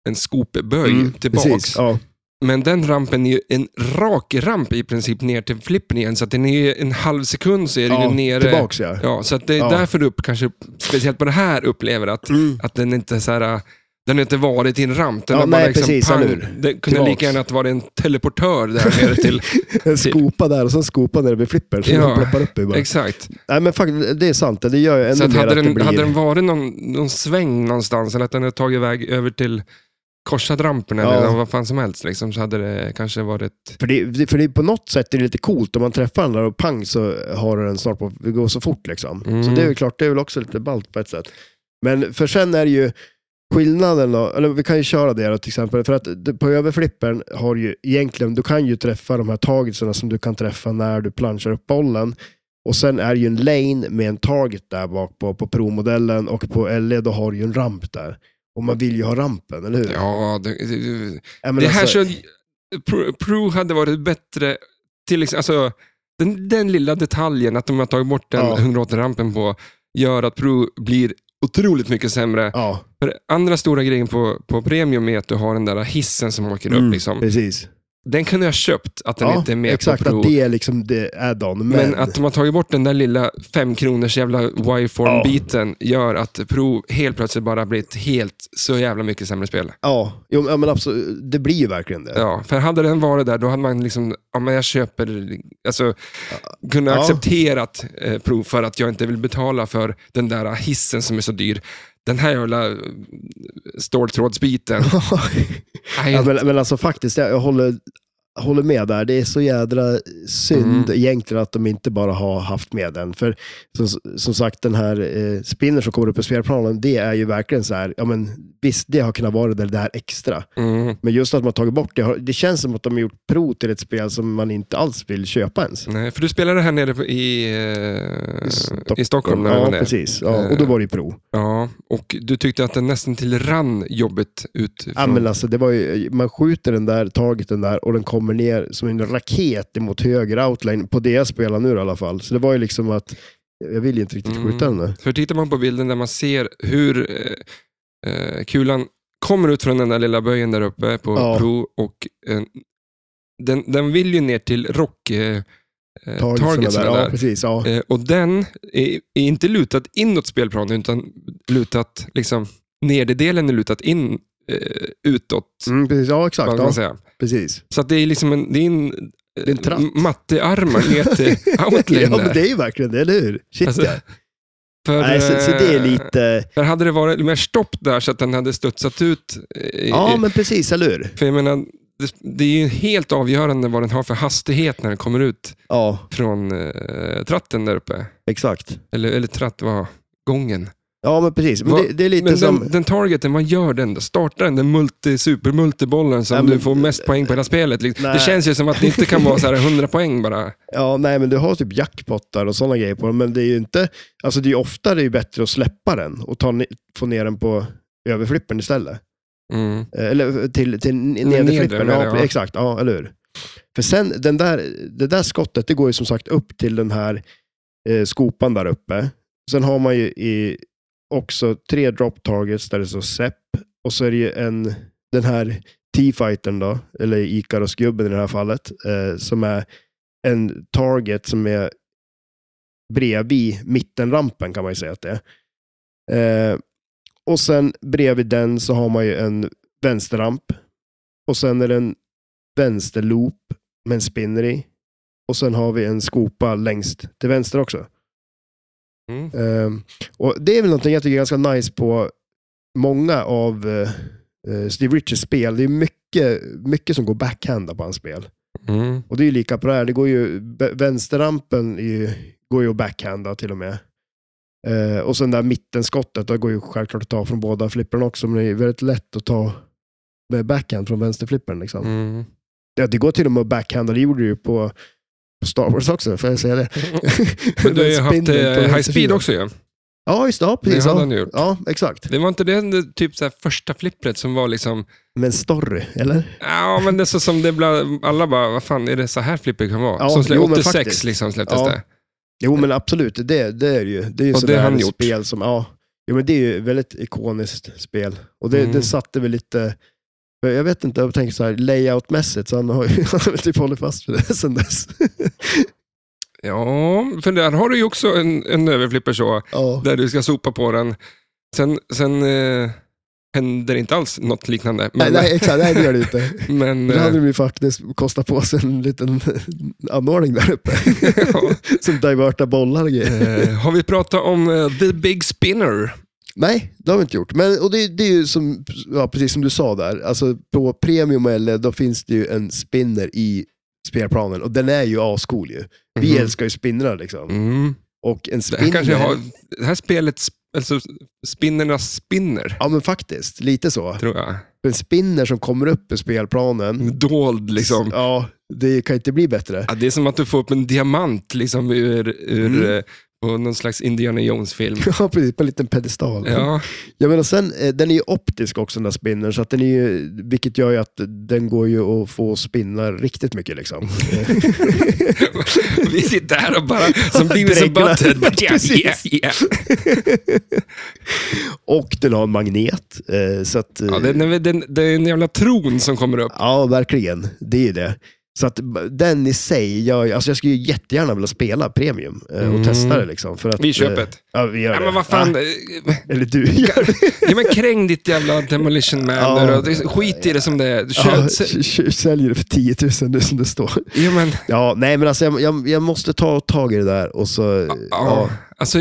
[SPEAKER 1] en skopböj tillbaks.
[SPEAKER 2] Mm. Precis, ja.
[SPEAKER 1] Men den rampen är ju en rak ramp i princip ner till flippen igen, så att den är ju en halv sekund så är den
[SPEAKER 2] ja,
[SPEAKER 1] ju nere.
[SPEAKER 2] tillbaks ja.
[SPEAKER 1] Ja, så att det är
[SPEAKER 2] Ja.
[SPEAKER 1] därför du upp, kanske speciellt på det här upplever att,
[SPEAKER 2] Mm.
[SPEAKER 1] att den inte är så här, äh, den har inte varit i en ramp. Den
[SPEAKER 2] Ja,
[SPEAKER 1] har bara
[SPEAKER 2] nej,
[SPEAKER 1] liksom
[SPEAKER 2] precis,
[SPEAKER 1] pang.
[SPEAKER 2] eller hur?
[SPEAKER 1] Det kunde
[SPEAKER 2] Tillbaks.
[SPEAKER 1] lika gärna att vara en teleportör där
[SPEAKER 2] <laughs>
[SPEAKER 1] nere till.
[SPEAKER 2] En <laughs> skopa där och sen skopa när det blir flipper. Så
[SPEAKER 1] Ja,
[SPEAKER 2] den ploppar upp i bara.
[SPEAKER 1] Exakt.
[SPEAKER 2] Nej men faktiskt, det är sant. Det gör ju
[SPEAKER 1] Så
[SPEAKER 2] ännu
[SPEAKER 1] att
[SPEAKER 2] mer
[SPEAKER 1] hade,
[SPEAKER 2] att det
[SPEAKER 1] den,
[SPEAKER 2] blir...
[SPEAKER 1] hade den varit någon, någon sväng någonstans eller att den hade tagit iväg över till korsat rampen
[SPEAKER 2] Ja.
[SPEAKER 1] eller vad fan som helst liksom, så hade det kanske varit...
[SPEAKER 2] För, det, det- för det, på något sätt är det lite coolt om man träffar den där och pang så har du den snart på, det går så fort liksom.
[SPEAKER 1] Mm.
[SPEAKER 2] Så det är väl klart, det är väl också lite ballt på ett sätt. Men för sen är det ju skillnaden då, eller vi kan ju köra det då till exempel, för att det- på överflippen har du ju egentligen, du kan ju träffa de här targetsarna som du kan träffa när du planchar upp bollen. Och sen är det ju en lane med en target där bak på, på Pro-modellen och på LE då har du ju en ramp där. Och man vill ju ha rampen, eller hur?
[SPEAKER 1] Ja, det, det,
[SPEAKER 2] Ja, men
[SPEAKER 1] det här
[SPEAKER 2] alltså-
[SPEAKER 1] så... Pro, Pro hade varit bättre, till exempel, alltså, den, den lilla detaljen att de har tagit bort den
[SPEAKER 2] Ja.
[SPEAKER 1] 180-rampen på gör att Pro blir otroligt mycket sämre.
[SPEAKER 2] Ja,
[SPEAKER 1] För andra stora grejen på, på Premium är att du har den där hissen som åker upp. Liksom.
[SPEAKER 2] precis.
[SPEAKER 1] Den kunde jag ha köpt, att den
[SPEAKER 2] Mm. ja,
[SPEAKER 1] inte är med
[SPEAKER 2] exakt,
[SPEAKER 1] på prov.
[SPEAKER 2] att det är liksom det add-on. Men,
[SPEAKER 1] Men att de har tagit bort den där lilla femkronors jävla wireform-biten gör att prov helt plötsligt bara blivit helt så jävla mycket sämre spel.
[SPEAKER 2] ja, jo, ja, men absolut, det blir ju verkligen det.
[SPEAKER 1] Ja, för hade den varit där, då hade man liksom, ja men jag köper, alltså kunnat
[SPEAKER 2] Ja.
[SPEAKER 1] accepterat eh, prov för att jag inte vill betala för den där hissen som är så dyr. Den här jävla eh, ståltrådsbiten. Nej,
[SPEAKER 2] <laughs> Ja, men, men alltså faktiskt, jag, jag håller, håller med där. Det är så jädra
[SPEAKER 1] Mm.
[SPEAKER 2] synd egentligen att de inte bara har haft med den. För som, som sagt, den här eh, spinner som kommer upp i spelplanen, det är ju verkligen så här, ja men visst, det har kunnat vara det där extra.
[SPEAKER 1] mm,
[SPEAKER 2] Men just att man tagit bort det, har- det känns som att de har gjort prov till ett spel som man inte alls vill köpa ens.
[SPEAKER 1] nej, för du spelade här nere på- i, eh,
[SPEAKER 2] Stockholm.
[SPEAKER 1] i Stockholm när du
[SPEAKER 2] Ja,
[SPEAKER 1] var där.
[SPEAKER 2] precis.
[SPEAKER 1] Eh.
[SPEAKER 2] Ja, och då var det ju prov.
[SPEAKER 1] Ja, och du tyckte att den nästan till rann jobbigt ut.
[SPEAKER 2] Ja,
[SPEAKER 1] från-
[SPEAKER 2] men alltså, det var ju, man skjuter den där, taget den där och den kommer ner som en raket emot höger outline på det jag spelar nu i alla fall. Så det var ju liksom att jag vill ju inte riktigt
[SPEAKER 1] Mm.
[SPEAKER 2] skjuta den där.
[SPEAKER 1] För tittar man på bilden där man ser hur eh, eh, kulan kommer ut från den där lilla böjen där uppe på
[SPEAKER 2] Ja.
[SPEAKER 1] Pro och eh, den, den vill ju ner till rock eh, eh, targetsna
[SPEAKER 2] Ja,
[SPEAKER 1] där.
[SPEAKER 2] precis. Ja.
[SPEAKER 1] Eh, och den är, är inte lutad inåt spelplanen utan lutat liksom nederdelen är lutat in eh, utåt.
[SPEAKER 2] Mm, precis. Ja,
[SPEAKER 1] vad
[SPEAKER 2] exakt.
[SPEAKER 1] man kan
[SPEAKER 2] Ja,
[SPEAKER 1] säga. <laughs>
[SPEAKER 2] precis.
[SPEAKER 1] Så att det är liksom en, det är en, eh,
[SPEAKER 2] är en tratt.
[SPEAKER 1] mattearmar ner till outline
[SPEAKER 2] <laughs> ja, men
[SPEAKER 1] där.
[SPEAKER 2] det är ju verkligen det, eller hur? Shit,
[SPEAKER 1] Alltså,
[SPEAKER 2] ja.
[SPEAKER 1] För,
[SPEAKER 2] Nej, så, så det är
[SPEAKER 1] eh,
[SPEAKER 2] lite...
[SPEAKER 1] Där hade det varit mer stopp där så att den hade studsat ut. eh,
[SPEAKER 2] Ja,
[SPEAKER 1] i-
[SPEAKER 2] men precis, eller hur?
[SPEAKER 1] För jag menar, det, det är ju helt avgörande vad den har för hastighet när den kommer ut
[SPEAKER 2] Ja,
[SPEAKER 1] från eh, tratten där uppe.
[SPEAKER 2] exakt.
[SPEAKER 1] Eller, eller tratt, vad? Gången.
[SPEAKER 2] Ja, men precis. Men
[SPEAKER 1] Va-
[SPEAKER 2] det, det är lite
[SPEAKER 1] Men
[SPEAKER 2] som...
[SPEAKER 1] den, den targeten, vad gör den då? Startar den den multi, supermultibollen som
[SPEAKER 2] Ja, men-
[SPEAKER 1] du får mest poäng på hela spelet? Liksom.
[SPEAKER 2] Nej.
[SPEAKER 1] Det känns ju som att det inte kan vara så här
[SPEAKER 2] <laughs>
[SPEAKER 1] 100 poäng bara.
[SPEAKER 2] Ja, nej, men du har typ jackpottar och sådana grejer på den, men det är ju inte... Alltså det är ju ofta det är ju bättre att släppa den och ta, ne- få ner den på överflippen istället.
[SPEAKER 1] Mm.
[SPEAKER 2] Eh, Eller till, till n-
[SPEAKER 1] nedre,
[SPEAKER 2] nederflippen.
[SPEAKER 1] menar
[SPEAKER 2] Ja,
[SPEAKER 1] jag.
[SPEAKER 2] Exakt, ja, eller hur? För sen, den där, det där skottet, det går ju som sagt upp till den här eh, skopan där uppe. Sen har man ju i, också tre drop targets där det står SEP. Och så är det ju en, den här T-fightern då, eller Ikaros-gubben i det här fallet, eh, som är en target som är bredvid mittenrampen kan man ju säga att det är. Eh, och sen bredvid den så har man ju en vänsterramp. Och sen är det en vänsterloop med en spinner i. Och sen har vi en skopa längst till vänster också.
[SPEAKER 1] Mm.
[SPEAKER 2] Ehm, och Det är väl någonting jag tycker är ganska nice på många av eh, eh, Steve Richards spel. Det är mycket, mycket som går backhanda på hans spel.
[SPEAKER 1] Mm.
[SPEAKER 2] Och det är ju lika på det här. Det går ju, b- vänsterrampen är ju, går ju att backhanda till och med. Eh, och sen där mittenskottet, det går ju självklart att ta från båda flipprarna också, men det är väldigt lätt att ta med backhand från vänsterflippern. Liksom.
[SPEAKER 1] Mm.
[SPEAKER 2] Ja, det går till och med att backhanda, det gjorde du ju på, på Star Wars också, får jag säga det.
[SPEAKER 1] <laughs> Men du
[SPEAKER 2] <laughs>
[SPEAKER 1] har ju haft
[SPEAKER 2] spindeln
[SPEAKER 1] eh,
[SPEAKER 2] på
[SPEAKER 1] high speed
[SPEAKER 2] vänstersidan.
[SPEAKER 1] också ju.
[SPEAKER 2] Ja, just det. Ja,
[SPEAKER 1] Det
[SPEAKER 2] precis.
[SPEAKER 1] hade
[SPEAKER 2] Ja.
[SPEAKER 1] han ju gjort.
[SPEAKER 2] ja, exakt.
[SPEAKER 1] Det var inte det, det typ så här första flippret som var liksom,
[SPEAKER 2] Men story, eller?
[SPEAKER 1] ja men det är så som det bland, alla bara, vad fan är det så här flipper kan vara?
[SPEAKER 2] Ja,
[SPEAKER 1] som släpp,
[SPEAKER 2] jo, men
[SPEAKER 1] 86
[SPEAKER 2] faktiskt.
[SPEAKER 1] liksom släpptes
[SPEAKER 2] Ja.
[SPEAKER 1] det.
[SPEAKER 2] Jo, men absolut. Det, det är ju. Det är ju
[SPEAKER 1] Och
[SPEAKER 2] sådär
[SPEAKER 1] det har han gjort.
[SPEAKER 2] spel som, ja. Jo, men det är ju ett väldigt ikoniskt spel. Och det,
[SPEAKER 1] Mm.
[SPEAKER 2] det satte väl lite, jag vet inte, jag tänker så här layoutmässigt, så han har ju <laughs> han har väl typ hållit fast vid det sedan dess. <laughs>
[SPEAKER 1] Ja, för där har du ju också en, en överflipper så,
[SPEAKER 2] ja.
[SPEAKER 1] där du ska sopa på den. Sen, sen eh, händer inte alls något liknande.
[SPEAKER 2] Nej,
[SPEAKER 1] Men,
[SPEAKER 2] nej, exakt. Nej, det gör det inte.
[SPEAKER 1] <laughs> men
[SPEAKER 2] Då hade
[SPEAKER 1] eh,
[SPEAKER 2] de ju faktiskt kostat på sig en liten <laughs> anordning där uppe.
[SPEAKER 1] <laughs> ja.
[SPEAKER 2] Som divertar bollar och grejer.
[SPEAKER 1] Eh, har vi pratat om eh, The Big Spinner?
[SPEAKER 2] Nej, det har vi inte gjort. Men, och det, det är ju som, ja, precis som du sa där, alltså på premium eller då finns det ju en spinner i spelplanen och den är ju ascool ju. Vi
[SPEAKER 1] Mhm.
[SPEAKER 2] älskar ju spinnrar liksom.
[SPEAKER 1] Mm.
[SPEAKER 2] Och en
[SPEAKER 1] Det här, kanske
[SPEAKER 2] spinner,
[SPEAKER 1] har, det här spelet, sp- alltså spinnernas spinner,
[SPEAKER 2] ja men faktiskt, lite så.
[SPEAKER 1] tror jag.
[SPEAKER 2] En spinner som kommer upp i spelplanen,
[SPEAKER 1] Dold liksom.
[SPEAKER 2] ja, det kan inte bli bättre. <laughs>
[SPEAKER 1] Ja, det är som att du får upp en diamant liksom ur, ur
[SPEAKER 2] Mm.
[SPEAKER 1] eh, på någon slags Indiana Jones-film.
[SPEAKER 2] Ja, precis. På en liten pedestal. <laughs>
[SPEAKER 1] Ja,
[SPEAKER 2] Jag menar, sen, eh, den är ju optisk också den där spinnern, så att den är ju, vilket gör ju att den går ju att få spinna riktigt mycket. Liksom.
[SPEAKER 1] vi sitter här och bara som Beavis and
[SPEAKER 2] Dreglar.
[SPEAKER 1] Butthead. Yeah,
[SPEAKER 2] <laughs>
[SPEAKER 1] yeah,
[SPEAKER 2] Precis.
[SPEAKER 1] yeah.
[SPEAKER 2] och den har en magnet. eh, Så att, eh,
[SPEAKER 1] Ja, det, det, det, det är en jävla tron som kommer upp.
[SPEAKER 2] Ja, verkligen. Det är ju det. Så att b- den i sig, jag, alltså jag skulle ju jättegärna vilja spela premium eh, och
[SPEAKER 1] Mm.
[SPEAKER 2] testa det. Liksom, för att,
[SPEAKER 1] Vi köper ett.
[SPEAKER 2] eh, Ja, vi gör
[SPEAKER 1] Ja,
[SPEAKER 2] det.
[SPEAKER 1] men vad fan. eh,
[SPEAKER 2] Ja, eller du gör det.
[SPEAKER 1] Ja, men kräng ditt jävla demolition man
[SPEAKER 2] Ja.
[SPEAKER 1] nu då. Skit i det som det är.
[SPEAKER 2] <laughs> Ja,
[SPEAKER 1] Kör,
[SPEAKER 2] k- k- säljer det för 10 000 nu som det står.
[SPEAKER 1] ja, men,
[SPEAKER 2] Ja, nej men alltså jag, jag, jag måste ta tag i det där och så... Ja,
[SPEAKER 1] ja.
[SPEAKER 2] ja.
[SPEAKER 1] Alltså,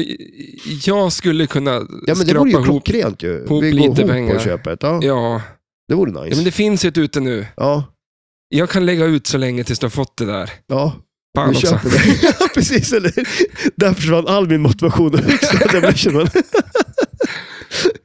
[SPEAKER 1] jag skulle kunna
[SPEAKER 2] men det
[SPEAKER 1] skrapa
[SPEAKER 2] vore ju
[SPEAKER 1] ihop...
[SPEAKER 2] klockrent ju. Vi
[SPEAKER 1] ihop
[SPEAKER 2] går
[SPEAKER 1] lite
[SPEAKER 2] ihop
[SPEAKER 1] pengar.
[SPEAKER 2] på köpet. Ja,
[SPEAKER 1] Ja.
[SPEAKER 2] Det vore
[SPEAKER 1] ja,
[SPEAKER 2] nice.
[SPEAKER 1] men det finns ju ett ute nu.
[SPEAKER 2] Ja,
[SPEAKER 1] Jag kan lägga ut så länge tills du har fått det där.
[SPEAKER 2] ja.
[SPEAKER 1] Fan
[SPEAKER 2] vi
[SPEAKER 1] också.
[SPEAKER 2] köper det. <laughs> ja, precis. Eller? Där försvann all min motivation att fixa demolition.
[SPEAKER 1] <laughs>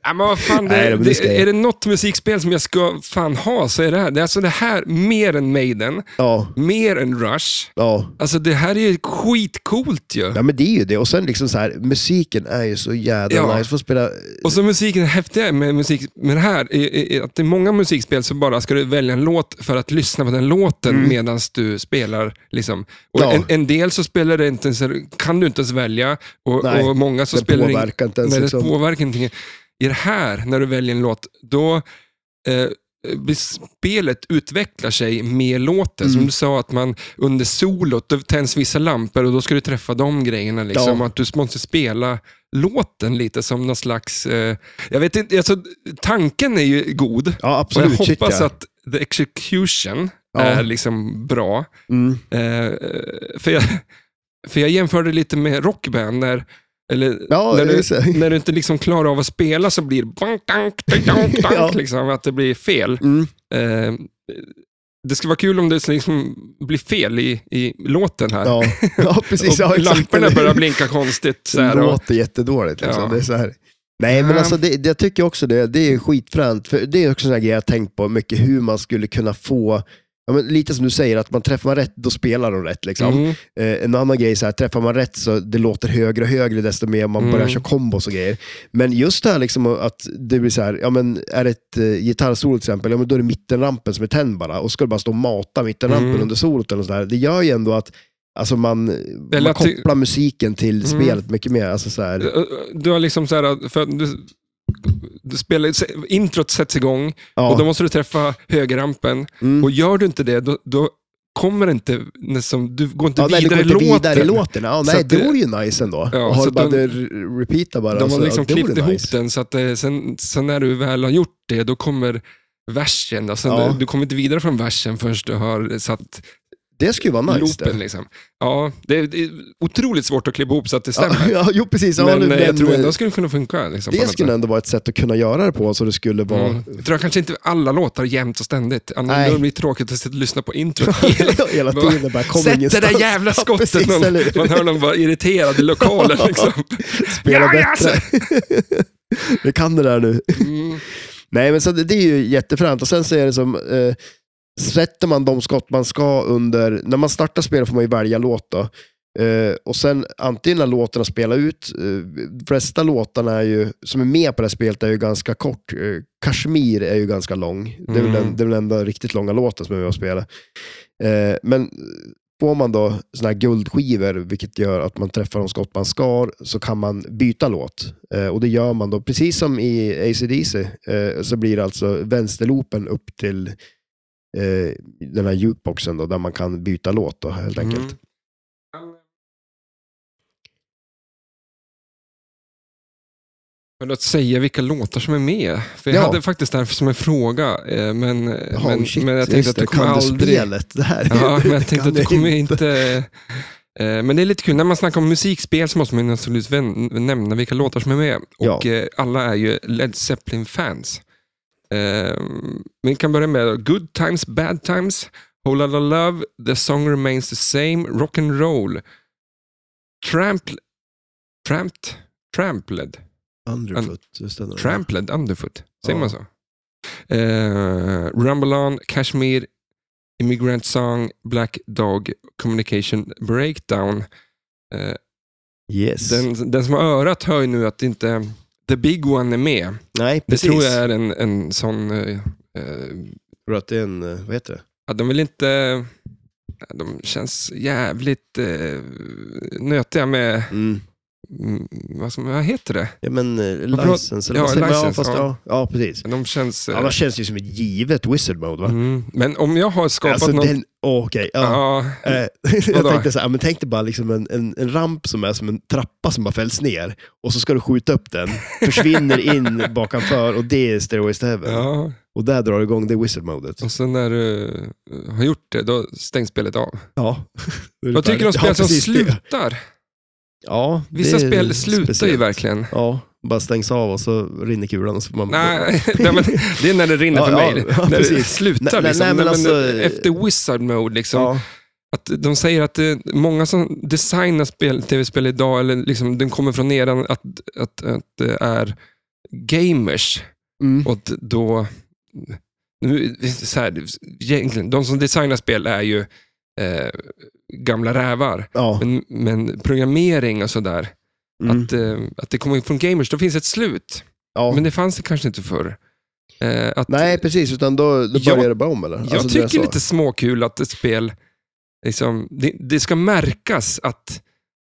[SPEAKER 1] Ja, men vad fan, det,
[SPEAKER 2] Nej, men det ska
[SPEAKER 1] det,
[SPEAKER 2] jag.
[SPEAKER 1] är det något musikspel som jag ska fan ha så är det här. Det är alltså det här mer än Maiden,
[SPEAKER 2] Ja,
[SPEAKER 1] mer än Rush.
[SPEAKER 2] ja.
[SPEAKER 1] Alltså det här är ju skitcoolt ju.
[SPEAKER 2] Ja men det är ju det. Och sen liksom så här, musiken är ju så jävla
[SPEAKER 1] Ja.
[SPEAKER 2] nice. Får spela...
[SPEAKER 1] Och så musiken, det häftiga med, musik, med det här är, är, är att det är många musikspel så bara ska du välja en låt för att lyssna på den låten medan du spelar. Liksom. Och
[SPEAKER 2] Mm. Ja.
[SPEAKER 1] en, en del så spelar det inte ens, kan du inte ens välja och,
[SPEAKER 2] Nej,
[SPEAKER 1] och många så
[SPEAKER 2] den
[SPEAKER 1] spelar det ing-
[SPEAKER 2] påverkar inte ens.
[SPEAKER 1] Nej,
[SPEAKER 2] liksom.
[SPEAKER 1] det påverkar ingenting. I det här, när du väljer en låt, då eh, blir spelet utvecklar sig med låten.
[SPEAKER 2] Mm.
[SPEAKER 1] Som du sa, att man under solot, då tänds vissa lampor och då ska du träffa de grejerna. Liksom.
[SPEAKER 2] Ja.
[SPEAKER 1] Att du måste spela låten lite som någon slags... Eh, jag vet inte, alltså, tanken är ju god.
[SPEAKER 2] Ja
[SPEAKER 1] Och jag
[SPEAKER 2] absolut. Shit,
[SPEAKER 1] hoppas
[SPEAKER 2] ja.
[SPEAKER 1] att the execution
[SPEAKER 2] Ja.
[SPEAKER 1] är liksom bra.
[SPEAKER 2] Mm.
[SPEAKER 1] Eh, för, jag, för jag jämförde lite med rockband, när, eller,
[SPEAKER 2] Ja, eh,
[SPEAKER 1] när,
[SPEAKER 2] just
[SPEAKER 1] du,
[SPEAKER 2] det.
[SPEAKER 1] när du inte liksom klarar av att spela så blir det bank, dank, dank, dank, dank,
[SPEAKER 2] <laughs> Ja.
[SPEAKER 1] liksom, att det blir fel. <laughs>
[SPEAKER 2] Mm.
[SPEAKER 1] Eh, det skulle vara kul om det liksom blir fel i, i låten här.
[SPEAKER 2] Ja. ja, precis. Ja,
[SPEAKER 1] och
[SPEAKER 2] exakt.
[SPEAKER 1] lamporna börjar blinka konstigt. Så
[SPEAKER 2] Det
[SPEAKER 1] här, och,
[SPEAKER 2] låter jättedåligt. Liksom.
[SPEAKER 1] Ja.
[SPEAKER 2] Det är så här. Nej, men
[SPEAKER 1] Ja.
[SPEAKER 2] alltså det, det, jag tycker också det. Det är skitfränt. För det är också en sån här grej jag har tänkt på mycket, hur man skulle kunna få Ja, men lite som du säger, att man träffar man rätt, då spelar de rätt. Liksom.
[SPEAKER 1] mm,
[SPEAKER 2] Eh, en annan grej, så här, träffar man rätt så det låter högre och högre desto mer man
[SPEAKER 1] Mm.
[SPEAKER 2] börjar köra kombos och grejer. Men just det här liksom, att det blir så här, ja, men är det ett eh, gitarrsolo till exempel, ja, men då är det mittenrampen som är tänd bara och ska du bara stå och mata mittenrampen
[SPEAKER 1] Mm.
[SPEAKER 2] under solot eller så där. Det gör ju ändå att Alltså man, man
[SPEAKER 1] att ty-
[SPEAKER 2] kopplar musiken till
[SPEAKER 1] Mm.
[SPEAKER 2] spelet mycket mer. Alltså så här,
[SPEAKER 1] du har liksom så här, för att du, du spelar, introt sätts igång
[SPEAKER 2] ja,
[SPEAKER 1] och då måste du träffa högerrampen.
[SPEAKER 2] mm.
[SPEAKER 1] Och gör du inte det, då, då kommer det inte, liksom, du går inte
[SPEAKER 2] ja, nej, du
[SPEAKER 1] vidare,
[SPEAKER 2] går
[SPEAKER 1] i
[SPEAKER 2] inte
[SPEAKER 1] låten.
[SPEAKER 2] vidare i låten. Ja,
[SPEAKER 1] Så
[SPEAKER 2] nej,
[SPEAKER 1] att
[SPEAKER 2] det
[SPEAKER 1] det-
[SPEAKER 2] vore ju nice ändå.
[SPEAKER 1] Ja,
[SPEAKER 2] och har
[SPEAKER 1] så
[SPEAKER 2] du bara
[SPEAKER 1] att
[SPEAKER 2] de,
[SPEAKER 1] de-
[SPEAKER 2] repeata bara.
[SPEAKER 1] De har
[SPEAKER 2] så,
[SPEAKER 1] liksom
[SPEAKER 2] Alltså, ja, det
[SPEAKER 1] klippt
[SPEAKER 2] vore
[SPEAKER 1] ihop
[SPEAKER 2] nice.
[SPEAKER 1] den, så att eh, sen, sen när du väl har gjort det, då kommer versen. Alltså,
[SPEAKER 2] Ja.
[SPEAKER 1] Du kommer inte vidare från versen förrän du har satt
[SPEAKER 2] Det skulle ju vara nice.
[SPEAKER 1] loopen.
[SPEAKER 2] Det.
[SPEAKER 1] Liksom. Ja, det, är, det är otroligt svårt att klippa ihop så att det stämmer.
[SPEAKER 2] <laughs> Ja, jo, precis. Ja,
[SPEAKER 1] men
[SPEAKER 2] nu-
[SPEAKER 1] eh, jag tror
[SPEAKER 2] eh,
[SPEAKER 1] ändå det skulle kunna funka. Liksom, på
[SPEAKER 2] Det
[SPEAKER 1] något
[SPEAKER 2] skulle ändå vara ett sätt att kunna göra det på, så det skulle
[SPEAKER 1] sätt.
[SPEAKER 2] vara...
[SPEAKER 1] Mm. Jag tror kanske inte alla låtar jämt och ständigt. Annars
[SPEAKER 2] Nej.
[SPEAKER 1] då blir det tråkigt att sitta och lyssna på
[SPEAKER 2] <laughs>
[SPEAKER 1] introt hela
[SPEAKER 2] <laughs> Hela
[SPEAKER 1] Bara,
[SPEAKER 2] tiden bara, kom
[SPEAKER 1] Sätt det
[SPEAKER 2] ingenstans.
[SPEAKER 1] där jävla skottet.
[SPEAKER 2] Ja, precis,
[SPEAKER 1] någon,
[SPEAKER 2] eller hur?
[SPEAKER 1] man hör någon vara irriterad i
[SPEAKER 2] <laughs>
[SPEAKER 1] lokalen. Liksom.
[SPEAKER 2] Spela
[SPEAKER 1] Ja, ja,
[SPEAKER 2] bättre. Vi kan det där <laughs> nu.
[SPEAKER 1] Mm.
[SPEAKER 2] Nej, men så det, det är ju jättefränt. Och sen så är det som, eh, sätter man de skott man ska under, när man startar spelet får man ju välja låt då. Eh, och sen antingen när låtarna spelar ut, eh, de flesta låtarna är ju, som är med på det här spelet är ju ganska kort. Eh, Kashmir är ju ganska lång. Det är väl
[SPEAKER 1] Mm.
[SPEAKER 2] den, det är väl den enda riktigt långa låten som är med och spelar. Eh, men får man då såna här guldskivor, vilket gör att man träffar de skott man skar, så kan man byta låt. Eh, och det gör man då, precis som i ACDC, eh, så blir det alltså vänsterloopen upp till eh, den här jukeboxen då, där man kan byta låt då, helt enkelt.
[SPEAKER 1] Mm. Men att säga vilka låtar som är med. För jag
[SPEAKER 2] Ja.
[SPEAKER 1] hade faktiskt det här som en fråga, eh, men,
[SPEAKER 2] Jaha,
[SPEAKER 1] men,
[SPEAKER 2] shit,
[SPEAKER 1] men jag
[SPEAKER 2] just
[SPEAKER 1] tänkte att
[SPEAKER 2] det,
[SPEAKER 1] du kommer
[SPEAKER 2] kan
[SPEAKER 1] aldrig...
[SPEAKER 2] spelet? Det här.
[SPEAKER 1] Ja, men jag tänkte
[SPEAKER 2] Kan
[SPEAKER 1] att du
[SPEAKER 2] jag
[SPEAKER 1] kommer inte... eh, Men det är lite kul, när man snackar om musikspel så måste man ju naturligtvis vän- nämna vilka låtar som är med. Och
[SPEAKER 2] Ja.
[SPEAKER 1] eh, alla är ju Led Zeppelin-fans. Eh, Vi kan börja med Good Times, Bad Times, Whole Lotta Love, The Song Remains the Same, Rock and Roll, Trampl- Tramped, Trampled,
[SPEAKER 2] Underfoot, just det.
[SPEAKER 1] Trampled Underfoot, säger
[SPEAKER 2] Ja.
[SPEAKER 1] man så? Eh, Rumble On, Kashmir, Immigrant Song, Black Dog, Communication Breakdown, eh,
[SPEAKER 2] Yes.
[SPEAKER 1] Den, den som har örat hör ju nu att inte the big one är med.
[SPEAKER 2] Nej,
[SPEAKER 1] Det
[SPEAKER 2] precis.
[SPEAKER 1] tror jag är en, en sån... eh, eh,
[SPEAKER 2] Tror du att det är en, eh, vad heter det?
[SPEAKER 1] ja, de vill inte... ja, De känns jävligt eh, nötiga med...
[SPEAKER 2] Mm.
[SPEAKER 1] mm, Vad, som, vad heter det?
[SPEAKER 2] Ja, men eh,
[SPEAKER 1] Vad pratar-
[SPEAKER 2] license. eller
[SPEAKER 1] ja,
[SPEAKER 2] vad säger man? ja,
[SPEAKER 1] license,
[SPEAKER 2] fast,
[SPEAKER 1] ja.
[SPEAKER 2] ja. ja, precis.
[SPEAKER 1] De känns... eh,
[SPEAKER 2] Annars känns det ju som ett givet wizard mode, va?
[SPEAKER 1] mm. Men om jag har skapat
[SPEAKER 2] Alltså,
[SPEAKER 1] något...
[SPEAKER 2] den, åh, okej. ja.
[SPEAKER 1] Ja,
[SPEAKER 2] Eh, <laughs>
[SPEAKER 1] Vadå?
[SPEAKER 2] jag tänkte så här, men tänk dig bara liksom en, en, en ramp som är som en trappa som bara fälls ner och så ska du skjuta
[SPEAKER 1] <laughs>
[SPEAKER 2] upp den, försvinner in bakanför och det är Stairways to Heaven.
[SPEAKER 1] ja,
[SPEAKER 2] Och där drar du igång det wizard-modet.
[SPEAKER 1] och sen när du eh, har gjort det, då stängs spelet av.
[SPEAKER 2] Ja. Då är
[SPEAKER 1] <laughs>
[SPEAKER 2] det
[SPEAKER 1] Vad tycker du om
[SPEAKER 2] färdigt.
[SPEAKER 1] spel
[SPEAKER 2] Ja,
[SPEAKER 1] som
[SPEAKER 2] precis, det-
[SPEAKER 1] slutar?
[SPEAKER 2] Ja,
[SPEAKER 1] Vissa
[SPEAKER 2] det är
[SPEAKER 1] spel slutar ju
[SPEAKER 2] speciellt.
[SPEAKER 1] verkligen.
[SPEAKER 2] Ja, bara stängs av och så rinner kulan och så får man...
[SPEAKER 1] Nej, <laughs> nej, men det är när det rinner
[SPEAKER 2] Ja,
[SPEAKER 1] för
[SPEAKER 2] ja,
[SPEAKER 1] mig.
[SPEAKER 2] <laughs> ja,
[SPEAKER 1] när det
[SPEAKER 2] precis.
[SPEAKER 1] slutar
[SPEAKER 2] Nej, nej,
[SPEAKER 1] liksom.
[SPEAKER 2] nej, men alltså-
[SPEAKER 1] efter wizard mode liksom.
[SPEAKER 2] Ja,
[SPEAKER 1] Att de säger att det, många som designar spel, tv-spel idag, eller liksom, den kommer från eran, att, att, att det är gamers.
[SPEAKER 2] mm.
[SPEAKER 1] Och att då... Nu, så här, egentligen, de som designar spel är ju eh, gamla rävar.
[SPEAKER 2] ja.
[SPEAKER 1] Men, men programmering och sådär,
[SPEAKER 2] Mm.
[SPEAKER 1] att, eh, att det kommer från gamers, då finns ett slut.
[SPEAKER 2] ja.
[SPEAKER 1] Men det fanns det kanske inte förr. Eh, att,
[SPEAKER 2] Nej, precis. Utan då, då
[SPEAKER 1] Jag-
[SPEAKER 2] börjar det bara om, eller?
[SPEAKER 1] jag
[SPEAKER 2] Alltså, det
[SPEAKER 1] tycker
[SPEAKER 2] sa.
[SPEAKER 1] lite småkul att ett spel, liksom, det, det ska märkas att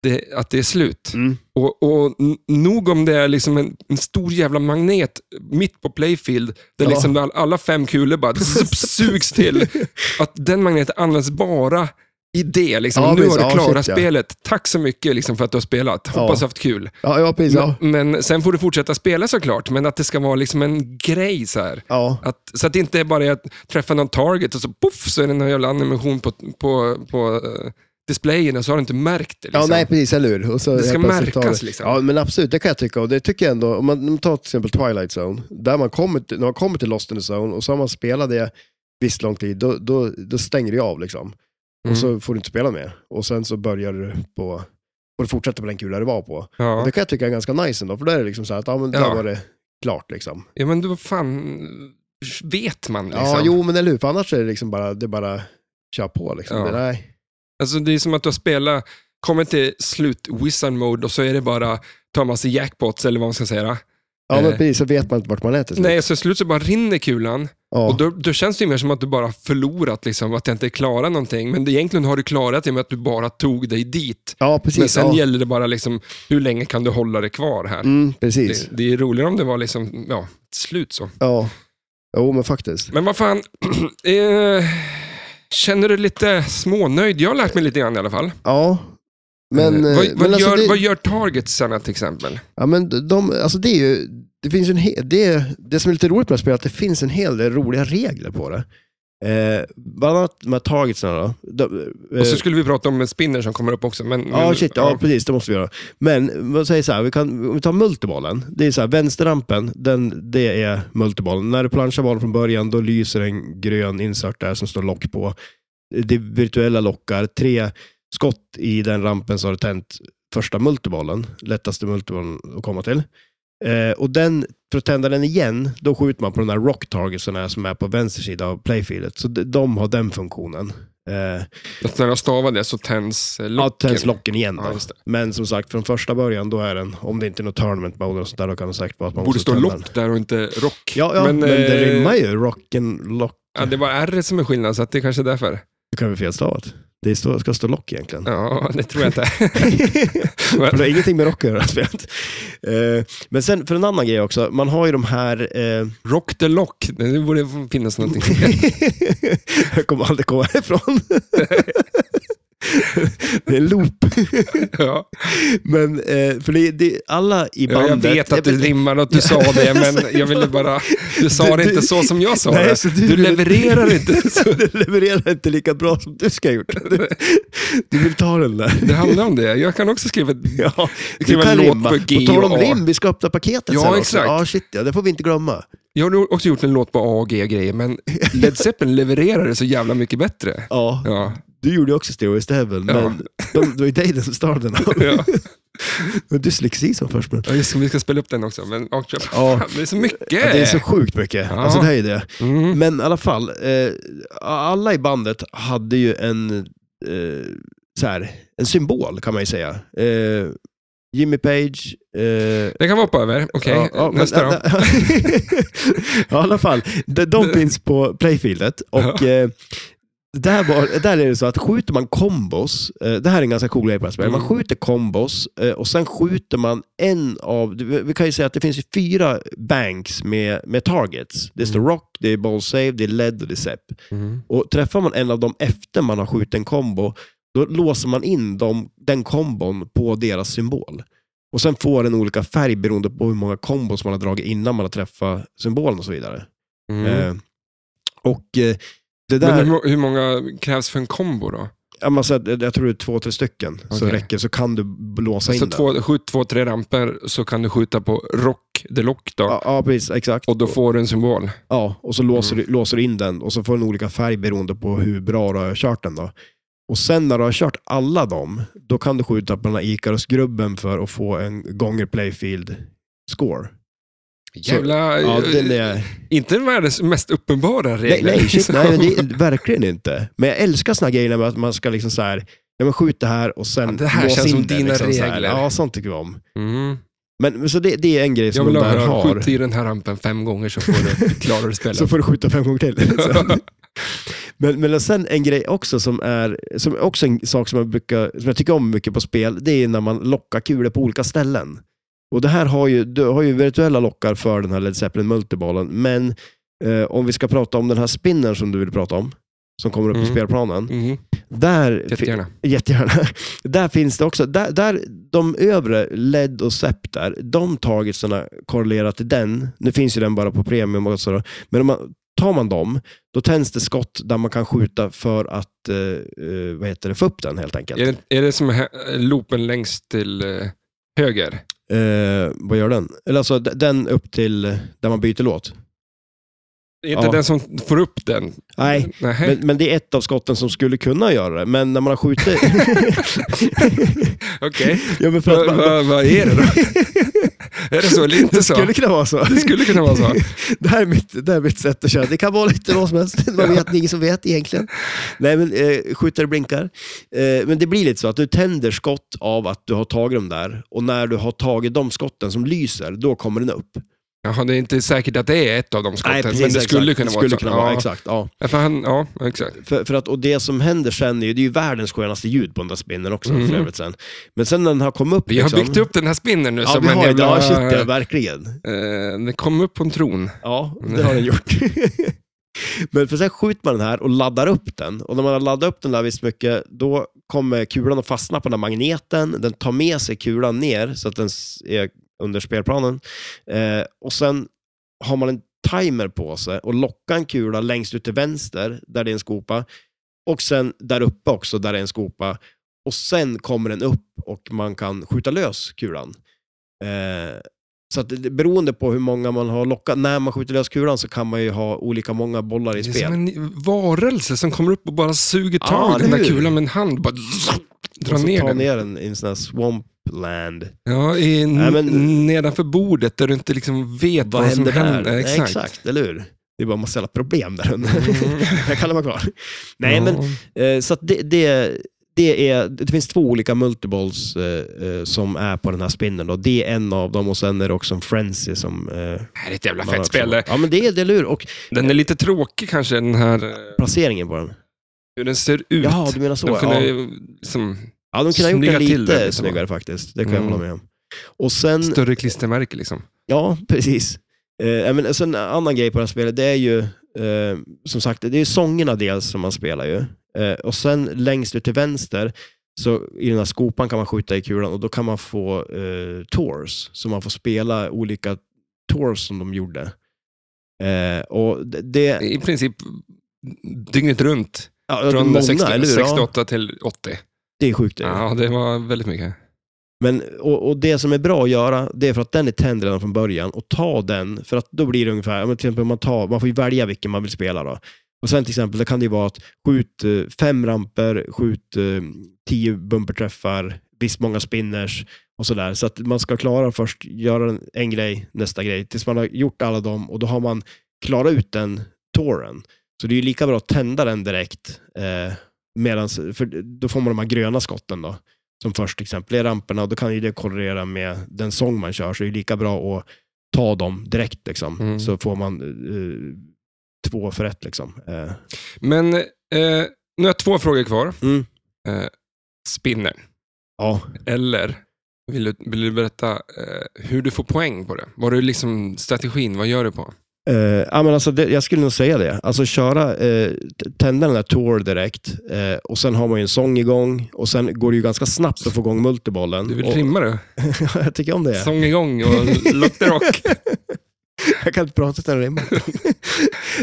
[SPEAKER 1] det, att det är slut.
[SPEAKER 2] Mm.
[SPEAKER 1] Och, och n- nog om det är liksom en, en stor jävla magnet mitt på playfield, där
[SPEAKER 2] Ja.
[SPEAKER 1] liksom all, alla fem kulor bara zup, sugs till. Att den magneten används bara i det. Liksom.
[SPEAKER 2] Ja,
[SPEAKER 1] nu har
[SPEAKER 2] precis.
[SPEAKER 1] du
[SPEAKER 2] Ja,
[SPEAKER 1] klarat
[SPEAKER 2] shit, ja.
[SPEAKER 1] spelet. Tack så mycket liksom, för att du har spelat. Hoppas
[SPEAKER 2] Ja.
[SPEAKER 1] du har haft kul.
[SPEAKER 2] Ja, ja, precis. Ja.
[SPEAKER 1] Men, men sen får du fortsätta spela såklart, men att det ska vara liksom en grej så här.
[SPEAKER 2] Ja.
[SPEAKER 1] Att, så att det inte är bara är att träffa någon target och så poff så är det någon jävla animation på, på, på eh, displayen och så har du inte märkt det. Liksom.
[SPEAKER 2] Ja, nej, precis, eller hur? Och så
[SPEAKER 1] Det ska
[SPEAKER 2] helt plötsligt
[SPEAKER 1] märkas,
[SPEAKER 2] tar det-
[SPEAKER 1] liksom.
[SPEAKER 2] Ja, men absolut, det kan jag tycka. Och det tycker jag ändå, om man, om man tar till exempel Twilight Zone, där man kommer till, när man kommer till Lost in the Zone och så har man spelat det visst lång tid, då, då, då stänger det ju av liksom.
[SPEAKER 1] Mm.
[SPEAKER 2] Och så får du inte spela mer. Och sen så börjar du på, och du fortsätter på den kula du var på.
[SPEAKER 1] Ja.
[SPEAKER 2] Och det kan jag tycka är ganska nice ändå, för där är det liksom så här att, ja men där
[SPEAKER 1] Ja.
[SPEAKER 2] var det klart liksom.
[SPEAKER 1] ja, men då fan vet man liksom.
[SPEAKER 2] Ja, jo men eller hur, för annars är det liksom bara, det är bara kör på liksom.
[SPEAKER 1] Ja.
[SPEAKER 2] Det, nej.
[SPEAKER 1] Alltså, det är som att du har spelat, kommer till slut wizard mode och så är det bara ta massa jackpots eller vad man ska säga.
[SPEAKER 2] Ja, men
[SPEAKER 1] Eh.
[SPEAKER 2] precis, så vet man inte vart man är till slut.
[SPEAKER 1] Nej, så till slut så bara rinner kulan
[SPEAKER 2] Ja.
[SPEAKER 1] och då, då känns det ju mer som att du bara förlorat, liksom, att du inte klarar någonting. Men det, egentligen har du klarat det med att du bara tog dig dit.
[SPEAKER 2] ja, precis.
[SPEAKER 1] Men sen
[SPEAKER 2] ja.
[SPEAKER 1] gäller det bara liksom, hur länge kan du hålla det kvar här?
[SPEAKER 2] Mm, precis.
[SPEAKER 1] Det, det är roligare om det var liksom, ja, ett slut så.
[SPEAKER 2] Ja, jo men faktiskt.
[SPEAKER 1] Men vad fan, <clears throat> eh, känner du lite smånöjd? Jag har lärt mig lite grann i alla fall.
[SPEAKER 2] Ja. Men,
[SPEAKER 1] eh,
[SPEAKER 2] eh,
[SPEAKER 1] vad, vad,
[SPEAKER 2] men alltså,
[SPEAKER 1] gör,
[SPEAKER 2] det,
[SPEAKER 1] vad gör targetsarna till exempel?
[SPEAKER 2] ja, men de, alltså det är ju, det finns ju en he- det, det som är lite roligt med det här spelet är att det finns en hel del roliga regler på det. Eh, bland annat de här targetsarna då. De, eh,
[SPEAKER 1] Och så skulle vi prata om en spinner som kommer upp också. Men,
[SPEAKER 2] Ja,
[SPEAKER 1] men,
[SPEAKER 2] shit, ja, precis, det måste vi göra. Men vad säger så här, vi kan, om vi tar multibollen. Det är så här, vänsterrampen, den, det är multibollen. När du planchar bollen från början, då lyser en grön insert där som står lock på. Det är virtuella lockar. Tre skott i den rampen så har du tänt första multibollen. Lättaste multibollen att komma till. Eh, och den, för att tända den igen, då skjuter man på de där rock targetsen här som är på vänster sida av playfieldet. Så de, de har den funktionen. Eh,
[SPEAKER 1] Att när jag stavar det så tänds eh, locken.
[SPEAKER 2] Ja, tänds locken igen. Då.
[SPEAKER 1] Ja, just det.
[SPEAKER 2] Men som sagt, från första början, då är den, om det inte är något tournament mode och sånt där, då kan det säkert vara att man
[SPEAKER 1] Borde
[SPEAKER 2] måste
[SPEAKER 1] stå
[SPEAKER 2] tända den.
[SPEAKER 1] lock där och inte rock.
[SPEAKER 2] Ja, ja men, det
[SPEAKER 1] eh,
[SPEAKER 2] rimmar ju. Rocken, lock.
[SPEAKER 1] Ja, det var R som är skillnaden, så att det är kanske är därför.
[SPEAKER 2] Det kan vi felstavat. Det står- ska stå lock egentligen.
[SPEAKER 1] <laughs> Ja, det tror jag
[SPEAKER 2] <laughs>
[SPEAKER 1] inte.
[SPEAKER 2] För det har ingenting med rock att göra. spelet. Eh, Men sen, för en annan grej också. Man har ju de här... eh, <laughs>
[SPEAKER 1] Rock the lock, det borde finnas någonting.
[SPEAKER 2] jag kommer aldrig komma
[SPEAKER 1] <laughs>
[SPEAKER 2] härifrån. det är en loop.
[SPEAKER 1] ja.
[SPEAKER 2] Men, eh, för det, det, alla i
[SPEAKER 1] Ja,
[SPEAKER 2] bandet...
[SPEAKER 1] Jag vet att
[SPEAKER 2] men-
[SPEAKER 1] du rimmar och att du
[SPEAKER 2] <laughs>
[SPEAKER 1] sa det, men jag ville bara... Du sa
[SPEAKER 2] Du-
[SPEAKER 1] det
[SPEAKER 2] du-
[SPEAKER 1] inte så som jag sa
[SPEAKER 2] Nej,
[SPEAKER 1] det.
[SPEAKER 2] så
[SPEAKER 1] Du
[SPEAKER 2] du-
[SPEAKER 1] levererar inte. <laughs> så-
[SPEAKER 2] <laughs> du levererar inte lika bra som du ska ha gjort. Du, <laughs> du vill ta den där.
[SPEAKER 1] Det handlar om det. Jag kan också skriva... ett-
[SPEAKER 2] <laughs> Ja,
[SPEAKER 1] skriva en låt på G
[SPEAKER 2] På tal om
[SPEAKER 1] och A.
[SPEAKER 2] rim, vi ska öppna paketet
[SPEAKER 1] Ja,
[SPEAKER 2] sen också.
[SPEAKER 1] exakt.
[SPEAKER 2] Ja, shit ja, det får vi inte glömma.
[SPEAKER 1] Jag har också gjort en låt på A och G-grejer, men <laughs> Led Zeppelin levererar det så jävla mycket bättre.
[SPEAKER 2] Ja,
[SPEAKER 1] Ja,
[SPEAKER 2] du gjorde ju också Stairways to Heaven,
[SPEAKER 1] Ja.
[SPEAKER 2] men de, det var ju dig som stal <laughs> den.
[SPEAKER 1] ja.
[SPEAKER 2] Men dyslexi som först. Men.
[SPEAKER 1] ja just det, vi ska spela upp den också. Men ja,
[SPEAKER 2] Ja.
[SPEAKER 1] fan, det är så mycket!
[SPEAKER 2] Ja, det är så sjukt mycket.
[SPEAKER 1] Ja.
[SPEAKER 2] Alltså det här är det.
[SPEAKER 1] mm.
[SPEAKER 2] Men i alla fall, eh, alla i bandet hade ju en, eh, så här, en symbol kan man ju säga. Eh, Jimmy Page. Eh,
[SPEAKER 1] Det kan vi hoppa över. Okej,
[SPEAKER 2] ja, ja, men-
[SPEAKER 1] nästa då.
[SPEAKER 2] <laughs> Ja, I alla fall, de, de finns på playfieldet. Och, eh, där, var, där är det så att skjuter man kombos, eh, det här är en ganska cool grej på det här spelet. man
[SPEAKER 1] Mm.
[SPEAKER 2] skjuter kombos eh, och sen skjuter man en av, vi vi kan ju säga att det finns ju fyra banks med, med targets. Det
[SPEAKER 1] Mm.
[SPEAKER 2] står rock, det är ball save, det är led och det är sep. Och träffar man en av dem efter man har skjutit en kombo, då låser man in dem, den kombon på deras symbol. Och sen får den olika färg beroende på hur många kombos man har dragit innan man har träffat symbolen och så vidare.
[SPEAKER 1] Mm.
[SPEAKER 2] Eh, och eh, det där,
[SPEAKER 1] Men hur, må- hur många krävs för en kombo då?
[SPEAKER 2] ja, man säger att jag tror det är två, tre stycken som
[SPEAKER 1] Okej.
[SPEAKER 2] räcker, så kan du b- låsa
[SPEAKER 1] Alltså
[SPEAKER 2] in den.
[SPEAKER 1] två, skjut två, tre ramper så kan du skjuta på rock the lock då.
[SPEAKER 2] Ja, ja, precis. Exakt.
[SPEAKER 1] Och då får du en symbol.
[SPEAKER 2] Ja, och så låser,
[SPEAKER 1] Mm.
[SPEAKER 2] du, låser du in den och så får den olika färg beroende på hur bra du har kört den. Då. Och sen när du har kört alla dem, då kan du skjuta på den här Icarus-grubben för att få en gånger playfield score.
[SPEAKER 1] Jävla... eh,
[SPEAKER 2] Ja, den är...
[SPEAKER 1] Inte världens mest uppenbara
[SPEAKER 2] Nej,
[SPEAKER 1] regler.
[SPEAKER 2] nej, shit, nej men det är verkligen inte. Men jag älskar såna här grejer med att man ska liksom så här, ja men skjut det här och sen
[SPEAKER 1] Ja, det här
[SPEAKER 2] lås
[SPEAKER 1] känns
[SPEAKER 2] in
[SPEAKER 1] som
[SPEAKER 2] det,
[SPEAKER 1] dina
[SPEAKER 2] liksom, så här.
[SPEAKER 1] regler.
[SPEAKER 2] Ja, sånt tycker vi om.
[SPEAKER 1] <laughs> Mm.
[SPEAKER 2] Men men så det, det är en grej
[SPEAKER 1] Jag
[SPEAKER 2] som
[SPEAKER 1] vill
[SPEAKER 2] de där
[SPEAKER 1] höra,
[SPEAKER 2] har.
[SPEAKER 1] skjut i den här rampen fem gånger så får
[SPEAKER 2] <laughs>
[SPEAKER 1] du, klarar du spelet.
[SPEAKER 2] Så får du skjuta fem gånger till.
[SPEAKER 1] <laughs>
[SPEAKER 2] Sen. men, men sen en grej också som är som är också en sak som jag, brukar, som jag tycker om mycket på spel, det är när man lockar kulor på olika ställen. Och det här har ju, du har ju virtuella lockar för den här Led Zeppelin multibollen, men eh, om vi ska prata om den här spinnern som du vill prata om, som kommer upp på
[SPEAKER 1] Mm.
[SPEAKER 2] spelplanen.
[SPEAKER 1] Mm.
[SPEAKER 2] Där,
[SPEAKER 1] Jättegärna.
[SPEAKER 2] Jättegärna. <laughs> Där finns det också, där, där de övre LED och SEP där, de targetsarna korrelerar till den. Nu finns ju den bara på premium också då. Men om man, tar man dem, då tänds det skott där man kan skjuta för att eh, eh, vad heter det, få upp den helt enkelt.
[SPEAKER 1] Är det, är det som hä- loopen längst till eh, höger?
[SPEAKER 2] Eh, vad gör den? Eller alltså d- den upp till eh, där man byter låt.
[SPEAKER 1] Det är inte
[SPEAKER 2] Ja.
[SPEAKER 1] den som får upp den?
[SPEAKER 2] Nej,
[SPEAKER 1] Nähä.
[SPEAKER 2] men, men det är ett av skotten som skulle kunna göra det. Men när man har skjutit...
[SPEAKER 1] <laughs> Okej.
[SPEAKER 2] ja, men <laughs> för
[SPEAKER 1] Vad
[SPEAKER 2] att man,
[SPEAKER 1] vad- vad är det
[SPEAKER 2] <laughs>
[SPEAKER 1] då? är det så eller inte
[SPEAKER 2] det
[SPEAKER 1] så?
[SPEAKER 2] skulle kunna vara så.
[SPEAKER 1] Det skulle kunna vara så.
[SPEAKER 2] <laughs> Det här, är mitt, det här är mitt sätt att köra. Det kan vara lite vad som helst. Man vet, det är ingen som vet egentligen. Nej, men eh, skjuter blinkar. Eh, men det blir lite så att du tänder skott av att du har tagit dem där. Och när du har tagit de skotten som lyser, då kommer den upp.
[SPEAKER 1] Jaha, det är inte säkert att det är ett av de skotten, men det
[SPEAKER 2] exakt.
[SPEAKER 1] skulle kunna
[SPEAKER 2] det
[SPEAKER 1] vara ett
[SPEAKER 2] skulle
[SPEAKER 1] sånt.
[SPEAKER 2] kunna vara.
[SPEAKER 1] ja.
[SPEAKER 2] Exakt, ja.
[SPEAKER 1] Ja, för han, ja, exakt.
[SPEAKER 2] För, för att, och det som händer sen är ju, det är ju världens skönaste ljud på den där spinnen också
[SPEAKER 1] Mhm.
[SPEAKER 2] för övrigt sen. Men sen när den har kommit upp
[SPEAKER 1] Vi har
[SPEAKER 2] liksom,
[SPEAKER 1] byggt upp den här spinnen nu
[SPEAKER 2] Ja,
[SPEAKER 1] som
[SPEAKER 2] vi
[SPEAKER 1] en
[SPEAKER 2] har,
[SPEAKER 1] jävla...
[SPEAKER 2] ja, shit, ja, verkligen.
[SPEAKER 1] eh, den kom upp på en tron.
[SPEAKER 2] Ja, det har den gjort. Men för sen skjuter man den här och laddar upp den. Och när man har laddat upp den där visst mycket, då kommer kulan att fastna på den här magneten. Den tar med sig kulan ner så att den s- är under spelplanen. Eh, och sen har man en timer på sig och lockar en kula längst ut till vänster, där det är en skopa. Och sen där uppe också, där det är en skopa. Och sen kommer den upp och man kan skjuta lös kulan. Eh, så att det- beroende på hur många man har lockat, när man skjuter lös kulan så kan man ju ha olika många bollar i
[SPEAKER 1] Det är
[SPEAKER 2] spel.
[SPEAKER 1] som en varelse som kommer upp och bara suger
[SPEAKER 2] Ja,
[SPEAKER 1] tag i den
[SPEAKER 2] eller
[SPEAKER 1] där
[SPEAKER 2] hur?
[SPEAKER 1] kulan med en hand. Bara zzz, drar
[SPEAKER 2] Och så
[SPEAKER 1] ner
[SPEAKER 2] ta
[SPEAKER 1] den.
[SPEAKER 2] ner den i en sån här swampland.
[SPEAKER 1] Ja, i,
[SPEAKER 2] Nej, men-
[SPEAKER 1] nedanför bordet där du inte liksom vet vad,
[SPEAKER 2] Vad
[SPEAKER 1] som
[SPEAKER 2] händer där?
[SPEAKER 1] händer.
[SPEAKER 2] Nej,
[SPEAKER 1] Exakt.
[SPEAKER 2] exakt, <laughs> eller hur? Det är bara en massa jävla problem där under.
[SPEAKER 1] Mm.
[SPEAKER 2] <laughs> Jag kan lämna kvar. Nej,
[SPEAKER 1] Ja.
[SPEAKER 2] men Eh, så att det, det, det, är, det finns två olika multiballs eh, eh, som är på den här spinnen. Då. Det är en av dem och sen är det också en frenzy som... Eh,
[SPEAKER 1] Det här är ett jävla
[SPEAKER 2] man har
[SPEAKER 1] fett
[SPEAKER 2] också-
[SPEAKER 1] spel.
[SPEAKER 2] Ja, men det är det, eller hur? Och
[SPEAKER 1] Den är lite tråkig kanske, den här, eh,
[SPEAKER 2] placeringen på den.
[SPEAKER 1] hur den ser ut.
[SPEAKER 2] Ja, du menar så.
[SPEAKER 1] de kunde
[SPEAKER 2] ja. Mm.
[SPEAKER 1] ju liksom,
[SPEAKER 2] ja, de kunde ha gjort
[SPEAKER 1] snygga
[SPEAKER 2] den lite
[SPEAKER 1] till det, liksom.
[SPEAKER 2] snyggare faktiskt. Det kan jag
[SPEAKER 1] Mm.
[SPEAKER 2] hålla med om. Och sen...
[SPEAKER 1] större klistermärke liksom.
[SPEAKER 2] Ja, precis. Eh, ja, men, sen en annan grej på det här spelet, det är ju eh, som sagt, det är ju sångerna dels som man spelar ju. Eh, och sen längst ut till vänster, så i den här skopan kan man skjuta i kulan och då kan man få eh, tours. Så man får spela olika tours som de gjorde. Eh, och det, det
[SPEAKER 1] I princip dygnet runt.
[SPEAKER 2] Eh. ja,
[SPEAKER 1] Från
[SPEAKER 2] många,
[SPEAKER 1] 60,
[SPEAKER 2] eller hur? Ja,
[SPEAKER 1] 68 till 80.
[SPEAKER 2] det är sjukt. det är det.
[SPEAKER 1] Ja, det var väldigt mycket.
[SPEAKER 2] Men, och, och det som är bra att göra, det är för att den är tänd redan från början. Och ta den, för att då blir det ungefär, ja, men till exempel man, tar, man får ju välja vilken man vill spela då. Och sen till exempel, då kan det ju vara att skjut eh, fem ramper, skjut eh, tio bumperträffar, visst många spinners och sådär. Så att man ska klara först, göra en, en grej, nästa grej, tills man har gjort alla dem och då har man klarat ut den touren. Så det är ju lika bra att tända den direkt, eh, medans, för då får man de här gröna skotten då som först till exempel i ramperna. Och då kan ju det korrelera med den sång man kör. Så det är lika bra att ta dem direkt. Liksom.
[SPEAKER 1] Mm.
[SPEAKER 2] Så får man eh, två för ett. Liksom. Eh,
[SPEAKER 1] Men eh, nu har jag två frågor kvar.
[SPEAKER 2] Mm.
[SPEAKER 1] Eh, spinner.
[SPEAKER 2] ja.
[SPEAKER 1] Eller vill du, vill du berätta eh, hur du får poäng på det? Vad är liksom strategin? Vad gör du på?
[SPEAKER 2] Eh, ja, men alltså det, jag skulle nog säga det. Alltså köra, eh, t- tända den där tour direkt eh, och sen har man ju en sång igång och sen går det ju ganska snabbt att få igång multibollen.
[SPEAKER 1] Du vill
[SPEAKER 2] och,
[SPEAKER 1] trimma det?
[SPEAKER 2] <laughs> jag tycker om det.
[SPEAKER 1] Sång igång
[SPEAKER 2] <laughs>
[SPEAKER 1] och Lotte Rock.
[SPEAKER 2] Jag kan inte prata utan att rimma.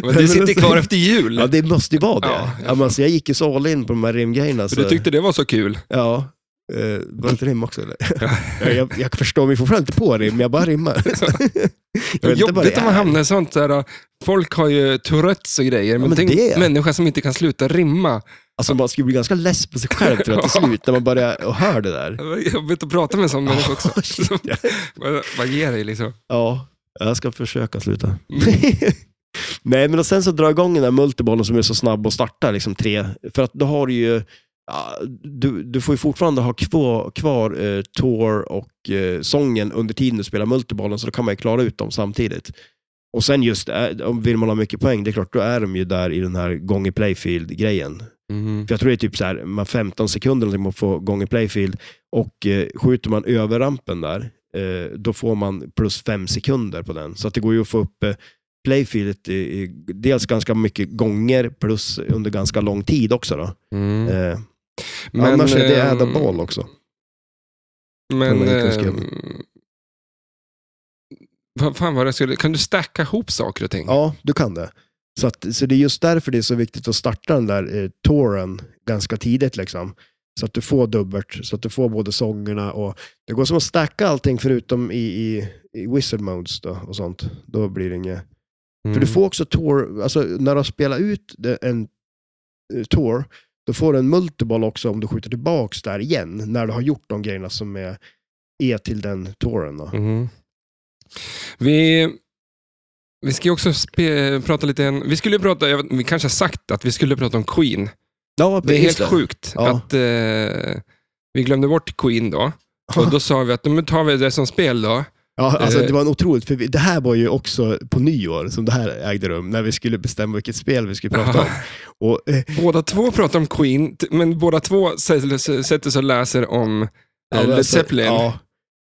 [SPEAKER 1] Men det sitter kvar efter jul.
[SPEAKER 2] Ja, det måste ju vara det.
[SPEAKER 1] Ja.
[SPEAKER 2] Ja, men alltså, jag gick ju så all in på de här rimgrejerna.
[SPEAKER 1] För du
[SPEAKER 2] så-
[SPEAKER 1] tyckte det var så kul.
[SPEAKER 2] Ja. Eh, var det inte rim också
[SPEAKER 1] <laughs>
[SPEAKER 2] eller? jag, jag, jag förstår mig fortfarande inte på rim, jag
[SPEAKER 1] <laughs>
[SPEAKER 2] bara rimmar. Jag vet inte vad
[SPEAKER 1] Jobbigt
[SPEAKER 2] det
[SPEAKER 1] om man
[SPEAKER 2] är.
[SPEAKER 1] hamnar i sånt där. äh, Folk har ju Tourettes och grejer, men,
[SPEAKER 2] men
[SPEAKER 1] tänk
[SPEAKER 2] det-
[SPEAKER 1] människa som inte kan sluta rimma.
[SPEAKER 2] Alltså man skulle bli ganska less på sig själv tror jag till slut när man börjar och hör det där.
[SPEAKER 1] Det var jobbigt att prata med en
[SPEAKER 2] <laughs>
[SPEAKER 1] sån människa också.
[SPEAKER 2] Shit, ja.
[SPEAKER 1] <laughs> Vad- Vad ger dig liksom?
[SPEAKER 2] Ja, jag ska försöka sluta. <laughs> Nej, men och sen så drar jag igång den där multibollen som är så snabb och startar liksom tre. För att då har du ju, ja, du, du får ju fortfarande ha kvar, kvar eh, tour och eh, sången under tiden du spelar multibollen, så då kan man ju klara ut dem samtidigt. Och sen just, eh, om vill man ha mycket poäng, det är klart, då är de ju där i den här gång i playfield-grejen. För jag tror det är typ så här, man 15 sekunder någonting man får gång i playfield och eh, skjuter man över rampen där, eh, då får man plus 5 sekunder på den. Så att det går ju att få upp eh, playfieldet i, i, dels ganska mycket gånger plus under ganska lång tid också. Då. Eh,
[SPEAKER 1] Mm. Men,
[SPEAKER 3] Annars är det
[SPEAKER 1] ehm,
[SPEAKER 3] äda ball också.
[SPEAKER 1] Men...
[SPEAKER 3] Kan man inte
[SPEAKER 1] ehm,
[SPEAKER 3] skriva.
[SPEAKER 1] Vad fan var det jag skulle... Kan du stacka ihop saker och ting?
[SPEAKER 3] Ja, du kan det.
[SPEAKER 2] så, att, så det är just därför det är så viktigt att starta den där eh, touren ganska tidigt. Liksom. Så att du får dubbelt, så att du får både sångerna och... Det går som att stacka allting förutom i, i, i wizard modes då, och sånt. Då blir det inget...
[SPEAKER 1] Mm.
[SPEAKER 2] För du får också tour, alltså när du har spelat ut det- en eh, tour, då får du en multiboll också om du skjuter tillbaks där igen, när du har gjort de grejerna som är, är till den touren. Då.
[SPEAKER 1] Mm. Vi, vi ska ju också spe, prata lite... en- Vi skulle ju prata, jag vet, vi kanske har sagt att vi skulle prata om Queen.
[SPEAKER 2] Ja,
[SPEAKER 1] Det är helt sjukt
[SPEAKER 2] Ja.
[SPEAKER 1] att eh, vi glömde bort Queen då. Och då sa vi att nu tar vi det som spel då.
[SPEAKER 2] Ja, alltså,
[SPEAKER 1] Eh.
[SPEAKER 2] det var en otroligt förvi- Det här var ju också på nyår som det här ägde rum, när vi skulle bestämma vilket spel vi skulle
[SPEAKER 1] <laughs>
[SPEAKER 2] prata om. Och, eh,
[SPEAKER 1] Båda två pratar om Queen, t- men båda två sä- sä- sätter sig och läser om eh,
[SPEAKER 2] men
[SPEAKER 1] Led
[SPEAKER 2] alltså,
[SPEAKER 1] Zeppelin.
[SPEAKER 2] Ja.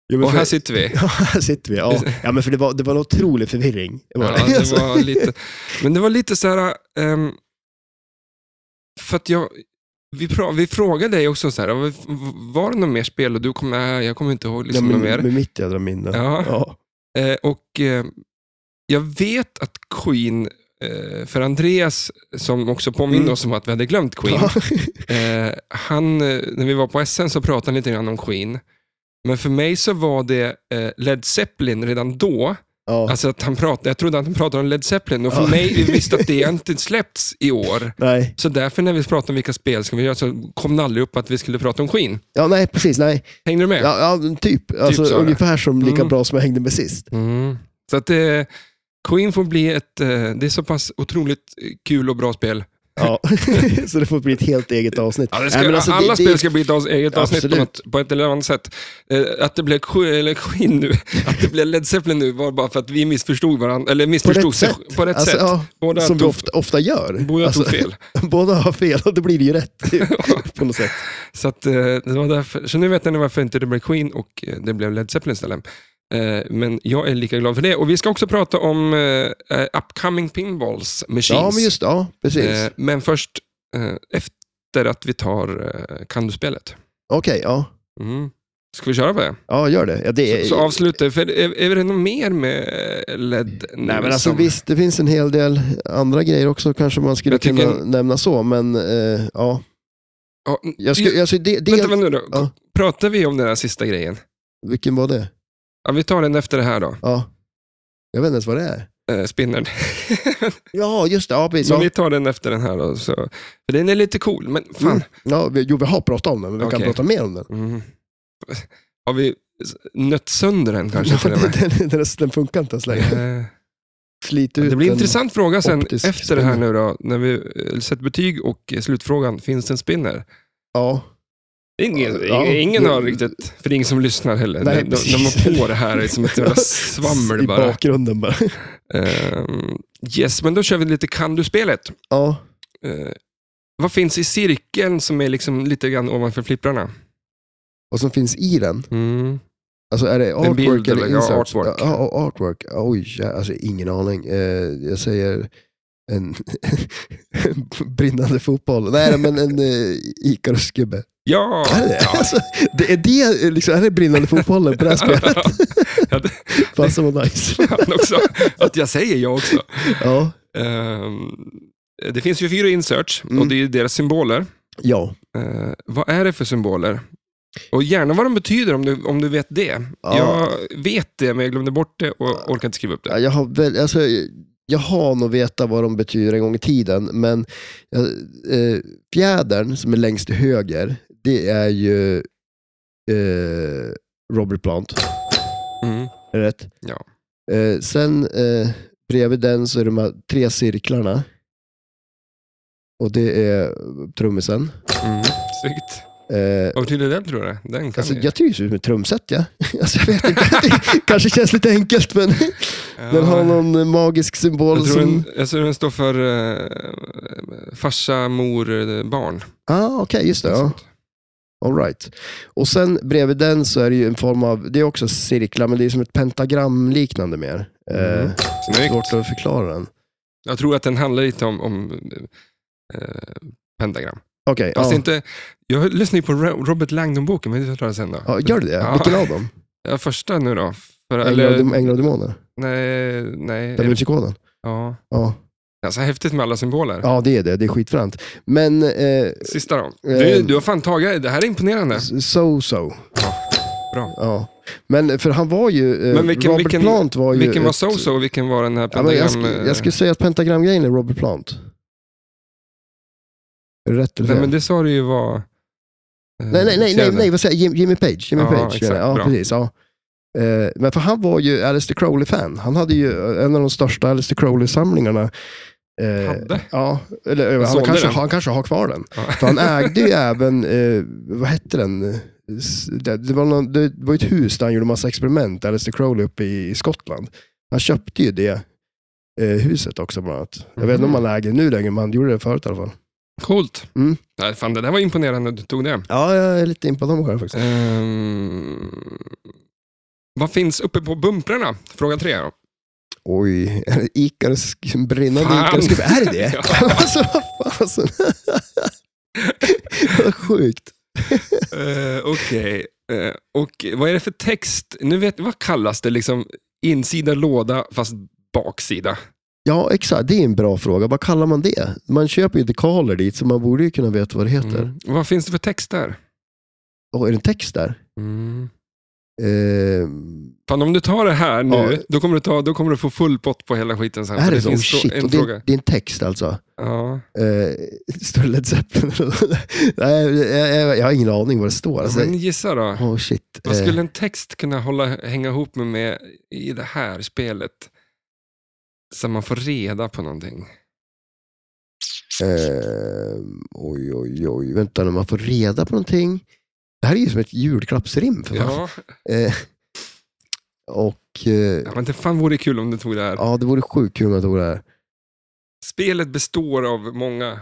[SPEAKER 2] Ja, men
[SPEAKER 1] Och
[SPEAKER 2] för-
[SPEAKER 1] här sitter vi.
[SPEAKER 2] <laughs> Ja, här sitter vi. Ja, ja men för det var, det var en otrolig förvirring. Alltså, Det var,
[SPEAKER 1] Ja, det
[SPEAKER 2] <laughs>
[SPEAKER 1] var liksom lite, men det var lite så här... ehm, för att jag, vi, pra, vi frågade dig också, så här, "Var- var det något mer spel? Och du kom, nej, jag kommer inte ihåg liksom,
[SPEAKER 2] ja,
[SPEAKER 1] något mer.
[SPEAKER 2] med, med mitt jädra minne.
[SPEAKER 1] Ja.
[SPEAKER 2] Ja.
[SPEAKER 1] Eh, och eh, jag vet att Queen, eh, för Andreas, som också påminner
[SPEAKER 2] Mm.
[SPEAKER 1] oss om att vi hade glömt Queen,
[SPEAKER 2] <laughs> Ja.
[SPEAKER 1] eh, han, eh, när vi var på SN så pratade han lite grann om Queen. Men för mig så var det eh, Led Zeppelin redan då.
[SPEAKER 2] Ja.
[SPEAKER 1] Alltså att han pratade, jag trodde att han pratade om Led Zeppelin och för
[SPEAKER 2] Ja.
[SPEAKER 1] mig,
[SPEAKER 2] <laughs>
[SPEAKER 1] vi visste att det inte släppts i år.
[SPEAKER 2] Nej.
[SPEAKER 1] Så därför när vi pratade om vilka spel ska vi göra så kom det aldrig upp att vi skulle prata om Queen.
[SPEAKER 2] Ja, nej, precis. Nej.
[SPEAKER 1] Hängde du med?
[SPEAKER 2] Ja, ja, men typ. Alltså,
[SPEAKER 1] så, ja.
[SPEAKER 2] ungefär som lika
[SPEAKER 1] Mm.
[SPEAKER 2] bra som jag hängde med sist.
[SPEAKER 1] Mm. Så att eh, Queen får bli ett, eh, det är så pass otroligt eh, kul och bra spel. <laughs>
[SPEAKER 2] Ja. <laughs> så det får bli ett helt eget avsnitt.
[SPEAKER 1] Ja, det ska,
[SPEAKER 2] Nej, men alltså,
[SPEAKER 1] Eh, alla
[SPEAKER 2] det- det-
[SPEAKER 1] spel ska bli ett avs- eget avsnitt på,
[SPEAKER 2] Absolut.
[SPEAKER 1] något, på ett eller annat sätt. Eh, att det blev Queen, eller Queen
[SPEAKER 2] <laughs>
[SPEAKER 1] nu, att det blev Led Zeppelin nu var bara för att vi missförstod varandra, eller missförstod
[SPEAKER 2] rätt
[SPEAKER 1] sig
[SPEAKER 2] sätt.
[SPEAKER 1] på rätt
[SPEAKER 2] alltså,
[SPEAKER 1] sätt.
[SPEAKER 2] Ja,
[SPEAKER 1] Båda
[SPEAKER 2] som vi
[SPEAKER 1] tog-
[SPEAKER 2] ofta, ofta gör.
[SPEAKER 1] Båda
[SPEAKER 2] alltså,
[SPEAKER 1] tog fel.
[SPEAKER 2] <laughs> båda har fel och då blir det ju rätt.
[SPEAKER 1] <laughs>
[SPEAKER 2] Typ, på något sätt.
[SPEAKER 1] Så, att, eh, det var därför, så nu vet ni varför inte det blev Queen och eh, det blev Led Zeppelin istället. Eh, men jag är lika glad för det. Och vi ska också prata om eh, eh, upcoming pinballs machines.
[SPEAKER 2] Ja, men just ja, precis.
[SPEAKER 1] Eh, men först eh, efter att vi tar eh, Kan du-spelet.
[SPEAKER 2] Okej, ja.
[SPEAKER 1] Mm. Ska vi köra på det?
[SPEAKER 2] ja, gör det. Ja, det
[SPEAKER 1] Så, så avsluta. För är, är det något mer med eh, LED?
[SPEAKER 2] Nej, men alltså, visst, det finns en hel del andra grejer också kanske man skulle
[SPEAKER 1] Jag tycker-
[SPEAKER 2] kunna nämna så, men eh, ja.
[SPEAKER 1] Ja,
[SPEAKER 2] Jag skulle, alltså, det, det,
[SPEAKER 1] vänta, vänta nu då.
[SPEAKER 2] Ja.
[SPEAKER 1] Pratar vi om den här sista grejen?
[SPEAKER 2] Vilken var det?
[SPEAKER 1] Ja, vi tar den efter det här då.
[SPEAKER 2] Ja. Jag vet inte ens vad det är.
[SPEAKER 1] Eh, spinnern. <laughs>
[SPEAKER 2] Ja, just det. Ja, precis.
[SPEAKER 1] Men
[SPEAKER 2] Ja.
[SPEAKER 1] vi tar den efter den här då. Så. För den är lite cool, men fan.
[SPEAKER 2] Mm. Ja, vi, jo, vi har pratat om den, men vi kan
[SPEAKER 1] Okej.
[SPEAKER 2] prata mer om den.
[SPEAKER 1] Mm. Har vi s- nött sönder den kanske till och
[SPEAKER 2] <laughs> den,
[SPEAKER 1] med?
[SPEAKER 2] den, den, den funkar inte ens längre.
[SPEAKER 1] Eh,
[SPEAKER 2] Slit ut
[SPEAKER 1] Det blir en
[SPEAKER 2] den.
[SPEAKER 1] intressant fråga sen efter
[SPEAKER 2] optisk
[SPEAKER 1] det här
[SPEAKER 2] spinner.
[SPEAKER 1] nu då, när vi eh, sett betyg och eh, slutfrågan, finns det en spinner?
[SPEAKER 2] Ja.
[SPEAKER 1] Ingen,
[SPEAKER 2] Ja,
[SPEAKER 1] ingen
[SPEAKER 2] det-
[SPEAKER 1] har riktigt, för det är ingen som lyssnar heller.
[SPEAKER 2] Nej,
[SPEAKER 1] de, de, de
[SPEAKER 2] precis.
[SPEAKER 1] har på det här som ett
[SPEAKER 2] <laughs>
[SPEAKER 1] jävla svammel
[SPEAKER 2] I
[SPEAKER 1] bara.
[SPEAKER 2] bakgrunden bara. <laughs>
[SPEAKER 1] Ehm, yes, men då kör vi lite Kan du-spelet.
[SPEAKER 2] Ja.
[SPEAKER 1] Eh, vad finns i cirkeln som är liksom lite grann ovanför flipprarna?
[SPEAKER 2] Vad som finns i den?
[SPEAKER 1] Mm.
[SPEAKER 2] Alltså är det artwork
[SPEAKER 1] bild
[SPEAKER 2] eller
[SPEAKER 1] eller- ja,
[SPEAKER 2] insert?
[SPEAKER 1] artwork.
[SPEAKER 2] Ja, ja, artwork. Oj, ja, alltså ingen aning. Eh, jag säger en <laughs> brinnande fotboll. Nej, men en uh, Icarus-gubbe.
[SPEAKER 1] Ja!
[SPEAKER 2] Är det? Alltså, det är det, liksom, är det brinnande fotbollen på det
[SPEAKER 1] <laughs>
[SPEAKER 2] här spelet?
[SPEAKER 1] Ja, det-
[SPEAKER 2] Fan så vad nice.
[SPEAKER 1] Han också, att jag säger jag också.
[SPEAKER 2] Ja.
[SPEAKER 1] Ehm, det finns ju fyra inserts
[SPEAKER 2] Mm.
[SPEAKER 1] och det är ju deras symboler.
[SPEAKER 2] Ja.
[SPEAKER 1] Eh, vad är det för symboler? Och gärna vad de betyder om du, om du vet det.
[SPEAKER 2] Ja.
[SPEAKER 1] Jag vet det, men jag glömde bort det och orkade inte skriva upp
[SPEAKER 2] Ja,
[SPEAKER 1] det.
[SPEAKER 2] Jag har, väl, alltså, jag har nog vetat vad de betyder en gång i tiden, men eh, eh, fjädern som är längst till höger, det är ju eh, Robert Plant.
[SPEAKER 1] Mm.
[SPEAKER 2] Är det rätt?
[SPEAKER 1] Ja.
[SPEAKER 2] Eh, sen eh, bredvid den så är det de här tre cirklarna. Och det är trummisen.
[SPEAKER 1] Mm. Snyggt.
[SPEAKER 2] Eh,
[SPEAKER 1] Vad betyder den tror du? Den kan
[SPEAKER 2] alltså,
[SPEAKER 1] ni.
[SPEAKER 2] jag trivs ju med trumset, ja. <laughs> Alltså, jag vet inte, <laughs> det kanske känns lite enkelt, men
[SPEAKER 1] Ja.
[SPEAKER 2] den har någon eh, magisk symbol
[SPEAKER 1] Jag tror,
[SPEAKER 2] som...
[SPEAKER 1] den, jag tror den står för eh, farsa, mor, eh, barn.
[SPEAKER 2] Ah, okej, just det. Ja.
[SPEAKER 1] Sånt.
[SPEAKER 2] All right. Och sen bredvid den så är det ju en form av, det är också cirklar, men det är som ett pentagram liknande mer.
[SPEAKER 1] Mm.
[SPEAKER 2] Eh,
[SPEAKER 1] Snyggt.
[SPEAKER 2] svårt att förklara den.
[SPEAKER 1] Jag tror att den handlar lite om, om eh, pentagram.
[SPEAKER 2] Okej,
[SPEAKER 1] Fast
[SPEAKER 2] ja.
[SPEAKER 1] inte, jag lyssnar ju på Ro- Robert Langdon-boken, men det tar jag sen då.
[SPEAKER 2] ja. Gör du det?
[SPEAKER 1] Ja.
[SPEAKER 2] Vilken av dem?
[SPEAKER 1] Ja, första nu då. För,
[SPEAKER 2] Änglar och
[SPEAKER 1] eller,
[SPEAKER 2] dem- Änglar och demoner?
[SPEAKER 1] nej, nej. är det-
[SPEAKER 2] Davinci-koden?
[SPEAKER 1] Ja.
[SPEAKER 2] Ja.
[SPEAKER 1] Alltså, häftigt med alla symboler.
[SPEAKER 2] ja, det är det. Det är skitfränt. Men eh,
[SPEAKER 1] Sista då. Du,
[SPEAKER 2] Eh,
[SPEAKER 1] du har fan tagit, det här är imponerande.
[SPEAKER 2] so-so.
[SPEAKER 1] Ja, bra.
[SPEAKER 2] Ja. Men för han var ju, eh,
[SPEAKER 1] Men vilken-
[SPEAKER 2] Robert
[SPEAKER 1] vilken-
[SPEAKER 2] Plant var ju...
[SPEAKER 1] Vilken var
[SPEAKER 2] ett-
[SPEAKER 1] so-so och vilken var den här
[SPEAKER 2] Ja, men jag,
[SPEAKER 1] pentagram...
[SPEAKER 2] skulle,
[SPEAKER 1] eh,
[SPEAKER 2] jag skulle säga att pentagramgrejen är Robert Plant. Är det rätt eller
[SPEAKER 1] Nej,
[SPEAKER 2] fel?
[SPEAKER 1] men det sa du ju var... eh,
[SPEAKER 2] Nej, nej, nej, nej,
[SPEAKER 1] fjärden.
[SPEAKER 2] nej vad säger jag? Jim- Jimmy Page. Jimmy
[SPEAKER 1] Ja,
[SPEAKER 2] Page menar
[SPEAKER 1] exakt.
[SPEAKER 2] jag. ja
[SPEAKER 1] Bra.
[SPEAKER 2] precis. Ja. Eh, Men för han var ju Alistair Crowley-fan. Han hade ju en av de största Alistair Crowley-samlingarna. Eh,
[SPEAKER 1] Hade?
[SPEAKER 2] Ja, eller eh,
[SPEAKER 1] Han
[SPEAKER 2] han,
[SPEAKER 1] sålde
[SPEAKER 2] kanske,
[SPEAKER 1] den.
[SPEAKER 2] han kanske har kvar den.
[SPEAKER 1] Ja.
[SPEAKER 2] För han ägde <laughs> ju även, eh, vad hette den? Eh, s- Det, det, var någon, det var ett hus där han gjorde massa experiment, Alistair Crowley uppe i, i Skottland. Han köpte ju det eh, huset också bland annat. Jag vet inte om
[SPEAKER 1] Mhm.
[SPEAKER 2] han äger det nu längre, men han gjorde det förut i alla fall.
[SPEAKER 1] Coolt.
[SPEAKER 2] Mm.
[SPEAKER 1] Nej, fan, det där var imponerande att du tog det.
[SPEAKER 2] Ja, jag är lite impad av mig själv faktiskt.
[SPEAKER 1] Ehm, vad finns uppe på bumprarna? Fråga tre. Då.
[SPEAKER 2] Oj, är det Icarus, brinnande
[SPEAKER 1] Fan.
[SPEAKER 2] Icarus? Är det
[SPEAKER 1] <laughs>
[SPEAKER 2] det?
[SPEAKER 1] Ja.
[SPEAKER 2] <laughs> alltså, vad fasen? <laughs> vad sjukt.
[SPEAKER 1] Eh, Okej. Eh, och vad är det för text? Nu vet, vad kallas det? Liksom, insida låda, fast baksida.
[SPEAKER 2] Ja, exakt. Det är en bra fråga. Vad kallar man det? Man köper ju dekaler dit, så man borde ju kunna veta vad det heter.
[SPEAKER 1] Mm. Vad finns det för text där?
[SPEAKER 2] Åh, är det en text där?
[SPEAKER 1] Mm.
[SPEAKER 2] Ehm,
[SPEAKER 1] Fan, om du tar det här nu,
[SPEAKER 2] Ja.
[SPEAKER 1] då, kommer du ta, då kommer du få full pott på hela skiten sen.
[SPEAKER 2] är
[SPEAKER 1] för
[SPEAKER 2] det så? Oh,
[SPEAKER 1] finns så-
[SPEAKER 2] shit.
[SPEAKER 1] en
[SPEAKER 2] Och det,
[SPEAKER 1] fråga.
[SPEAKER 2] är, det är en text alltså.
[SPEAKER 1] Ja.
[SPEAKER 2] Uh, står det Led Zeppelin? <laughs> Nej, jag, jag, jag har ingen aning vad det står. Alltså,
[SPEAKER 1] Men gissa då.
[SPEAKER 2] Åh, shit.
[SPEAKER 1] Vad
[SPEAKER 2] Eh,
[SPEAKER 1] skulle en text kunna hålla, hänga ihop med, med i det här spelet? Så man får reda på någonting.
[SPEAKER 2] Eh, oj, oj, oj. Vänta nu, man får reda på någonting. Det här är ju som ett julklappsrim för fan.
[SPEAKER 1] Ja,
[SPEAKER 2] Eh, och eh,
[SPEAKER 1] ja, men det fan vore kul om du tog det här.
[SPEAKER 2] ja, det vore sjukt kul om jag tog det här.
[SPEAKER 1] Spelet består av många...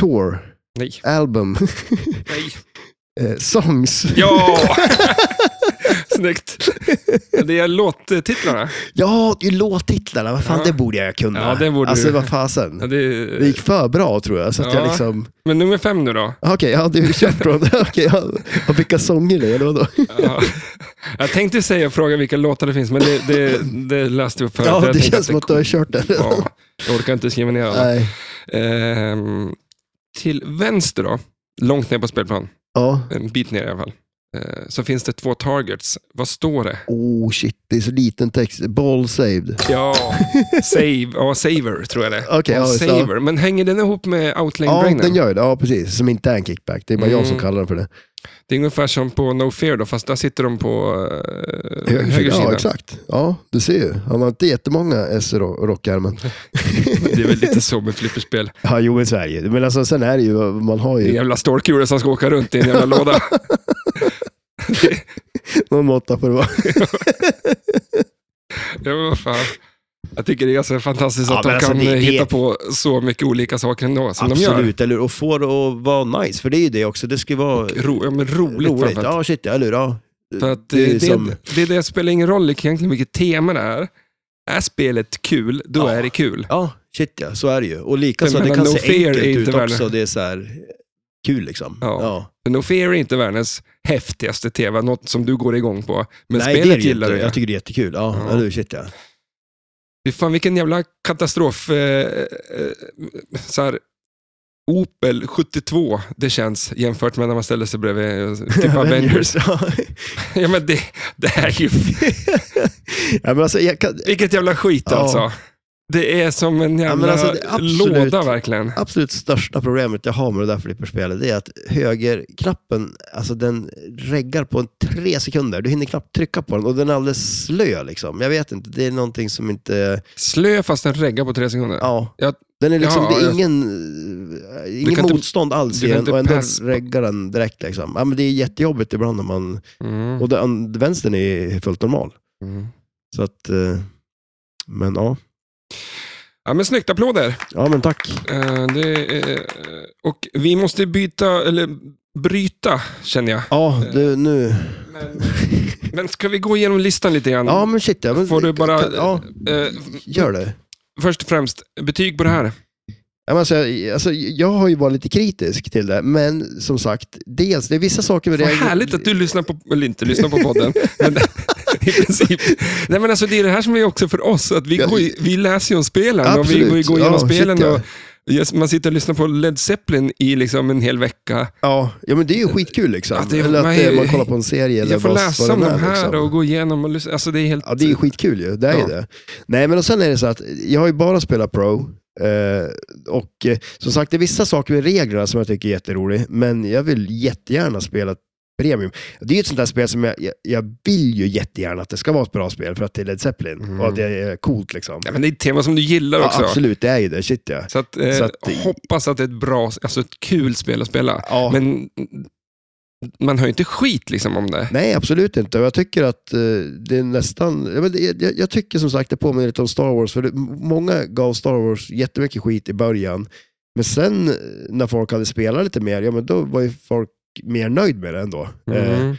[SPEAKER 2] Tour,
[SPEAKER 1] Nej,
[SPEAKER 2] album, <laughs>
[SPEAKER 1] nej.
[SPEAKER 2] eh, songs.
[SPEAKER 1] Ja!
[SPEAKER 2] <laughs>
[SPEAKER 1] Snyggt. Det är låttitlarna.
[SPEAKER 2] Ja, det är låttitlarna. Vad fan,
[SPEAKER 1] Ja.
[SPEAKER 2] det borde jag kunna.
[SPEAKER 1] Ja, det borde
[SPEAKER 2] alltså,
[SPEAKER 1] du.
[SPEAKER 2] vad
[SPEAKER 1] Ja,
[SPEAKER 2] fasen.
[SPEAKER 1] det
[SPEAKER 2] Det
[SPEAKER 1] är...
[SPEAKER 2] gick för bra tror jag, så att
[SPEAKER 1] Ja.
[SPEAKER 2] jag liksom... ah,
[SPEAKER 1] Men nummer fem nu då.
[SPEAKER 2] Okej, ja, du kört från det. <laughs> Okej, ja. Och vilka sånger det är, eller vadå?
[SPEAKER 1] Ja. Jag tänkte säga fråga vilka låtar det finns, men det, det, det läste jag upp förut.
[SPEAKER 2] Ja,
[SPEAKER 1] Jag
[SPEAKER 2] det
[SPEAKER 1] tänkte
[SPEAKER 2] känns som att du har kört det.
[SPEAKER 1] Ja, jag orkar inte skriva ner alla.
[SPEAKER 2] Nej.
[SPEAKER 1] Ehm, till vänster då, långt ner på spelplan,
[SPEAKER 2] Ja.
[SPEAKER 1] en bit ner i alla fall, eh, så finns det två targets. Vad står det?
[SPEAKER 2] Oh shit, det är så liten text. Ball saved.
[SPEAKER 1] Ja, save, ja saver tror jag det är.
[SPEAKER 2] Okej,
[SPEAKER 1] Ja,
[SPEAKER 2] ja, så-
[SPEAKER 1] saver. Men hänger den ihop med outlane
[SPEAKER 2] Ja,
[SPEAKER 1] brainen?
[SPEAKER 2] den gör ju det. Ja, precis. Som inte är en kickback. Det är bara jag som
[SPEAKER 1] Mm.
[SPEAKER 2] kallar den för det.
[SPEAKER 1] Det är ungefär som på No Fear då, fast där sitter de på eh, <laughs> höger
[SPEAKER 2] ja,
[SPEAKER 1] sida.
[SPEAKER 2] exakt. Ja, du ser ju. Han har inte jättemånga S i ro- rockärmen.
[SPEAKER 1] <laughs> Det är väl lite så med flipperspel.
[SPEAKER 2] Ja, jo, i Sverige. Men alltså, sen är det ju, man har
[SPEAKER 1] Det är en
[SPEAKER 2] ju
[SPEAKER 1] jävla storkula som ska åka runt i en jävla låda.
[SPEAKER 2] någon måtta för det vara.
[SPEAKER 1] Ja, men vad fan. Jag tycker det är ganska fantastiskt
[SPEAKER 4] Ja,
[SPEAKER 1] att
[SPEAKER 4] men
[SPEAKER 1] de
[SPEAKER 4] alltså,
[SPEAKER 1] kan
[SPEAKER 4] det-
[SPEAKER 1] eh,
[SPEAKER 4] det-
[SPEAKER 1] hitta på så mycket olika saker ändå som de gör.
[SPEAKER 4] Absolut, eller och få det att vara nice, för det är ju det också. Det ska ju vara
[SPEAKER 1] Ro, ja, men
[SPEAKER 4] roligt.
[SPEAKER 1] roligt, framförallt.
[SPEAKER 4] Ja, shit, eller hur? Ja.
[SPEAKER 1] För att eh,
[SPEAKER 4] Det är
[SPEAKER 1] det, det,
[SPEAKER 4] som-
[SPEAKER 1] det, det spelar ingen roll egentligen vilket tema det är. Är spelet kul, då
[SPEAKER 4] Ja.
[SPEAKER 1] är det kul.
[SPEAKER 4] ja, shit ja, så är det ju. Och likaså,
[SPEAKER 1] Jag
[SPEAKER 4] det
[SPEAKER 1] menar,
[SPEAKER 4] kan se
[SPEAKER 1] No Fear är
[SPEAKER 4] enkelt ut
[SPEAKER 1] inte värre.
[SPEAKER 4] också. Det är så här kul liksom.
[SPEAKER 1] Ja. För No Fear är inte världens häftigaste tv, något som du går igång på. Men
[SPEAKER 4] Nej, det är
[SPEAKER 1] spelet
[SPEAKER 4] det ju
[SPEAKER 1] gillar
[SPEAKER 4] inte.
[SPEAKER 1] du.
[SPEAKER 4] Jag tycker det är jättekul. Ja,
[SPEAKER 1] Ja. Typ
[SPEAKER 4] eller hur? Shit
[SPEAKER 2] <laughs>
[SPEAKER 4] ja.
[SPEAKER 1] Fy fan vilken jävla katastrof. Eh, eh, så här, Opel 72, det känns jämfört med när man ställer sig bredvid eh,
[SPEAKER 4] <laughs>
[SPEAKER 1] typ
[SPEAKER 2] <laughs>
[SPEAKER 1] Avengers. <laughs>
[SPEAKER 4] Ja.
[SPEAKER 1] ja, men det, det är ju...
[SPEAKER 4] <laughs>
[SPEAKER 2] ja, men alltså, jag kan,
[SPEAKER 1] Vilket jävla skit
[SPEAKER 2] Ja.
[SPEAKER 1] alltså. Det är som en jävla
[SPEAKER 4] men alltså, det är absolut-
[SPEAKER 1] låda verkligen.
[SPEAKER 4] absolut största problemet jag har med det där flipperspelet det är att högerknappen, alltså den reggar på en tre sekunder. Du hinner knappt trycka på den och den är alldeles slö liksom. Jag vet inte, det är någonting som inte...
[SPEAKER 1] Slö fast en regga på tre sekunder.
[SPEAKER 4] Ja.
[SPEAKER 1] Jag-
[SPEAKER 4] Den är liksom,
[SPEAKER 1] Ja,
[SPEAKER 4] det är
[SPEAKER 1] jag-
[SPEAKER 4] ingen,
[SPEAKER 1] Du
[SPEAKER 4] ingen
[SPEAKER 1] kan inte-
[SPEAKER 4] motstånd alls
[SPEAKER 1] du
[SPEAKER 4] i
[SPEAKER 1] kan
[SPEAKER 4] den
[SPEAKER 1] inte
[SPEAKER 4] och ändå
[SPEAKER 1] pass-
[SPEAKER 4] reggar den direkt liksom. Ja, men det är jättejobbigt ibland när man...
[SPEAKER 1] Mm.
[SPEAKER 4] Och den, vänstern är fullt normal.
[SPEAKER 1] Mm.
[SPEAKER 4] Så att... eh, Men ja.
[SPEAKER 1] Ja, men snyggt, applåder.
[SPEAKER 4] Ja men tack.
[SPEAKER 1] Eh, det, är- eh, och vi måste byta, eller bryta känner jag.
[SPEAKER 4] Ja, du, nu...
[SPEAKER 1] Men, men ska vi gå igenom listan lite grann?
[SPEAKER 4] Ja men shit. Ja, men,
[SPEAKER 1] Får du bara-
[SPEAKER 4] kan- Ja,
[SPEAKER 1] Eh,
[SPEAKER 4] gör det.
[SPEAKER 1] först och främst, betyg på det här.
[SPEAKER 2] Ja, men Alltså, jag- alltså, jag har ju varit lite kritisk till det, men som sagt, dels, det är vissa saker... med
[SPEAKER 1] Vad
[SPEAKER 2] det-
[SPEAKER 1] härligt att du lyssnar på, eller inte lyssnar på
[SPEAKER 2] <laughs>
[SPEAKER 1] podden, men <laughs> i princip. Nej, men alltså, det är det här som är också för oss, att vi,
[SPEAKER 2] Ja,
[SPEAKER 1] går, ju- vi läser ju om spelen och vi
[SPEAKER 2] Absolut.
[SPEAKER 1] går, ju- går igenom
[SPEAKER 2] Ja, shit,
[SPEAKER 1] spelen.
[SPEAKER 2] ja.
[SPEAKER 1] och, yes, man sitter och lyssnar på Led Zeppelin i liksom en hel vecka.
[SPEAKER 2] Ja, ja, men det är ju skitkul liksom.
[SPEAKER 1] Ja, det är-
[SPEAKER 2] eller att
[SPEAKER 1] man
[SPEAKER 2] man,
[SPEAKER 1] är-
[SPEAKER 2] man kollar på en serie. eller
[SPEAKER 1] Jag får
[SPEAKER 2] vad- vad
[SPEAKER 1] läsa om
[SPEAKER 2] den
[SPEAKER 1] de
[SPEAKER 2] är,
[SPEAKER 1] här
[SPEAKER 2] liksom.
[SPEAKER 1] och gå igenom och lyssna. Alltså, det är helt...
[SPEAKER 2] Ja, det är ju skitkul ju. Det är
[SPEAKER 1] Ja.
[SPEAKER 2] ju det. Nej, men och sen är det så att jag har ju bara spelat pro. Eh, och eh, som sagt, det är vissa saker med reglerna som jag tycker är jätteroligt, men jag vill jättegärna spela premium. Det är ju ett sånt där spel som jag, jag, jag vill ju jättegärna att det ska vara ett bra spel för att det är Led Zeppelin
[SPEAKER 1] Mm.
[SPEAKER 2] och att det är coolt liksom.
[SPEAKER 1] ja, men det är ett tema som du gillar
[SPEAKER 2] Ja,
[SPEAKER 1] också.
[SPEAKER 2] absolut, det är ju det. Shit ja.
[SPEAKER 1] Så, att, eh,
[SPEAKER 2] Så att-
[SPEAKER 1] hoppas att det är ett bra, alltså ett kul spel att spela.
[SPEAKER 2] ja.
[SPEAKER 1] Men man hör ju inte skit liksom om det.
[SPEAKER 2] Nej, absolut inte. Och Jag tycker att eh, det är nästan... ja, men det- Jag, jag tycker som sagt det påminner lite om Star Wars. För det, många gav Star Wars jättemycket skit i början. Men sen eh, när folk hade spelat lite mer, ja men då var ju folk mer nöjd med det ändå. Eh,
[SPEAKER 1] Mm.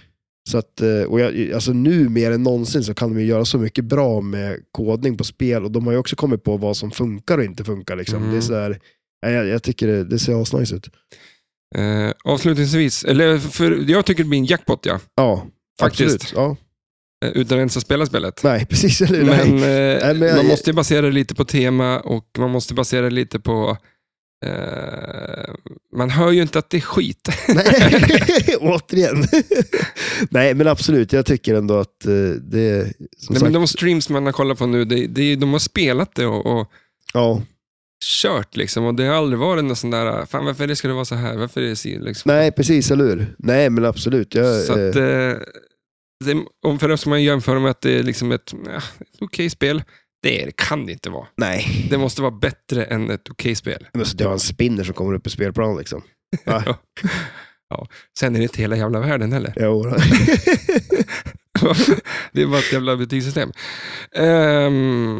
[SPEAKER 2] så att, eh, och jag, alltså nu mer än någonsin så kan de ju göra så mycket bra med kodning på spel. Och de har ju också kommit på vad som funkar och inte funkar. Liksom.
[SPEAKER 1] Mm.
[SPEAKER 2] Det är sådär, nej, jag, jag tycker det, det ser asnice ut.
[SPEAKER 1] Eh, avslutningsvis, eller för, jag tycker det blir en jackpot ja.
[SPEAKER 2] Ja,
[SPEAKER 1] Faktiskt.
[SPEAKER 2] Absolut. Ja,
[SPEAKER 1] Eh, Utan att ens att spela spelet.
[SPEAKER 2] nej, <laughs> precis. Eller, nej.
[SPEAKER 1] Men, eh,
[SPEAKER 2] men jag-
[SPEAKER 1] man måste ju basera det lite på tema och man måste basera det lite på... Eh, man hör ju inte att det är skit.
[SPEAKER 2] Nej, <laughs> återigen. Nej, men absolut. Jag tycker ändå att eh, det är, som
[SPEAKER 1] Nej,
[SPEAKER 2] sagt,
[SPEAKER 1] men de streams man har kollat på nu, det, det, är- de har spelat det och, och
[SPEAKER 2] ja.
[SPEAKER 1] kört liksom. Och det har aldrig varit någon sån där, fan varför det ska det vara så här, varför är det si liksom.
[SPEAKER 2] Nej, precis, eller hur? Nej, men absolut. Jag,
[SPEAKER 1] Så att,
[SPEAKER 2] eh,
[SPEAKER 1] eh, det, om för oss man jämför med att det är liksom ett, ja, ett okej spel. Det är- det kan det inte vara.
[SPEAKER 2] nej.
[SPEAKER 1] Det måste vara bättre än ett okej spel.
[SPEAKER 2] Men så det var en spinner som kommer upp i spelplan liksom. Va?
[SPEAKER 1] Ja. Sen är det inte hela jävla världen heller. <laughs>
[SPEAKER 2] Jo, då.
[SPEAKER 1] det är bara ett jävla betygssystem. Ehm,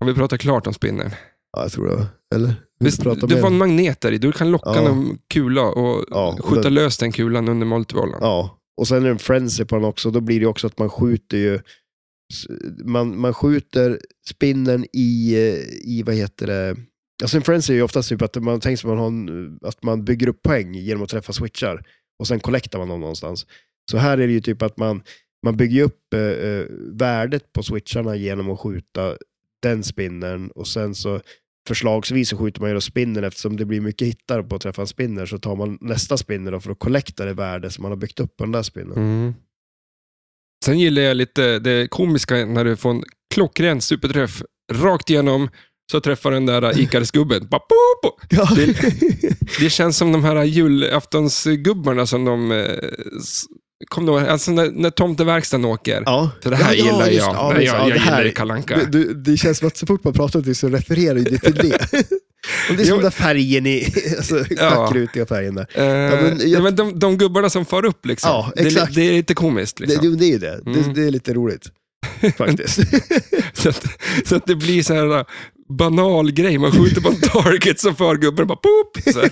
[SPEAKER 1] har vi pratat klart om spinnern?
[SPEAKER 2] ja, jag tror det. var- Eller? Vill du
[SPEAKER 1] Visst,
[SPEAKER 2] prata
[SPEAKER 1] det
[SPEAKER 2] mer?
[SPEAKER 1] var en magnet där i. Du kan locka
[SPEAKER 2] Ja.
[SPEAKER 1] någon kula och
[SPEAKER 2] Ja, och
[SPEAKER 1] skjuta
[SPEAKER 2] den-
[SPEAKER 1] lös den kulan under multibollen.
[SPEAKER 2] Ja, och sen är det en frenzy på den också. Då blir det ju också att man skjuter ju s- man, man skjuter spinnen i, eh, i, vad heter det, alltså en frenzy är ju oftast typ att man tänker sig att man, har en, att man bygger upp poäng genom att träffa switchar och sen collectar man dem någonstans. Så här är det ju typ att man, man bygger upp eh, eh, värdet på switcharna genom att skjuta den spinnen och sen så förslagsvis så skjuter man ju då spinnen eftersom det blir mycket hittar på att träffa en spinner så tar man nästa spinner då för att collecta det värde som man har byggt upp på den där spinnen.
[SPEAKER 1] Mm. Sen gillar jag lite det komiska när du får en klockren superträff rakt igenom så träffar den där Icaris-gubben. Bara, boop, boop.
[SPEAKER 2] <laughs> Ja.
[SPEAKER 1] Det känns som de här julaftonsgubbarna som de... eh, s- Kom då, alltså när, när tomteverkstan åker.
[SPEAKER 4] Ja.
[SPEAKER 1] För det här
[SPEAKER 2] Ja, ja,
[SPEAKER 1] gillar
[SPEAKER 2] just det.
[SPEAKER 1] jag.
[SPEAKER 2] Ja,
[SPEAKER 1] jag
[SPEAKER 2] visst.
[SPEAKER 1] jag
[SPEAKER 2] Ja, det här-
[SPEAKER 1] gillar ju Kalle Anka.
[SPEAKER 2] Du, du, det känns som att så fort man pratar om det så refererar ju det till det. Om det
[SPEAKER 1] Jo.
[SPEAKER 2] är som den där färgen i, <laughs> alltså schackrutiga färgen där.
[SPEAKER 1] Eh,
[SPEAKER 2] men
[SPEAKER 1] men
[SPEAKER 2] jag-
[SPEAKER 1] men de, de gubbarna som far upp liksom.
[SPEAKER 2] Ja,
[SPEAKER 1] det, är li-
[SPEAKER 2] exakt.
[SPEAKER 1] det är lite komiskt. Liksom.
[SPEAKER 2] Det, det, det är ju det. det.
[SPEAKER 1] Mm.
[SPEAKER 2] Det är lite <laughs> roligt. Faktiskt.
[SPEAKER 1] Så, att, så att det blir så här uh, banal grej. Man skjuter på en <laughs> target så far gubben bara pop. Så här.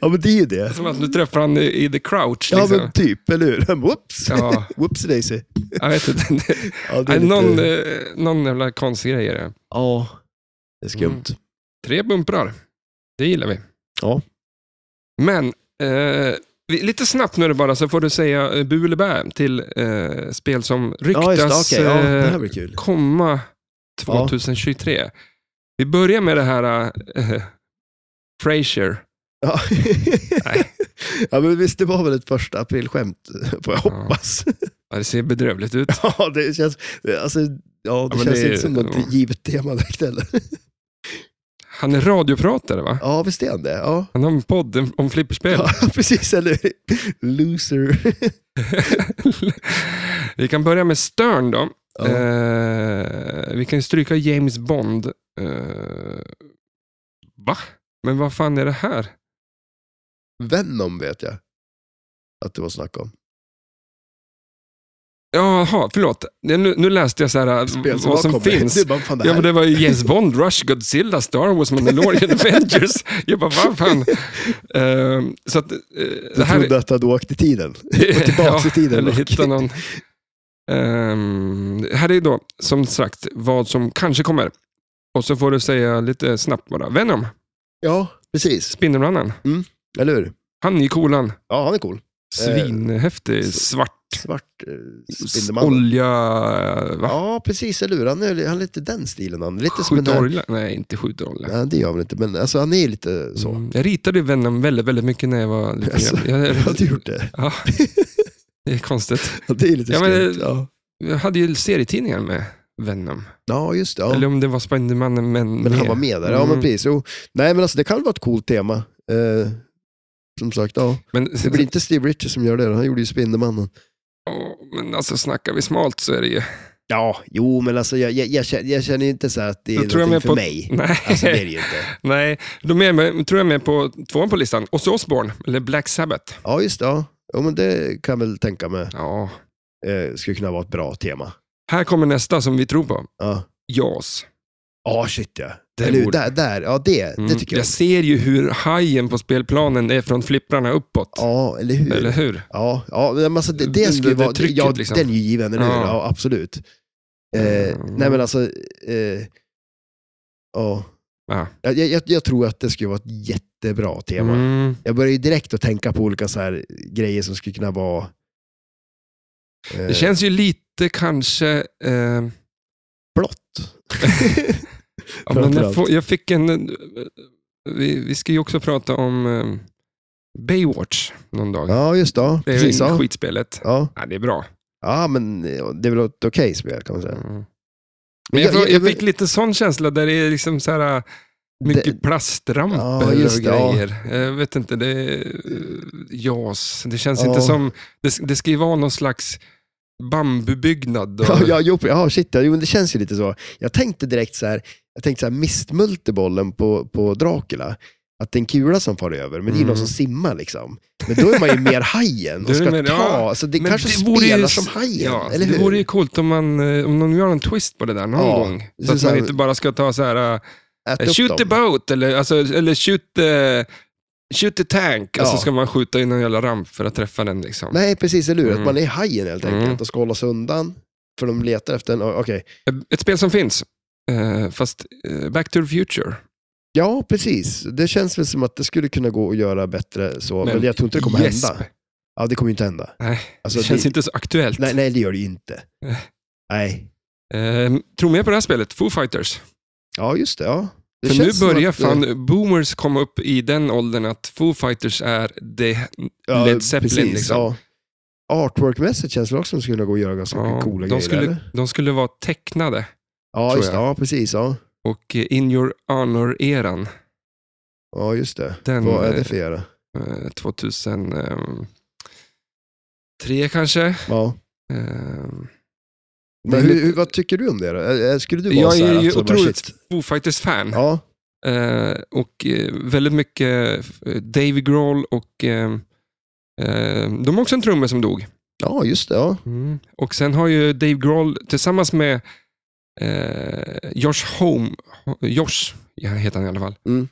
[SPEAKER 2] ja, men det är ju det.
[SPEAKER 1] Som att nu träffar han i, i the crouch.
[SPEAKER 2] Ja,
[SPEAKER 1] Liksom.
[SPEAKER 2] men typ, eller hur? <laughs> Whoops!
[SPEAKER 1] Ja.
[SPEAKER 2] Whoops daisy.
[SPEAKER 1] Jag
[SPEAKER 4] <laughs>
[SPEAKER 1] vet inte. Det,
[SPEAKER 2] Ja, det är lite-
[SPEAKER 1] någon, eh, någon jävla konstig grej är det.
[SPEAKER 4] Ja. Det är skumt.
[SPEAKER 1] Mm. Tre bumprar. Det gillar vi.
[SPEAKER 4] Ja.
[SPEAKER 1] Men, eh, vi- lite snabbt nu är det bara så får du säga eh, bu eller bä till eh, spel som
[SPEAKER 4] Ja, just det.
[SPEAKER 1] ryktas
[SPEAKER 4] Okej, ja, det här
[SPEAKER 1] eh,
[SPEAKER 4] blir kul.
[SPEAKER 1] komma 2023. Vi börjar med det här eh, <laughs> Frasier.
[SPEAKER 2] Ja.
[SPEAKER 1] Nej.
[SPEAKER 2] <laughs> ja, men visst, det var väl ett första aprilskämt, <laughs> får jag
[SPEAKER 1] Ja.
[SPEAKER 2] hoppas. <laughs>
[SPEAKER 1] Ja, det ser bedrövligt ut.
[SPEAKER 2] Ja, det känns, alltså, ja, det
[SPEAKER 1] men
[SPEAKER 2] känns
[SPEAKER 1] det är-
[SPEAKER 2] inte som något
[SPEAKER 1] ja.
[SPEAKER 2] givet tema
[SPEAKER 1] <laughs>
[SPEAKER 2] direkt heller.
[SPEAKER 1] Han är radiopratare va?
[SPEAKER 2] Ja, visst är han det? Ja,
[SPEAKER 1] Han har en podd om flipperspel.
[SPEAKER 2] ja <laughs> precis. Eller hur?
[SPEAKER 1] Eh.
[SPEAKER 2] Loser.
[SPEAKER 1] Vi kan börja med Stern då.
[SPEAKER 2] Ja.
[SPEAKER 1] Eh, vi kan ju stryka James Bond. Eh, va? Men vad fan är det här?
[SPEAKER 2] Venom vet jag att det var snack om.
[SPEAKER 1] Jaha, förlåt. Det- Nu, nu läste jag så här, eh,
[SPEAKER 2] Spel
[SPEAKER 1] Mm, vad
[SPEAKER 2] har
[SPEAKER 1] som
[SPEAKER 2] kommit.
[SPEAKER 1] finns.
[SPEAKER 2] Du bara, fan det här.
[SPEAKER 1] Ja, men det var ju James Bond, Rush, Godzilla, Star Wars,
[SPEAKER 2] <laughs>
[SPEAKER 1] Mandalorian, Avengers. Jag bara, vad fan. Eh, så att, eh,
[SPEAKER 2] Du trodde att du hade åkt
[SPEAKER 1] <laughs>
[SPEAKER 2] i tiden. Och tillbaks i tiden
[SPEAKER 1] Eller
[SPEAKER 2] dock.
[SPEAKER 1] hitta någon. Ehm, här är då, som sagt, vad som kanske kommer. Och så får du säga lite snabbt bara. Venom,
[SPEAKER 2] Ja, precis.
[SPEAKER 1] Spindelmannen.
[SPEAKER 2] Eller hur?
[SPEAKER 1] Han i kolan.
[SPEAKER 2] Ja, han är cool.
[SPEAKER 1] Svinhäftig,
[SPEAKER 2] så-
[SPEAKER 1] svart,
[SPEAKER 2] Svart eh,
[SPEAKER 1] s-
[SPEAKER 2] Spindelmannen.
[SPEAKER 1] olja... Va?
[SPEAKER 2] Ja, precis. Eller hur? Han är, han är lite den stilen. Han. Lite som den
[SPEAKER 1] Skjuta
[SPEAKER 2] här-
[SPEAKER 1] olja? Nej, inte skjuta olja.
[SPEAKER 2] Nej, det gör han inte. Men alltså, han är lite så.
[SPEAKER 1] Mm, Jag ritade Venom väldigt, väldigt mycket när jag var liten.
[SPEAKER 2] Alltså, <laughs>
[SPEAKER 1] jag,
[SPEAKER 2] Jag hade
[SPEAKER 1] <laughs>
[SPEAKER 2] gjort det.
[SPEAKER 1] Ja. Det är konstigt.
[SPEAKER 2] Ja, Det är lite
[SPEAKER 1] Ja, men-
[SPEAKER 2] skumt. Ja.
[SPEAKER 1] Jag hade ju serietidningar med Venom.
[SPEAKER 2] ja, just det. Ja.
[SPEAKER 1] Eller om det var Spindelmannen, men...
[SPEAKER 2] Men han var med där. Ja, men
[SPEAKER 1] Mm.
[SPEAKER 2] precis. Jo. Nej, men alltså, det kan vara ett coolt tema. Eh, som sagt, ja.
[SPEAKER 1] Men,
[SPEAKER 2] Det blir inte Steve Ritchie som gör det. Han gjorde ju Spindelmannen.
[SPEAKER 1] <laughs> Ja, men alltså snackar vi smalt så är det ju...
[SPEAKER 2] Ja, jo, men alltså, jag, jag, jag, känner, jag känner inte så här att det är
[SPEAKER 1] Då tror jag
[SPEAKER 2] någonting
[SPEAKER 1] mer
[SPEAKER 2] för
[SPEAKER 1] på-
[SPEAKER 2] mig.
[SPEAKER 1] Nej,
[SPEAKER 2] Alltså, det är det ju inte.
[SPEAKER 1] <laughs> nej. Då är jag med, tror jag med på tvåan på listan. Ozzy Osbourne, eller Black Sabbath.
[SPEAKER 2] Ja, just det. Ja. Jo, men det kan jag väl tänka mig
[SPEAKER 1] Ja.
[SPEAKER 2] eh, skulle kunna vara ett bra tema.
[SPEAKER 1] Här kommer nästa som vi tror på.
[SPEAKER 2] Ja,
[SPEAKER 1] Jaws.
[SPEAKER 2] Ja, shit ja.
[SPEAKER 1] Det
[SPEAKER 2] Eller, hur?
[SPEAKER 1] borde-
[SPEAKER 2] där, där, ja det, det
[SPEAKER 1] Mm.
[SPEAKER 2] tycker jag.
[SPEAKER 1] Jag ser ju hur hajen på spelplanen är från flipprarna uppåt.
[SPEAKER 2] Ja, eller hur?
[SPEAKER 1] Eller hur?
[SPEAKER 2] Ja, ja men alltså det,
[SPEAKER 1] Det-
[SPEAKER 2] det skulle
[SPEAKER 1] det
[SPEAKER 2] ju vara...
[SPEAKER 1] trycket,
[SPEAKER 2] ja,
[SPEAKER 1] liksom.
[SPEAKER 2] den är ju given, eller hur?
[SPEAKER 1] Ja.
[SPEAKER 2] Ja, absolut. Eh,
[SPEAKER 1] Mm.
[SPEAKER 2] Nej, men alltså... Eh, ja.
[SPEAKER 1] Ja.
[SPEAKER 2] Jag, jag, jag tror att det skulle vara ett jättebra tema.
[SPEAKER 1] Mm.
[SPEAKER 2] Jag börjar ju direkt att tänka på olika så här grejer som skulle kunna vara... eh,
[SPEAKER 1] Det känns ju lite kanske... Eh,
[SPEAKER 2] blått.
[SPEAKER 1] ja, men jag,
[SPEAKER 2] Framförallt.
[SPEAKER 1] får, jag fick en... eh, Vi, vi ska ju också prata om eh, Baywatch någon dag.
[SPEAKER 2] Ja, just det. Ja,
[SPEAKER 1] det är
[SPEAKER 2] precis.
[SPEAKER 1] ju
[SPEAKER 2] Ja.
[SPEAKER 1] skitspelet.
[SPEAKER 2] Ja.
[SPEAKER 1] Ja, det är bra.
[SPEAKER 2] ja, men eh, det är väl ett okej spel kan man säga.
[SPEAKER 1] Mm.
[SPEAKER 2] Men
[SPEAKER 1] Men
[SPEAKER 2] jag-
[SPEAKER 1] jag,
[SPEAKER 2] jag-
[SPEAKER 1] jag,
[SPEAKER 2] jag-
[SPEAKER 1] fick lite sån känsla där det är liksom så här, äh, mycket plastramper
[SPEAKER 2] Ja, just
[SPEAKER 1] och
[SPEAKER 2] det, ja.
[SPEAKER 1] grejer. Jag vet inte, det är äh, JAS. Det känns
[SPEAKER 2] Ja.
[SPEAKER 1] inte som, det, det ska ju vara någon slags bambubyggnad. Och,
[SPEAKER 2] Ja, <laughs> ja, jo, ja shit, ja, jo, men det känns ju lite så. Jag tänkte direkt så här, jag tänkte så här mistmultibollen på, på Dracula. Att det är en kula som far över, men det är ju
[SPEAKER 1] Mm.
[SPEAKER 2] någon som simmar liksom. Men då är man ju mer hajen
[SPEAKER 1] Då är
[SPEAKER 2] och
[SPEAKER 1] <laughs>
[SPEAKER 2] ska
[SPEAKER 1] det mer-
[SPEAKER 2] ta,
[SPEAKER 1] ja.
[SPEAKER 2] så det
[SPEAKER 1] Men
[SPEAKER 2] kanske
[SPEAKER 1] det vore ju
[SPEAKER 2] spelar
[SPEAKER 1] s-
[SPEAKER 2] som hajen,
[SPEAKER 1] Ja,
[SPEAKER 2] eller
[SPEAKER 1] det
[SPEAKER 2] hur?
[SPEAKER 1] vore ju coolt om, man, eh, om någon gör en twist på det där någon
[SPEAKER 2] Ja,
[SPEAKER 1] gång.
[SPEAKER 2] så
[SPEAKER 1] Så att
[SPEAKER 2] så här-
[SPEAKER 1] man inte bara ska ta så här,
[SPEAKER 2] Ät
[SPEAKER 1] äh,
[SPEAKER 2] upp
[SPEAKER 1] shoot
[SPEAKER 2] dem.
[SPEAKER 1] the boat eller, alltså, eller shoot the, shoot the tank. Och så
[SPEAKER 2] Ja.
[SPEAKER 1] ska man skjuta in en jävla ramp för att träffa den. Liksom.
[SPEAKER 2] Nej, precis, eller hur?
[SPEAKER 1] Mm.
[SPEAKER 2] Att man är hajen helt
[SPEAKER 1] Mm.
[SPEAKER 2] enkelt och ska hålla sig undan. För de letar efter en, och- okej.
[SPEAKER 1] Ett spel som finns, eh, fast eh, Back to the Future.
[SPEAKER 2] Ja, precis. Det känns väl som att det skulle kunna gå att göra bättre så, men, jag tror inte det kommer
[SPEAKER 1] yes.
[SPEAKER 2] hända. Ja, det kommer ju inte hända.
[SPEAKER 1] Nej,
[SPEAKER 2] Alltså,
[SPEAKER 1] det känns inte så aktuellt.
[SPEAKER 2] nej, nej, det gör det ju inte.
[SPEAKER 1] Nej.
[SPEAKER 2] Nej,
[SPEAKER 1] Eh, tror mer på det här spelet, Foo Fighters.
[SPEAKER 2] Ja, just det. Ja. Det
[SPEAKER 1] För nu
[SPEAKER 2] känns som
[SPEAKER 1] börjar
[SPEAKER 2] att,
[SPEAKER 1] fan
[SPEAKER 2] eh,
[SPEAKER 1] boomers komma upp i den åldern att Foo Fighters är det. Led Zeppelin, liksom.
[SPEAKER 2] ja. Artwork-mässigt känns det också som skulle gå att göra ganska
[SPEAKER 1] Ja,
[SPEAKER 2] coola
[SPEAKER 1] de,
[SPEAKER 2] grejer.
[SPEAKER 1] skulle,
[SPEAKER 2] eller?
[SPEAKER 1] de skulle vara tecknade.
[SPEAKER 2] Ja,
[SPEAKER 1] tror
[SPEAKER 2] just det.
[SPEAKER 1] jag.
[SPEAKER 2] Ja, precis. Ja.
[SPEAKER 1] Och eh, In Your Honor-eran,
[SPEAKER 2] Ja, just det.
[SPEAKER 1] Den,
[SPEAKER 2] Vad är
[SPEAKER 1] eh,
[SPEAKER 2] det för era?
[SPEAKER 1] eh, 2003 kanske.
[SPEAKER 2] Ja.
[SPEAKER 1] <laughs> Eh,
[SPEAKER 2] Men hur, hur, vad tycker du om det då? Ä- ä- Skulle du vara
[SPEAKER 1] Jag
[SPEAKER 2] så här,
[SPEAKER 1] är ju
[SPEAKER 2] alltså, bara,
[SPEAKER 1] otroligt
[SPEAKER 2] shit?
[SPEAKER 1] Foo Fighters-fan.
[SPEAKER 2] Ja,
[SPEAKER 1] Eh, och eh, väldigt mycket eh, Dave Grohl och eh, eh, de har också en trummis som dog.
[SPEAKER 2] ja, just det. Ja.
[SPEAKER 1] Och sen har ju Dave Grohl tillsammans med eh, Josh Home, Josh ja, heter han i alla fall,
[SPEAKER 2] Mm.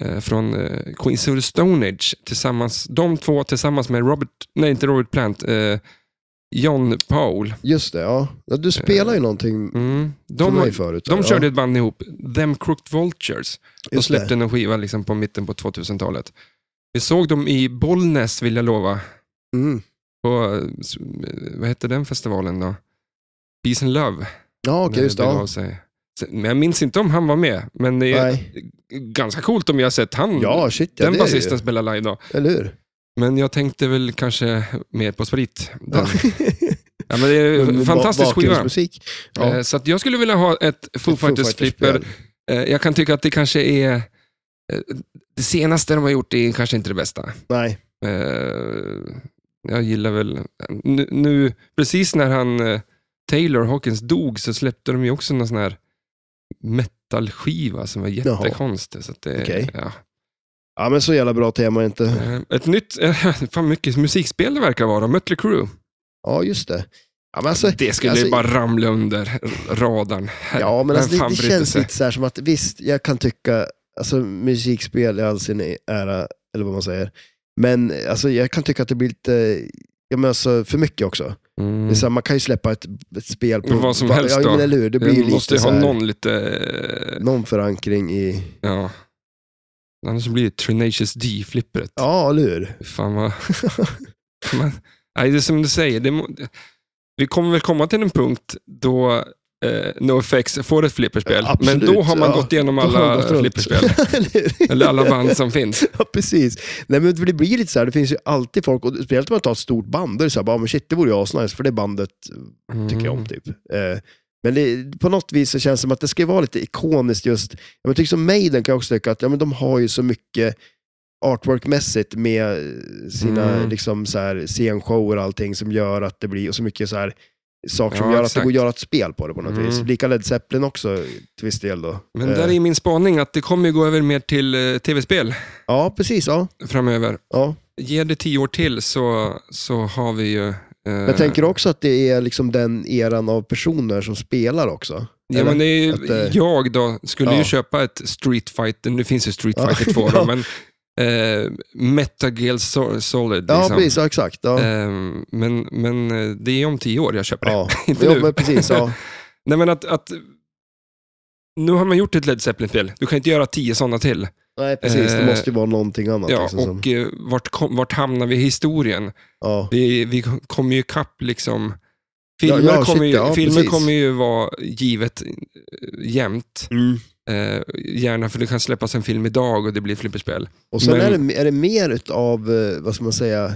[SPEAKER 1] eh, från eh, Queens of the Stone Age. Tillsammans, de två tillsammans med Robert, nej inte Robert Plant, eh, John Paul.
[SPEAKER 2] Just det, ja. ja du spelar ju någonting
[SPEAKER 1] Mm.
[SPEAKER 2] för mig
[SPEAKER 1] De,
[SPEAKER 2] förut.
[SPEAKER 1] de
[SPEAKER 2] ja.
[SPEAKER 1] körde ett band ihop, Them Crooked Vultures. De
[SPEAKER 2] Just
[SPEAKER 1] släppte
[SPEAKER 2] det.
[SPEAKER 1] en skiva liksom på mitten på 2000-talet. Vi såg dem i Bollnäs, vill jag lova,
[SPEAKER 2] Mm.
[SPEAKER 1] på, eh, s- eh, vad hette den festivalen då? Peace and Love.
[SPEAKER 2] Ja, okej,
[SPEAKER 1] när
[SPEAKER 2] just det.
[SPEAKER 1] begav
[SPEAKER 2] Ja.
[SPEAKER 1] sig. Sen- Men jag minns inte om han var med, men det är
[SPEAKER 2] Nej.
[SPEAKER 1] ganska coolt om jag har sett han,
[SPEAKER 2] Ja, shit. Ja,
[SPEAKER 1] den
[SPEAKER 2] det är det
[SPEAKER 1] basisten
[SPEAKER 2] ju.
[SPEAKER 1] spela live då.
[SPEAKER 2] Eller hur?
[SPEAKER 1] Men jag tänkte väl kanske mer på sprit. Den.
[SPEAKER 2] Ja.
[SPEAKER 1] Ja. men <laughs> det är en
[SPEAKER 2] Ba-
[SPEAKER 1] fantastisk skiva.
[SPEAKER 2] bakgrundsmusik. Ja.
[SPEAKER 1] Eh, Så att jag skulle vilja ha ett Foo Fighters-flipper Eh, Jag kan tycka att det kanske är... eh, Det senaste de har gjort är kanske inte det bästa.
[SPEAKER 2] Nej.
[SPEAKER 1] Eh, Jag gillar väl... Nu, nu precis när han eh, Taylor Hawkins dog så släppte de ju också någon sån här metalskiva som var
[SPEAKER 2] Jaha.
[SPEAKER 1] jättekonstig. Så att det,
[SPEAKER 2] Okej.
[SPEAKER 1] ja.
[SPEAKER 2] Ja, men så jävla bra tema inte.
[SPEAKER 1] Eh, <laughs> Ett nytt... Fan mycket musikspel det verkar vara. Mötley Crüe.
[SPEAKER 2] Ja, just det. Ja, men alltså,
[SPEAKER 1] Det skulle
[SPEAKER 2] alltså-
[SPEAKER 1] bara ramla under radarn. Här-
[SPEAKER 2] Ja, men alltså,
[SPEAKER 1] vem
[SPEAKER 2] det,
[SPEAKER 1] fan
[SPEAKER 2] det
[SPEAKER 1] brydde
[SPEAKER 2] känns
[SPEAKER 1] sig?
[SPEAKER 2] lite så här som att visst, jag kan tycka alltså, musikspel i all sin ära, eller vad man säger. Men alltså, jag kan tycka att det blir lite ja, men alltså, för mycket också. Det är
[SPEAKER 1] Mm.
[SPEAKER 2] så här, man kan ju släppa ett, ett spel på...
[SPEAKER 1] Vad som
[SPEAKER 2] va-
[SPEAKER 1] helst
[SPEAKER 2] ja,
[SPEAKER 1] då.
[SPEAKER 2] Men, eller hur? Det blir ju
[SPEAKER 1] Det
[SPEAKER 2] lite
[SPEAKER 1] måste ju
[SPEAKER 2] så
[SPEAKER 1] ha
[SPEAKER 2] här,
[SPEAKER 1] någon lite... eh,
[SPEAKER 2] någon förankring i...
[SPEAKER 1] Ja. Annars blir det Trinacious D-flippret.
[SPEAKER 2] Ja, eller hur?
[SPEAKER 1] Fan vad... <laughs> Man, nej, det är som du säger. Det må, vi kommer väl komma till en punkt då eh, NoFX får ett flipperspel.
[SPEAKER 2] Ja, Eh, absolut,
[SPEAKER 1] men då har man
[SPEAKER 2] ja.
[SPEAKER 1] gått igenom
[SPEAKER 2] Då har man
[SPEAKER 1] alla
[SPEAKER 2] gått runt. <laughs>
[SPEAKER 1] flipperspel.
[SPEAKER 2] eller hur?
[SPEAKER 1] Eller
[SPEAKER 2] <laughs>
[SPEAKER 1] alla band som finns.
[SPEAKER 2] Ja, precis. Nej, men det blir lite så här, det finns ju alltid folk, och speciellt om man tar ett stort band, då är det så här, bara, men shit, det vore ju asnice, för det bandet
[SPEAKER 1] Mm.
[SPEAKER 2] tycker jag om. Typ. Eh, men det, på något vis så känns det som att det ska vara lite ikoniskt just, jag tycker som Maiden kan jag också tycka att ja, men de har ju så mycket artworkmässigt med sina
[SPEAKER 1] Mm.
[SPEAKER 2] liksom, så här, scenshower och allting som gör att det blir, och så mycket så här, saker som
[SPEAKER 1] Ja,
[SPEAKER 2] gör att det
[SPEAKER 1] exakt.
[SPEAKER 2] går att göra ett spel på det på något
[SPEAKER 1] Mm.
[SPEAKER 2] vis. Lika Led Zeppelin också till viss del då.
[SPEAKER 1] Men
[SPEAKER 2] Eh,
[SPEAKER 1] där är min spaning att det kommer ju gå över mer till eh, tv-spel
[SPEAKER 2] Ja, precis. Ja,
[SPEAKER 1] framöver.
[SPEAKER 2] ja.
[SPEAKER 1] Ge det tio år till så, så har vi ju... eh,
[SPEAKER 2] Men jag tänker också att det är liksom den eran av personer som spelar också.
[SPEAKER 1] Ja,
[SPEAKER 2] Eller?
[SPEAKER 1] men det är ju,
[SPEAKER 2] Att, eh,
[SPEAKER 1] jag då skulle
[SPEAKER 2] ja.
[SPEAKER 1] ju köpa ett Street Fighter, nu finns ju Street
[SPEAKER 2] Ja.
[SPEAKER 1] Fighter 2
[SPEAKER 2] <laughs> Ja.
[SPEAKER 1] då, men eh, Metal Gear So- Solid.
[SPEAKER 2] ja,
[SPEAKER 1] liksom.
[SPEAKER 2] precis. Ja, exakt. Ja.
[SPEAKER 1] Eh, men, men eh, det är om tio år jag köper det.
[SPEAKER 2] Ja.
[SPEAKER 1] <laughs> Inte
[SPEAKER 2] ja,
[SPEAKER 1] nu.
[SPEAKER 2] men precis. Ja.
[SPEAKER 1] Nej, men att, att, nu har man gjort ett Led Zeppelin-spel, du kan inte göra tio sådana till.
[SPEAKER 2] Nej, precis. Det
[SPEAKER 1] Eh,
[SPEAKER 2] måste ju vara någonting annat.
[SPEAKER 1] Ja,
[SPEAKER 2] liksom, som,
[SPEAKER 1] och eh, vart, kom, vart hamnar vi i historien?
[SPEAKER 2] ja.
[SPEAKER 1] Vi, vi kommer ju ikapp liksom...
[SPEAKER 2] Ja,
[SPEAKER 1] Filmer,
[SPEAKER 2] ja, shit,
[SPEAKER 1] kommer, ju,
[SPEAKER 2] ja,
[SPEAKER 1] filmer
[SPEAKER 2] precis.
[SPEAKER 1] kommer ju vara givet eh, jämt. Eh, gärna för det kan släppas en film idag och det blir flipperspel.
[SPEAKER 2] Och sen
[SPEAKER 1] Men-
[SPEAKER 2] är, det, är det mer utav, eh, vad ska man säga,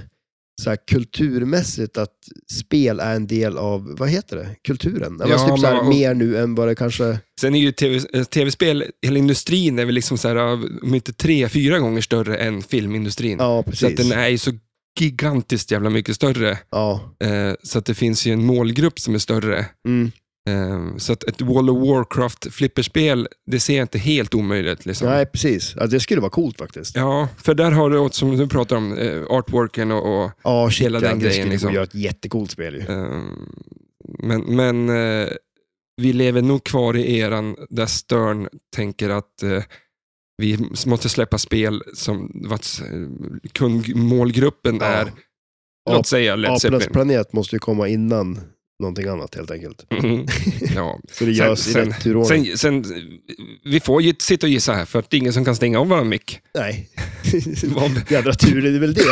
[SPEAKER 2] så här kulturmässigt att spel är en del av, vad heter det, kulturen? Ja,
[SPEAKER 1] Ja,
[SPEAKER 2] men typ så här,
[SPEAKER 1] men-
[SPEAKER 2] mer nu än vad det kanske...
[SPEAKER 1] Sen är ju TV, eh, tv-spel, hela industrin är väl liksom så här, om inte tre, fyra gånger större än filmindustrin.
[SPEAKER 2] Ja,
[SPEAKER 1] så att
[SPEAKER 2] precis.
[SPEAKER 1] den är ju så gigantiskt jävla mycket större.
[SPEAKER 2] Ja.
[SPEAKER 1] Eh, så att det finns ju en målgrupp som är större.
[SPEAKER 2] Mm.
[SPEAKER 1] Eh, så att ett World of Warcraft-flipperspel, det ser jag inte helt omöjligt. Liksom.
[SPEAKER 2] Nej, precis. Ja, det skulle vara coolt faktiskt.
[SPEAKER 1] Ja, för där har du, som du pratar om, eh, artworken och, och
[SPEAKER 2] Ja, shit,
[SPEAKER 1] Hela
[SPEAKER 2] ja,
[SPEAKER 1] den
[SPEAKER 2] det
[SPEAKER 1] grejen,
[SPEAKER 2] skulle gå
[SPEAKER 1] liksom.
[SPEAKER 2] göra ett jättecoolt spel ju.
[SPEAKER 1] Ehm, Men, men eh, vi lever nog kvar i eran där Stern tänker att eh, vi måste släppa spel som vart kundmålgruppen
[SPEAKER 2] Ja.
[SPEAKER 1] är,
[SPEAKER 2] Ja,
[SPEAKER 1] låt säga Led
[SPEAKER 2] Apornas
[SPEAKER 1] Zeppelin.
[SPEAKER 2] planet måste ju komma innan någonting annat helt enkelt. <laughs>
[SPEAKER 1] Mhm. Ja.
[SPEAKER 2] Så
[SPEAKER 1] Sen-
[SPEAKER 2] det görs i
[SPEAKER 1] sen-
[SPEAKER 2] rätt turordning.
[SPEAKER 1] Sen, sen, vi får ju sitta och gissa här, för att det är ingen som kan stänga av våran mick.
[SPEAKER 2] <laughs> Nej.
[SPEAKER 1] Vad-
[SPEAKER 2] <laughs> Jädra tur är det väl det.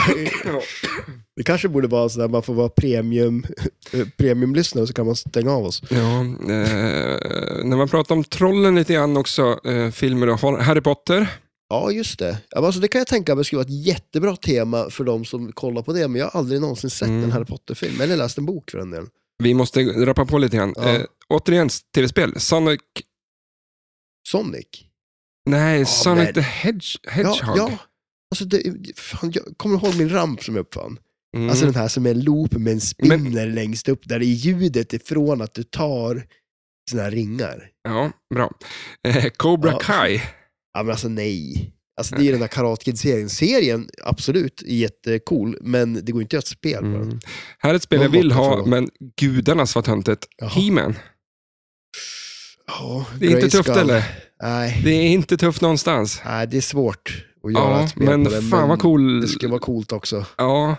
[SPEAKER 2] Det kanske borde vara sådär, man får vara premium, <laughs> eh, premiumlyssnare så kan man stänga av oss.
[SPEAKER 1] Ja, eh, när man pratar om trollen lite grann också, eh, filmer och Harry Potter.
[SPEAKER 2] Ja, just det. Ja, men Alltså, det kan jag tänka mig skulle vara ett jättebra tema för de som kollar på det, men jag har aldrig någonsin sett
[SPEAKER 1] Mm.
[SPEAKER 2] en Harry Potter-film, eller läst en bok för den delen.
[SPEAKER 1] Vi måste rappa på lite grann.
[SPEAKER 2] Ja.
[SPEAKER 1] Eh, återigen, tv-spel. Sonic
[SPEAKER 2] Sonic.
[SPEAKER 1] Nej, Sonic
[SPEAKER 2] men-
[SPEAKER 1] the Hedge,
[SPEAKER 2] Ja,
[SPEAKER 1] Hedgehog.
[SPEAKER 2] ja. Alltså det, fan, jag kommer du ihåg min ramp som jag uppfann?
[SPEAKER 1] Mm.
[SPEAKER 2] Alltså den här som är en loop med en spinner längst upp, där det är ljudet ifrån att du tar såna här ringar.
[SPEAKER 1] ja, bra. Eh, Cobra
[SPEAKER 2] Ja.
[SPEAKER 1] Kai.
[SPEAKER 2] Ja men alltså nej. Alltså det är ju den här Karate Kid-serien. Serien, absolut, är jättecool, men det går inte att göra ett spel på den.
[SPEAKER 1] Mm. Här är ett spel jag
[SPEAKER 2] Någon
[SPEAKER 1] vill
[SPEAKER 2] borta
[SPEAKER 1] ha,
[SPEAKER 2] från-
[SPEAKER 1] men gudarnas vad töntigt.
[SPEAKER 2] Jaha.
[SPEAKER 1] He-Man.
[SPEAKER 2] Ja,
[SPEAKER 1] Det är inte
[SPEAKER 2] Grayskull.
[SPEAKER 1] tufft eller?
[SPEAKER 2] Nej,
[SPEAKER 1] Det är inte tufft någonstans.
[SPEAKER 2] nej, det är svårt att göra
[SPEAKER 1] Ja,
[SPEAKER 2] ett spel
[SPEAKER 1] men
[SPEAKER 2] på den.
[SPEAKER 1] fan vad
[SPEAKER 2] Det
[SPEAKER 1] cool.
[SPEAKER 2] skulle vara coolt också. <laughs>
[SPEAKER 1] Ja.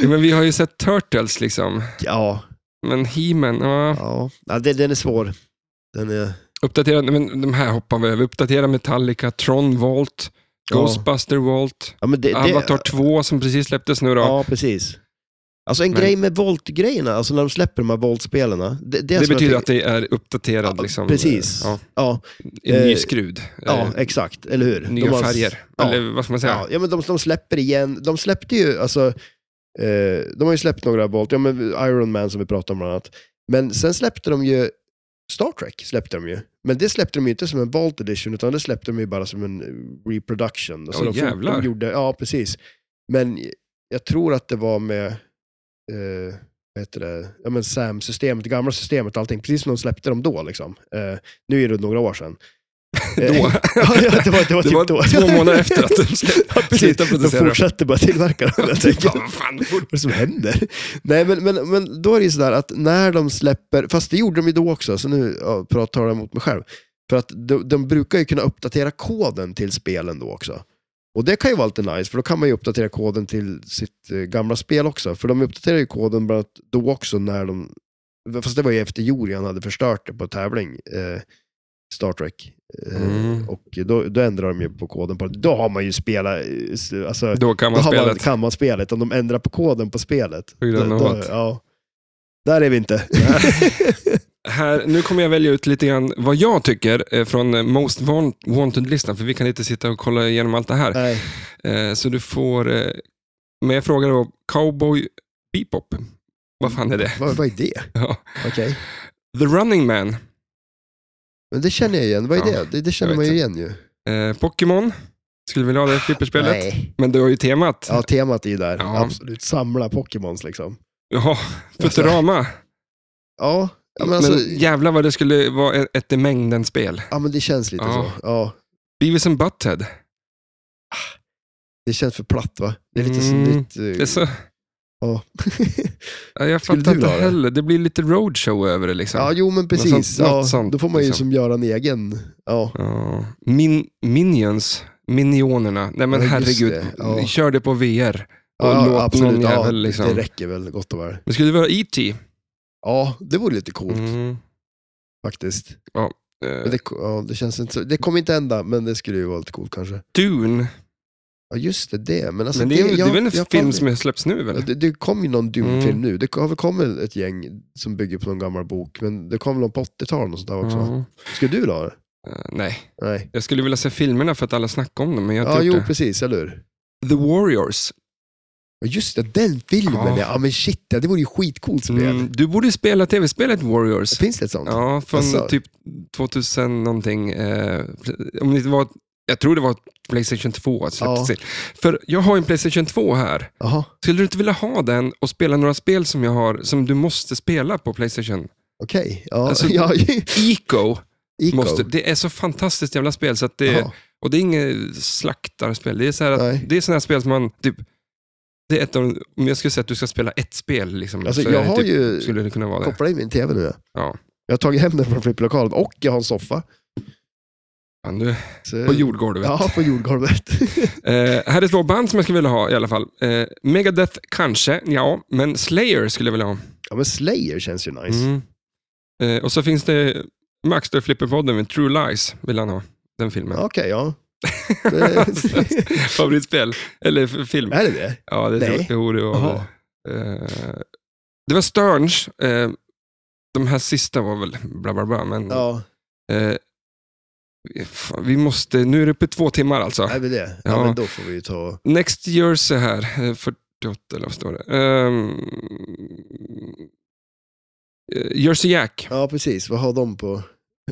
[SPEAKER 1] Ja, Men vi har ju sett Turtles liksom.
[SPEAKER 2] ja,
[SPEAKER 1] Men He-Man, ja.
[SPEAKER 2] ja. ja den, den är svår. Den är...
[SPEAKER 1] Uppdatera, men de här hoppar vi över. Uppdatera Metallica, Tron Volt,
[SPEAKER 2] Ja.
[SPEAKER 1] Ghostbuster Volt,
[SPEAKER 2] Ja, men det,
[SPEAKER 1] Avatar
[SPEAKER 2] det,
[SPEAKER 1] 2 som precis släpptes nu då.
[SPEAKER 2] Ja, precis. Alltså en
[SPEAKER 1] Men-
[SPEAKER 2] grej med Volt-grejerna, alltså när de släpper de här Volt-spelen. Det, det, är som
[SPEAKER 1] det
[SPEAKER 2] jag
[SPEAKER 1] betyder
[SPEAKER 2] tycker-
[SPEAKER 1] att det är uppdaterad
[SPEAKER 2] Ja,
[SPEAKER 1] liksom.
[SPEAKER 2] Precis.
[SPEAKER 1] Ja,
[SPEAKER 2] Ja, ja,
[SPEAKER 1] i ny
[SPEAKER 2] Eh,
[SPEAKER 1] skrud. Eh,
[SPEAKER 2] exakt. Eller hur?
[SPEAKER 1] Nya
[SPEAKER 2] De har-
[SPEAKER 1] färger.
[SPEAKER 2] ja.
[SPEAKER 1] Eller vad ska man säga?
[SPEAKER 2] Ja, ja, men de, de släpper igen. De släppte ju, alltså, eh, de har ju släppt några Volt, ja men Iron Man som vi pratade om bland annat. Men sen släppte de ju Star Trek, släppte de ju. Men det släppte de ju inte som en Vault Edition, utan det släppte de ju bara som en eh, reproduction. Alltså,
[SPEAKER 1] Åh,
[SPEAKER 2] de, fort-
[SPEAKER 1] jävlar.
[SPEAKER 2] de gjorde, Ja, precis. Men jag tror att det var med, eh, vad heter det, ja men SAM-systemet, det gamla systemet, allting, precis som de släppte dem då liksom. Eh, nu är det några
[SPEAKER 1] <laughs>
[SPEAKER 2] år sedan. <laughs> Eh,
[SPEAKER 1] Då.
[SPEAKER 2] ja, ja, det var, det
[SPEAKER 1] Det
[SPEAKER 2] var typ
[SPEAKER 1] var
[SPEAKER 2] då.
[SPEAKER 1] två månader efter att de släppte-
[SPEAKER 2] <laughs> ja, precis.
[SPEAKER 1] slutade
[SPEAKER 2] De
[SPEAKER 1] producera dem.
[SPEAKER 2] fortsatte bara tillverka dem.
[SPEAKER 1] <laughs>
[SPEAKER 2] Jag tänker,
[SPEAKER 1] Fan, fan,
[SPEAKER 2] vad är det som händer? <laughs> Nej, men, men, men då är det ju sådär att när de släpper, fast det gjorde de ju då också, så nu ja, pratar jag emot mig själv. För att de, de brukar ju kunna uppdatera koden till spelen då också. Och det kan ju vara lite nice, för då kan man ju uppdatera koden till sitt eh, gamla spel också. För de uppdaterar ju koden bland annat då också när de, fast det var ju efter Jorian hade förstört det på tävling, eh, Star Trek. Eh,
[SPEAKER 1] Mm.
[SPEAKER 2] Och då, då ändrar de ju på koden, på, då har man ju spelat, eh, s- alltså,
[SPEAKER 1] Då kan
[SPEAKER 2] då
[SPEAKER 1] man
[SPEAKER 2] har
[SPEAKER 1] spela
[SPEAKER 2] man,
[SPEAKER 1] ett
[SPEAKER 2] kan man spelet. Om de ändrar på koden på spelet.
[SPEAKER 1] På grund av
[SPEAKER 2] då,
[SPEAKER 1] något.
[SPEAKER 2] ja. Där är vi inte. <laughs>
[SPEAKER 1] här, nu kommer jag välja ut lite grann vad jag tycker eh, från eh, Most Want- Wanted-listan, för vi kan inte sitta och kolla igenom allt det här.
[SPEAKER 2] Nej.
[SPEAKER 1] Eh, Så du får... eh, Men jag frågade då, Cowboy Bebop, vad fan är det?
[SPEAKER 2] Vad, vad är det?
[SPEAKER 1] Ja.
[SPEAKER 2] Okej.
[SPEAKER 1] The Running Man,
[SPEAKER 2] Men det känner jag igen. Vad är
[SPEAKER 1] Ja,
[SPEAKER 2] det? det? Det känner
[SPEAKER 1] jag
[SPEAKER 2] man
[SPEAKER 1] vet
[SPEAKER 2] ju igen ju.
[SPEAKER 1] eh, Pokémon, skulle vilja ha det flipperspelet.
[SPEAKER 2] Nej.
[SPEAKER 1] Men du har ju temat.
[SPEAKER 2] Ja, temat är ju där.
[SPEAKER 1] Ja.
[SPEAKER 2] Absolut. Samla Pokémons liksom.
[SPEAKER 1] Jaha,
[SPEAKER 2] Alltså,
[SPEAKER 1] Futurama.
[SPEAKER 2] Ja, ja men
[SPEAKER 1] men
[SPEAKER 2] alltså,
[SPEAKER 1] jävlar vad det skulle vara e- ett- ett i mängden-spel.
[SPEAKER 2] ja, men det känns lite
[SPEAKER 1] Ja.
[SPEAKER 2] så. Ja,
[SPEAKER 1] Beavis and Butthead.
[SPEAKER 2] det känns för platt va? Det är lite så
[SPEAKER 1] Mm.
[SPEAKER 2] nytt. eh,
[SPEAKER 1] Det är så,
[SPEAKER 2] Ja.
[SPEAKER 1] ja, jag
[SPEAKER 2] Skulle
[SPEAKER 1] fattar
[SPEAKER 2] du
[SPEAKER 1] inte
[SPEAKER 2] ha det?
[SPEAKER 1] heller. Det blir lite roadshow över det liksom.
[SPEAKER 2] <laughs> ja, jo men precis.
[SPEAKER 1] Något sånt-
[SPEAKER 2] ja,
[SPEAKER 1] något sånt,
[SPEAKER 2] då får man ju
[SPEAKER 1] liksom.
[SPEAKER 2] som göra en egen. Ja.
[SPEAKER 1] Ja. Min, minions, Minionerna. Nej men
[SPEAKER 2] Ja, just
[SPEAKER 1] herregud,
[SPEAKER 2] det. Ja.
[SPEAKER 1] kör det på VR. Och
[SPEAKER 2] Ja,
[SPEAKER 1] låt någon
[SPEAKER 2] Ja,
[SPEAKER 1] jävel liksom.
[SPEAKER 2] Det räcker väl gott och väl.
[SPEAKER 1] Men skulle det vara E.T.?
[SPEAKER 2] Ja, det vore lite coolt
[SPEAKER 1] Mm.
[SPEAKER 2] faktiskt. Men
[SPEAKER 1] Eh,
[SPEAKER 2] det, ja, det, känns inte så, det kommer inte hända, men det skulle ju vara lite coolt kanske.
[SPEAKER 1] Dune,
[SPEAKER 2] Ja, just det. Alltså, det. Men, alltså,
[SPEAKER 1] men det, är ju- det är
[SPEAKER 2] jag-
[SPEAKER 1] väl en
[SPEAKER 2] jag
[SPEAKER 1] film
[SPEAKER 2] fan-
[SPEAKER 1] som släpps nu
[SPEAKER 2] Ja,
[SPEAKER 1] väl?
[SPEAKER 2] det, det kom ju någon Dune-film
[SPEAKER 1] Mm.
[SPEAKER 2] nu. Det har väl kommit ett gäng som bygger på någon gammal bok, men det kom väl någon på 80-talet och sånt där också.
[SPEAKER 1] Ja.
[SPEAKER 2] Skulle du vilja ha det?
[SPEAKER 1] Eh, nej,
[SPEAKER 2] Nej.
[SPEAKER 1] jag skulle vilja se filmerna för att alla snackar om dem, men jag har
[SPEAKER 2] Ja,
[SPEAKER 1] inte
[SPEAKER 2] jo,
[SPEAKER 1] gjort det.
[SPEAKER 2] precis, eller hur?
[SPEAKER 1] The Warriors.
[SPEAKER 2] Ja, Just det, den filmen
[SPEAKER 1] Ja.
[SPEAKER 2] ja. ja men shit, ja, det vore ju skitcoolt spel.
[SPEAKER 1] Mm, du borde spela tv-spelet Warriors.
[SPEAKER 2] Finns det ett sånt?
[SPEAKER 1] Ja, från
[SPEAKER 2] Alltså.
[SPEAKER 1] typ 2000 någonting. Eh, om det inte var, jag tror det var Playstation 2 som
[SPEAKER 2] Ja.
[SPEAKER 1] släpptes till. För jag har en Playstation 2 här.
[SPEAKER 2] Jaha,
[SPEAKER 1] Skulle du inte vilja ha den och spela några spel som jag har, som du måste spela på Playstation?
[SPEAKER 2] okej. Ja,
[SPEAKER 1] Alltså,
[SPEAKER 2] <laughs> ja,
[SPEAKER 1] Ico,
[SPEAKER 2] Ico.
[SPEAKER 1] Måste, det är så fantastiskt jävla spel. Så att det,
[SPEAKER 2] Jaha.
[SPEAKER 1] och det är inget slaktarspel. Det är så här att,
[SPEAKER 2] Nej.
[SPEAKER 1] det är såna här spel som man, typ, det är ett av, om jag skulle säga att du ska spela ett spel, liksom,
[SPEAKER 2] Alltså,
[SPEAKER 1] så
[SPEAKER 2] jag
[SPEAKER 1] är det
[SPEAKER 2] har
[SPEAKER 1] typ,
[SPEAKER 2] ju
[SPEAKER 1] skulle det kunna vara det.
[SPEAKER 2] kopplat in min tv nu. Ja.
[SPEAKER 1] Ja.
[SPEAKER 2] Jag har tagit hem den från flipplokalen och jag har en soffa.
[SPEAKER 1] Fan, du,
[SPEAKER 2] Så...
[SPEAKER 1] på jordgolvet.
[SPEAKER 2] Ja, på jordgolvet. <laughs>
[SPEAKER 1] Eh, här är två band som jag skulle vilja ha i alla fall. Eh, Megadeth kanske, ja. Men Slayer skulle jag vilja ha.
[SPEAKER 2] ja, men Slayer känns ju nice.
[SPEAKER 1] Mm. Eh, och så finns det Max där Flipperpodden med True Lies, vill han ha. Den filmen.
[SPEAKER 2] Ja, Okej, ja. Det-
[SPEAKER 1] <laughs>
[SPEAKER 2] <laughs>
[SPEAKER 1] Favoritspel, eller f- film.
[SPEAKER 2] är det det?
[SPEAKER 1] Ja, det tror
[SPEAKER 2] Nej.
[SPEAKER 1] jo, det var
[SPEAKER 2] Jaha.
[SPEAKER 1] väl. Eh, Det var Sterns. Eh, de här sista var väl bla bla bla, men
[SPEAKER 2] Ja,
[SPEAKER 1] eh, fan, vi måste, nu är det uppe i två timmar alltså.
[SPEAKER 2] är det det? Ja,
[SPEAKER 1] Ja.
[SPEAKER 2] men då får vi ju ta...
[SPEAKER 1] Next Years är här, eh, 48 eller vad står det? Um, Jersey Jack. eh,
[SPEAKER 2] Ja, precis. Vad har de på...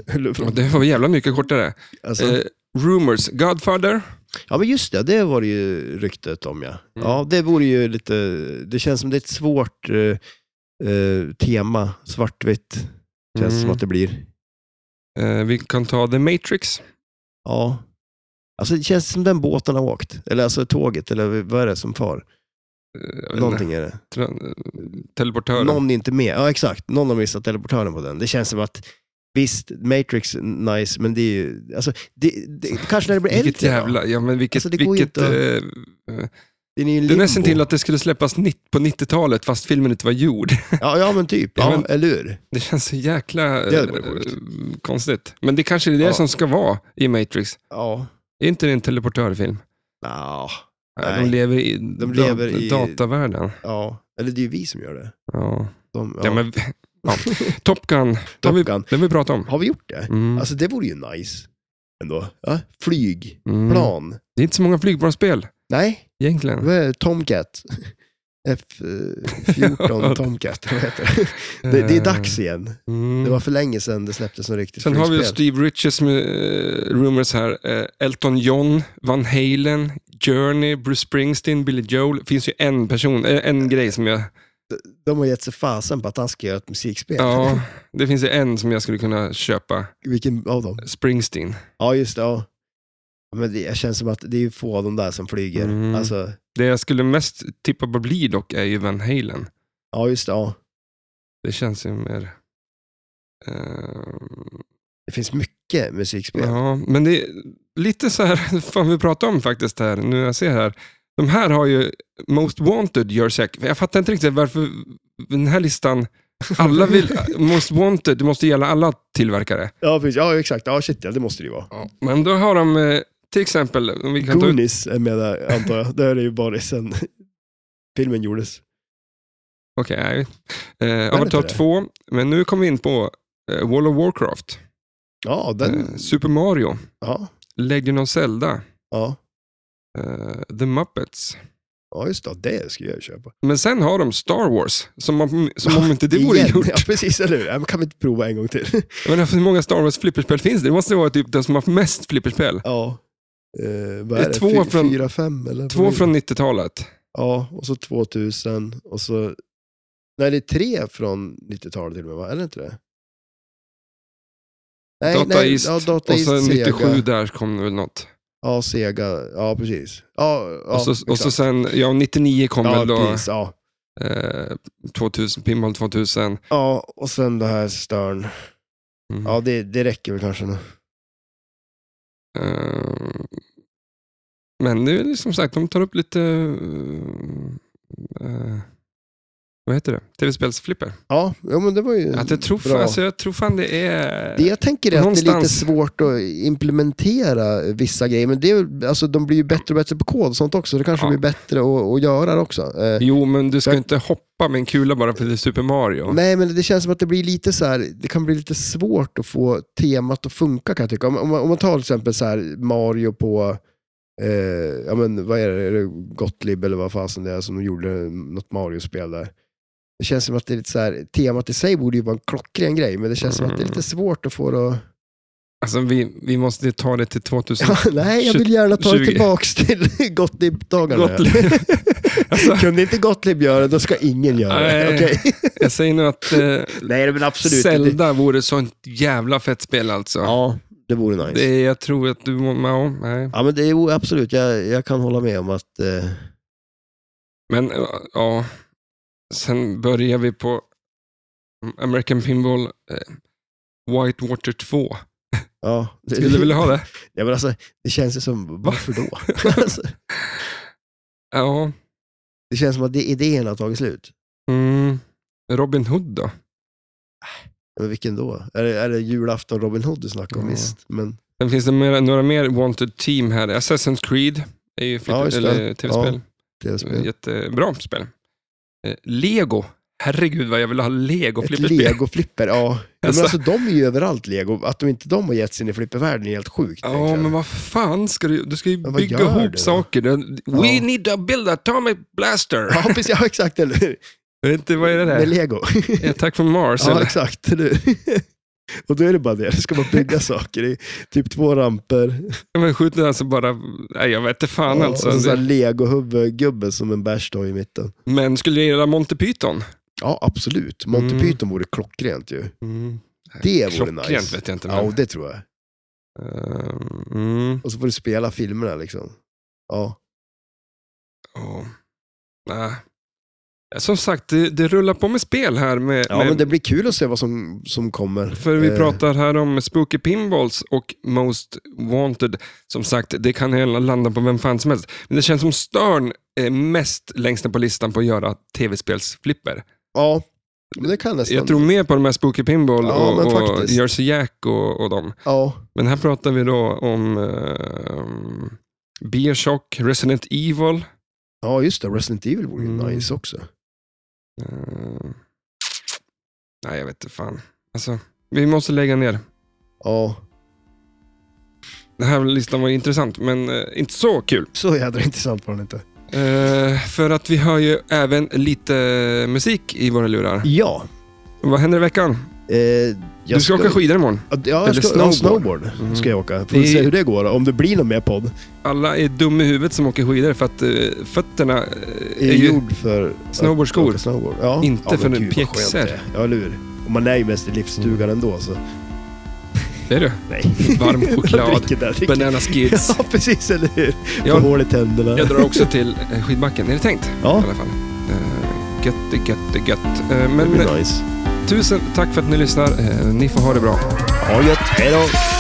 [SPEAKER 5] Eller
[SPEAKER 1] Och
[SPEAKER 5] från-
[SPEAKER 1] Det var jävla mycket kortare.
[SPEAKER 5] Alltså,
[SPEAKER 1] Eh, rumors. Godfather.
[SPEAKER 2] Ja, men just det. Det var det ju ryktet om, ja.
[SPEAKER 1] Mm.
[SPEAKER 2] Ja, det vore ju lite... Det känns som det är ett svårt eh, eh, tema. Svartvitt. Känns
[SPEAKER 1] Mm.
[SPEAKER 2] som att det blir.
[SPEAKER 1] Eh, vi kan ta The Matrix.
[SPEAKER 2] Ja. Alltså, det känns som den båten har åkt. Eller alltså tåget, eller vad är det som far?
[SPEAKER 1] Eh,
[SPEAKER 2] Någonting är det.
[SPEAKER 1] tra- Teleportören.
[SPEAKER 2] Någon är inte med. Ja, exakt. Någon har missat teleportören på den. Det känns som att Visst, Matrix, nice, men det är ju... Alltså, det, det, kanske när det blir äldre.
[SPEAKER 1] vilket jävla... Ja, men vilket,
[SPEAKER 2] Alltså, det går ju
[SPEAKER 1] vilket, eh, eh,
[SPEAKER 2] Då. Den är ju en
[SPEAKER 1] det är
[SPEAKER 2] limbo.
[SPEAKER 1] nästan till att det skulle släppas nitt- på 90-talet fast filmen inte var gjord. <laughs>
[SPEAKER 2] Ja, ja, men typ.
[SPEAKER 1] Ja,
[SPEAKER 2] Ja,
[SPEAKER 1] men-
[SPEAKER 2] Eller hur?
[SPEAKER 1] Det känns så jävla
[SPEAKER 2] Det hade varit
[SPEAKER 1] eh,
[SPEAKER 2] sjukt.
[SPEAKER 1] konstigt. Men det kanske är det
[SPEAKER 2] Ja.
[SPEAKER 1] som ska vara i Matrix.
[SPEAKER 2] Ja.
[SPEAKER 1] Är inte det en teleportörfilm?
[SPEAKER 2] Nja.
[SPEAKER 1] Nej. De
[SPEAKER 2] Nej.
[SPEAKER 1] lever i,
[SPEAKER 2] De lever
[SPEAKER 1] dat-
[SPEAKER 2] i-
[SPEAKER 1] datavärlden.
[SPEAKER 2] Ja, eller det är ju vi som gör det.
[SPEAKER 1] Ja.
[SPEAKER 2] De,
[SPEAKER 1] Ja. men, ja. Top Gun, det har vi,
[SPEAKER 2] Top Gun.
[SPEAKER 1] det har vi pratat om.
[SPEAKER 2] Har vi gjort det?
[SPEAKER 1] Mm.
[SPEAKER 2] Alltså det vore ju nice ändå. Ja? Flyg,
[SPEAKER 1] Mm.
[SPEAKER 2] plan.
[SPEAKER 1] Det är inte så många flygplansspel
[SPEAKER 2] Nej,
[SPEAKER 1] egentligen.
[SPEAKER 2] Mm. vad är det? Tomcat? <laughs>
[SPEAKER 1] <laughs>
[SPEAKER 2] F14 Tomcat, vad heter det? det? Det är dags igen.
[SPEAKER 1] Eh, Mm.
[SPEAKER 2] Det var för länge sedan det släpptes som riktigt
[SPEAKER 1] Sen har vi ju
[SPEAKER 2] flygspel.
[SPEAKER 1] Steve Riches med, eh, rumors här. Eh, Elton John, Van Halen, Journey, Bruce Springsteen, Billy Joel. Det finns ju en person, eh, en grej som jag...
[SPEAKER 2] De har gett sig fasen på att han ska göra ett musikspel.
[SPEAKER 1] Ja, det finns ju en som jag skulle kunna köpa.
[SPEAKER 2] <laughs> Vilken av dem?
[SPEAKER 1] Springsteen.
[SPEAKER 2] Ja, just det. Ja. Ja, Men det jag känns som att det är ju få av de där som flyger.
[SPEAKER 1] Mm.
[SPEAKER 2] Alltså,
[SPEAKER 1] Det jag skulle mest tippa på blir dock är ju Van Halen.
[SPEAKER 2] ja, just det. Ja.
[SPEAKER 1] Det känns ju mer... eh,
[SPEAKER 2] Det finns mycket musikspel.
[SPEAKER 1] Ja, men det är lite så här, <laughs> fan vi pratar om faktiskt här, nu när jag ser här. De här har ju Most Wanted gör säkert, jag fattar inte riktigt varför den här listan, alla
[SPEAKER 2] <laughs>
[SPEAKER 1] vill, Most Wanted, det måste gälla alla tillverkare.
[SPEAKER 2] Ja, precis. Ja, exakt. Ja, shit, ja, det måste det ju vara.
[SPEAKER 1] Men då har de eh, till exempel, om vi kan ta ut,
[SPEAKER 2] Goonies är med där, antar jag. Det är det ju bara sen <laughs> filmen gjordes.
[SPEAKER 1] okej, nej. Eh,
[SPEAKER 2] det
[SPEAKER 1] Avatar
[SPEAKER 2] inte det?
[SPEAKER 1] 2, men nu kommer vi in på eh, World of Warcraft,
[SPEAKER 2] Ja, den...
[SPEAKER 1] eh, Super Mario,
[SPEAKER 2] Ja,
[SPEAKER 1] Legend of Zelda,
[SPEAKER 2] ja.
[SPEAKER 1] eh, The Muppets.
[SPEAKER 2] ja, just det. Det skulle jag köpa.
[SPEAKER 1] Men sen har de Star Wars, som om, som om inte det vore
[SPEAKER 2] Igen.
[SPEAKER 1] gjort.
[SPEAKER 2] Ja, precis. Eller hur? Ja, men kan vi inte prova en
[SPEAKER 1] <laughs>
[SPEAKER 2] gång till?
[SPEAKER 1] Men hur många Star Wars flipperspel finns det? Det måste vara typ den som har haft mest flipperspel.
[SPEAKER 2] Ja. Eh, vad
[SPEAKER 1] Det är
[SPEAKER 2] är det?
[SPEAKER 1] två
[SPEAKER 2] Fy-
[SPEAKER 1] från-
[SPEAKER 2] Fyra, fem eller? vad
[SPEAKER 1] Två
[SPEAKER 2] blir det?
[SPEAKER 1] från 90-talet.
[SPEAKER 2] Ja, och så 2000 och så... Nej, det är tre från 90-talet till och med, va? Är det inte det? Nej,
[SPEAKER 1] Data
[SPEAKER 2] nej,
[SPEAKER 1] East
[SPEAKER 2] ja, Data
[SPEAKER 1] och
[SPEAKER 2] East,
[SPEAKER 1] sen 97
[SPEAKER 2] Sega.
[SPEAKER 1] där kom det väl något.
[SPEAKER 2] Ja, Sega. Ja, precis. Ja, ja,
[SPEAKER 1] och, så, och så
[SPEAKER 2] exakt.
[SPEAKER 1] sen, ja 99 kom
[SPEAKER 2] Ja,
[SPEAKER 1] väl då.
[SPEAKER 2] precis. Ja.
[SPEAKER 1] Eh, 2000, Pinball 2000. Mm.
[SPEAKER 2] ja, och sen det här Stern. Ja, det, det räcker väl kanske nu.
[SPEAKER 1] Eh, men det är väl som sagt, de tar upp lite... eh, eh, vad heter det? Tv-spelsflipper.
[SPEAKER 2] Ja, ja men det var ju
[SPEAKER 1] Att jag, tror fan,
[SPEAKER 2] bra.
[SPEAKER 1] alltså, jag tror fan det är...
[SPEAKER 2] det jag tänker är att det är lite
[SPEAKER 1] Eh, någonstans-
[SPEAKER 2] svårt att implementera vissa grejer, men det är, väl- alltså, de blir ju bättre och bättre på kod och sånt också. Det kanske
[SPEAKER 1] Ja.
[SPEAKER 2] blir bättre att, att göra det också. Eh,
[SPEAKER 1] Jo, men du ska ju inte hoppa med en kula bara för det är Super Mario.
[SPEAKER 2] Nej, men det känns som att det blir lite så här, det kan bli lite svårt att få temat att funka kan jag tycka. Om, om, man- om man tar till exempel så här Mario på, eh, ja men vad är det, är det Gottlieb eller vad fasen det är som gjorde något Mario-spel där. Det känns som att det är lite så här, temat i sig borde ju vara en klockren grej, men det känns som att
[SPEAKER 1] Mm.
[SPEAKER 2] det är lite svårt att få det att...
[SPEAKER 1] Alltså vi, vi måste ta det till 2000. <laughs>
[SPEAKER 2] Ja, <laughs> nej, jag vill gärna ta det
[SPEAKER 1] 20.
[SPEAKER 2] tillbaks till <laughs> Gottlieb-dagarna.
[SPEAKER 1] Gottlieb. <laughs> Alltså,
[SPEAKER 2] Kunde inte Gottlieb göra det, då ska ingen göra
[SPEAKER 1] Nej.
[SPEAKER 2] det. Okej.
[SPEAKER 1] jag säger nu att eh,
[SPEAKER 2] <laughs> Nej, men absolut. Det,
[SPEAKER 1] Zelda vore sånt jävla fett spel alltså.
[SPEAKER 2] ja, det vore nice.
[SPEAKER 1] Det, är- jag tror att du... må- Ja, nej.
[SPEAKER 2] Ja, men det är ju absolut, jag, jag kan hålla med om att... Eh,
[SPEAKER 1] Men eh, ja, sen börjar vi på American Pinball eh, Whitewater 2.
[SPEAKER 2] ja.
[SPEAKER 1] Skulle du
[SPEAKER 2] <laughs>
[SPEAKER 1] vilja ha det?
[SPEAKER 2] Ja, men alltså, det känns ju som, varför då? <laughs> alltså,
[SPEAKER 1] Ja.
[SPEAKER 2] det känns som att det, idén har tagit slut.
[SPEAKER 1] Mm. Robin Hood då?
[SPEAKER 2] Men vilken då? Är det, är det julafton Robin Hood du snackar om?
[SPEAKER 1] Ja.
[SPEAKER 2] Visst, men
[SPEAKER 1] Sen finns det mera, några mer Wanted Team här. Assassin's Creed är ju flipper,
[SPEAKER 2] Ja, just det.
[SPEAKER 1] eller tv-spel.
[SPEAKER 2] det
[SPEAKER 1] Mm,
[SPEAKER 2] spel.
[SPEAKER 1] Jättebra spel. Eh, Lego. Herregud vad jag vill ha Lego
[SPEAKER 2] Ett
[SPEAKER 1] flipperspel.
[SPEAKER 2] Lego-flipper, ja. Ja,
[SPEAKER 1] Alltså-
[SPEAKER 2] Men alltså de är ju överallt Lego. Att de inte de har gett sig in i flippervärlden är helt sjukt.
[SPEAKER 1] Ja,
[SPEAKER 2] egentligen.
[SPEAKER 1] men vad fan ska du... Du ska ju
[SPEAKER 2] Men vad
[SPEAKER 1] bygga
[SPEAKER 2] gör
[SPEAKER 1] ihop
[SPEAKER 2] du?
[SPEAKER 1] saker. Du- We
[SPEAKER 2] Ja.
[SPEAKER 1] need to build atomic blaster.
[SPEAKER 2] <laughs> Ja, precis. Ja, exakt. Eller hur?
[SPEAKER 1] Jag vet inte, vad är det
[SPEAKER 2] Med
[SPEAKER 1] där?
[SPEAKER 2] Lego.
[SPEAKER 1] Attack from Mars?
[SPEAKER 2] ja,
[SPEAKER 1] eller?
[SPEAKER 2] exakt. Eller hur? <laughs> Och då är det bara det, det ska man
[SPEAKER 1] <laughs>
[SPEAKER 2] bygga saker i. Typ två ramper.
[SPEAKER 1] Men skjuter han så bara... Nej, jag vet inte fan
[SPEAKER 2] Ja,
[SPEAKER 1] alltså.
[SPEAKER 2] och så sån här legohuvudgubbe som en bärstå i mitten.
[SPEAKER 1] Men skulle du gilla Monty Python?
[SPEAKER 2] Ja, absolut. Monty
[SPEAKER 1] Mm.
[SPEAKER 2] Python vore klockrent ju. Det vore
[SPEAKER 1] Klockrent
[SPEAKER 2] nice.
[SPEAKER 1] vet jag inte.
[SPEAKER 2] Ja,
[SPEAKER 1] Men,
[SPEAKER 2] och det tror jag.
[SPEAKER 1] Ehm, mm,
[SPEAKER 2] Och så får du spela filmerna liksom. Ja.
[SPEAKER 1] ja. Nej. Som sagt, det, det rullar på med spel här. Med,
[SPEAKER 2] Ja,
[SPEAKER 1] med,
[SPEAKER 2] men det blir kul att se vad som, som kommer.
[SPEAKER 1] För vi
[SPEAKER 2] Eh,
[SPEAKER 1] pratar här om Spooky Pinballs och Most Wanted. Som sagt, det kan hela landa på vem fan som helst. Men det känns som Stern är mest längst ner på listan på att göra tv-spelsflipper.
[SPEAKER 2] Ja, men det kan nästan.
[SPEAKER 1] Jag tror mer på de här Spooky Pinball
[SPEAKER 2] Ja, men
[SPEAKER 1] och, och
[SPEAKER 2] faktiskt.
[SPEAKER 1] Jersey Jack och, och dem.
[SPEAKER 2] Ja,
[SPEAKER 1] Men här pratar vi då om um, Bioshock, Resident Evil.
[SPEAKER 2] ja just det. Resident Evil vore ju
[SPEAKER 1] Mm.
[SPEAKER 2] nice också.
[SPEAKER 1] Eh, nej, jag vet inte fan. Alltså, vi måste lägga ner.
[SPEAKER 2] Ja,
[SPEAKER 1] Den här listan var ju intressant, men eh, inte så kul.
[SPEAKER 2] så jädra intressant var den inte.
[SPEAKER 1] Eh, för att vi hör ju även lite musik i våra lurar.
[SPEAKER 2] Ja.
[SPEAKER 1] Vad händer i veckan?
[SPEAKER 2] Eh, jag
[SPEAKER 1] du ska, åka skidor imorgon.
[SPEAKER 2] Ja, jag
[SPEAKER 1] Eller
[SPEAKER 2] ska,
[SPEAKER 1] snowboard.
[SPEAKER 2] snowboard. Ja, snowboard
[SPEAKER 1] Mm.
[SPEAKER 2] ska jag åka. Får vi
[SPEAKER 1] Det-
[SPEAKER 2] se hur det går. Om det blir någon mer podd.
[SPEAKER 1] Alla är dumma i huvudet som åker skidor för att eh, fötterna eh,
[SPEAKER 2] Är,
[SPEAKER 1] är ju...
[SPEAKER 2] gjord för att
[SPEAKER 1] snowboardskor.
[SPEAKER 2] åka Snowboard. Ja.
[SPEAKER 1] Inte
[SPEAKER 2] ja, men
[SPEAKER 1] för en
[SPEAKER 2] gud, vad skönt
[SPEAKER 1] pjäxor.
[SPEAKER 2] det är. Ja, eller hur. Och man är ju mest i livsstugan ändå. Så.
[SPEAKER 1] Det är du.
[SPEAKER 2] Nej.
[SPEAKER 1] <laughs> Varm
[SPEAKER 2] <laughs>
[SPEAKER 1] choklad,
[SPEAKER 2] dricker där, dricker.
[SPEAKER 1] banana
[SPEAKER 2] <laughs>
[SPEAKER 1] skids.
[SPEAKER 2] Ja, precis. Eller hur. Får
[SPEAKER 1] Jag,
[SPEAKER 2] hål i tänderna.
[SPEAKER 1] jag drar också till eh, skidbacken, är det tänkt? I
[SPEAKER 2] Ja,
[SPEAKER 1] alla fall. Eh, gött, det är gött, det är gött. Eh,
[SPEAKER 2] det
[SPEAKER 1] men
[SPEAKER 2] blir nice.
[SPEAKER 1] tusen tack för att ni lyssnar. Eh, ni får ha det bra.
[SPEAKER 2] Ja, gött. Hej då.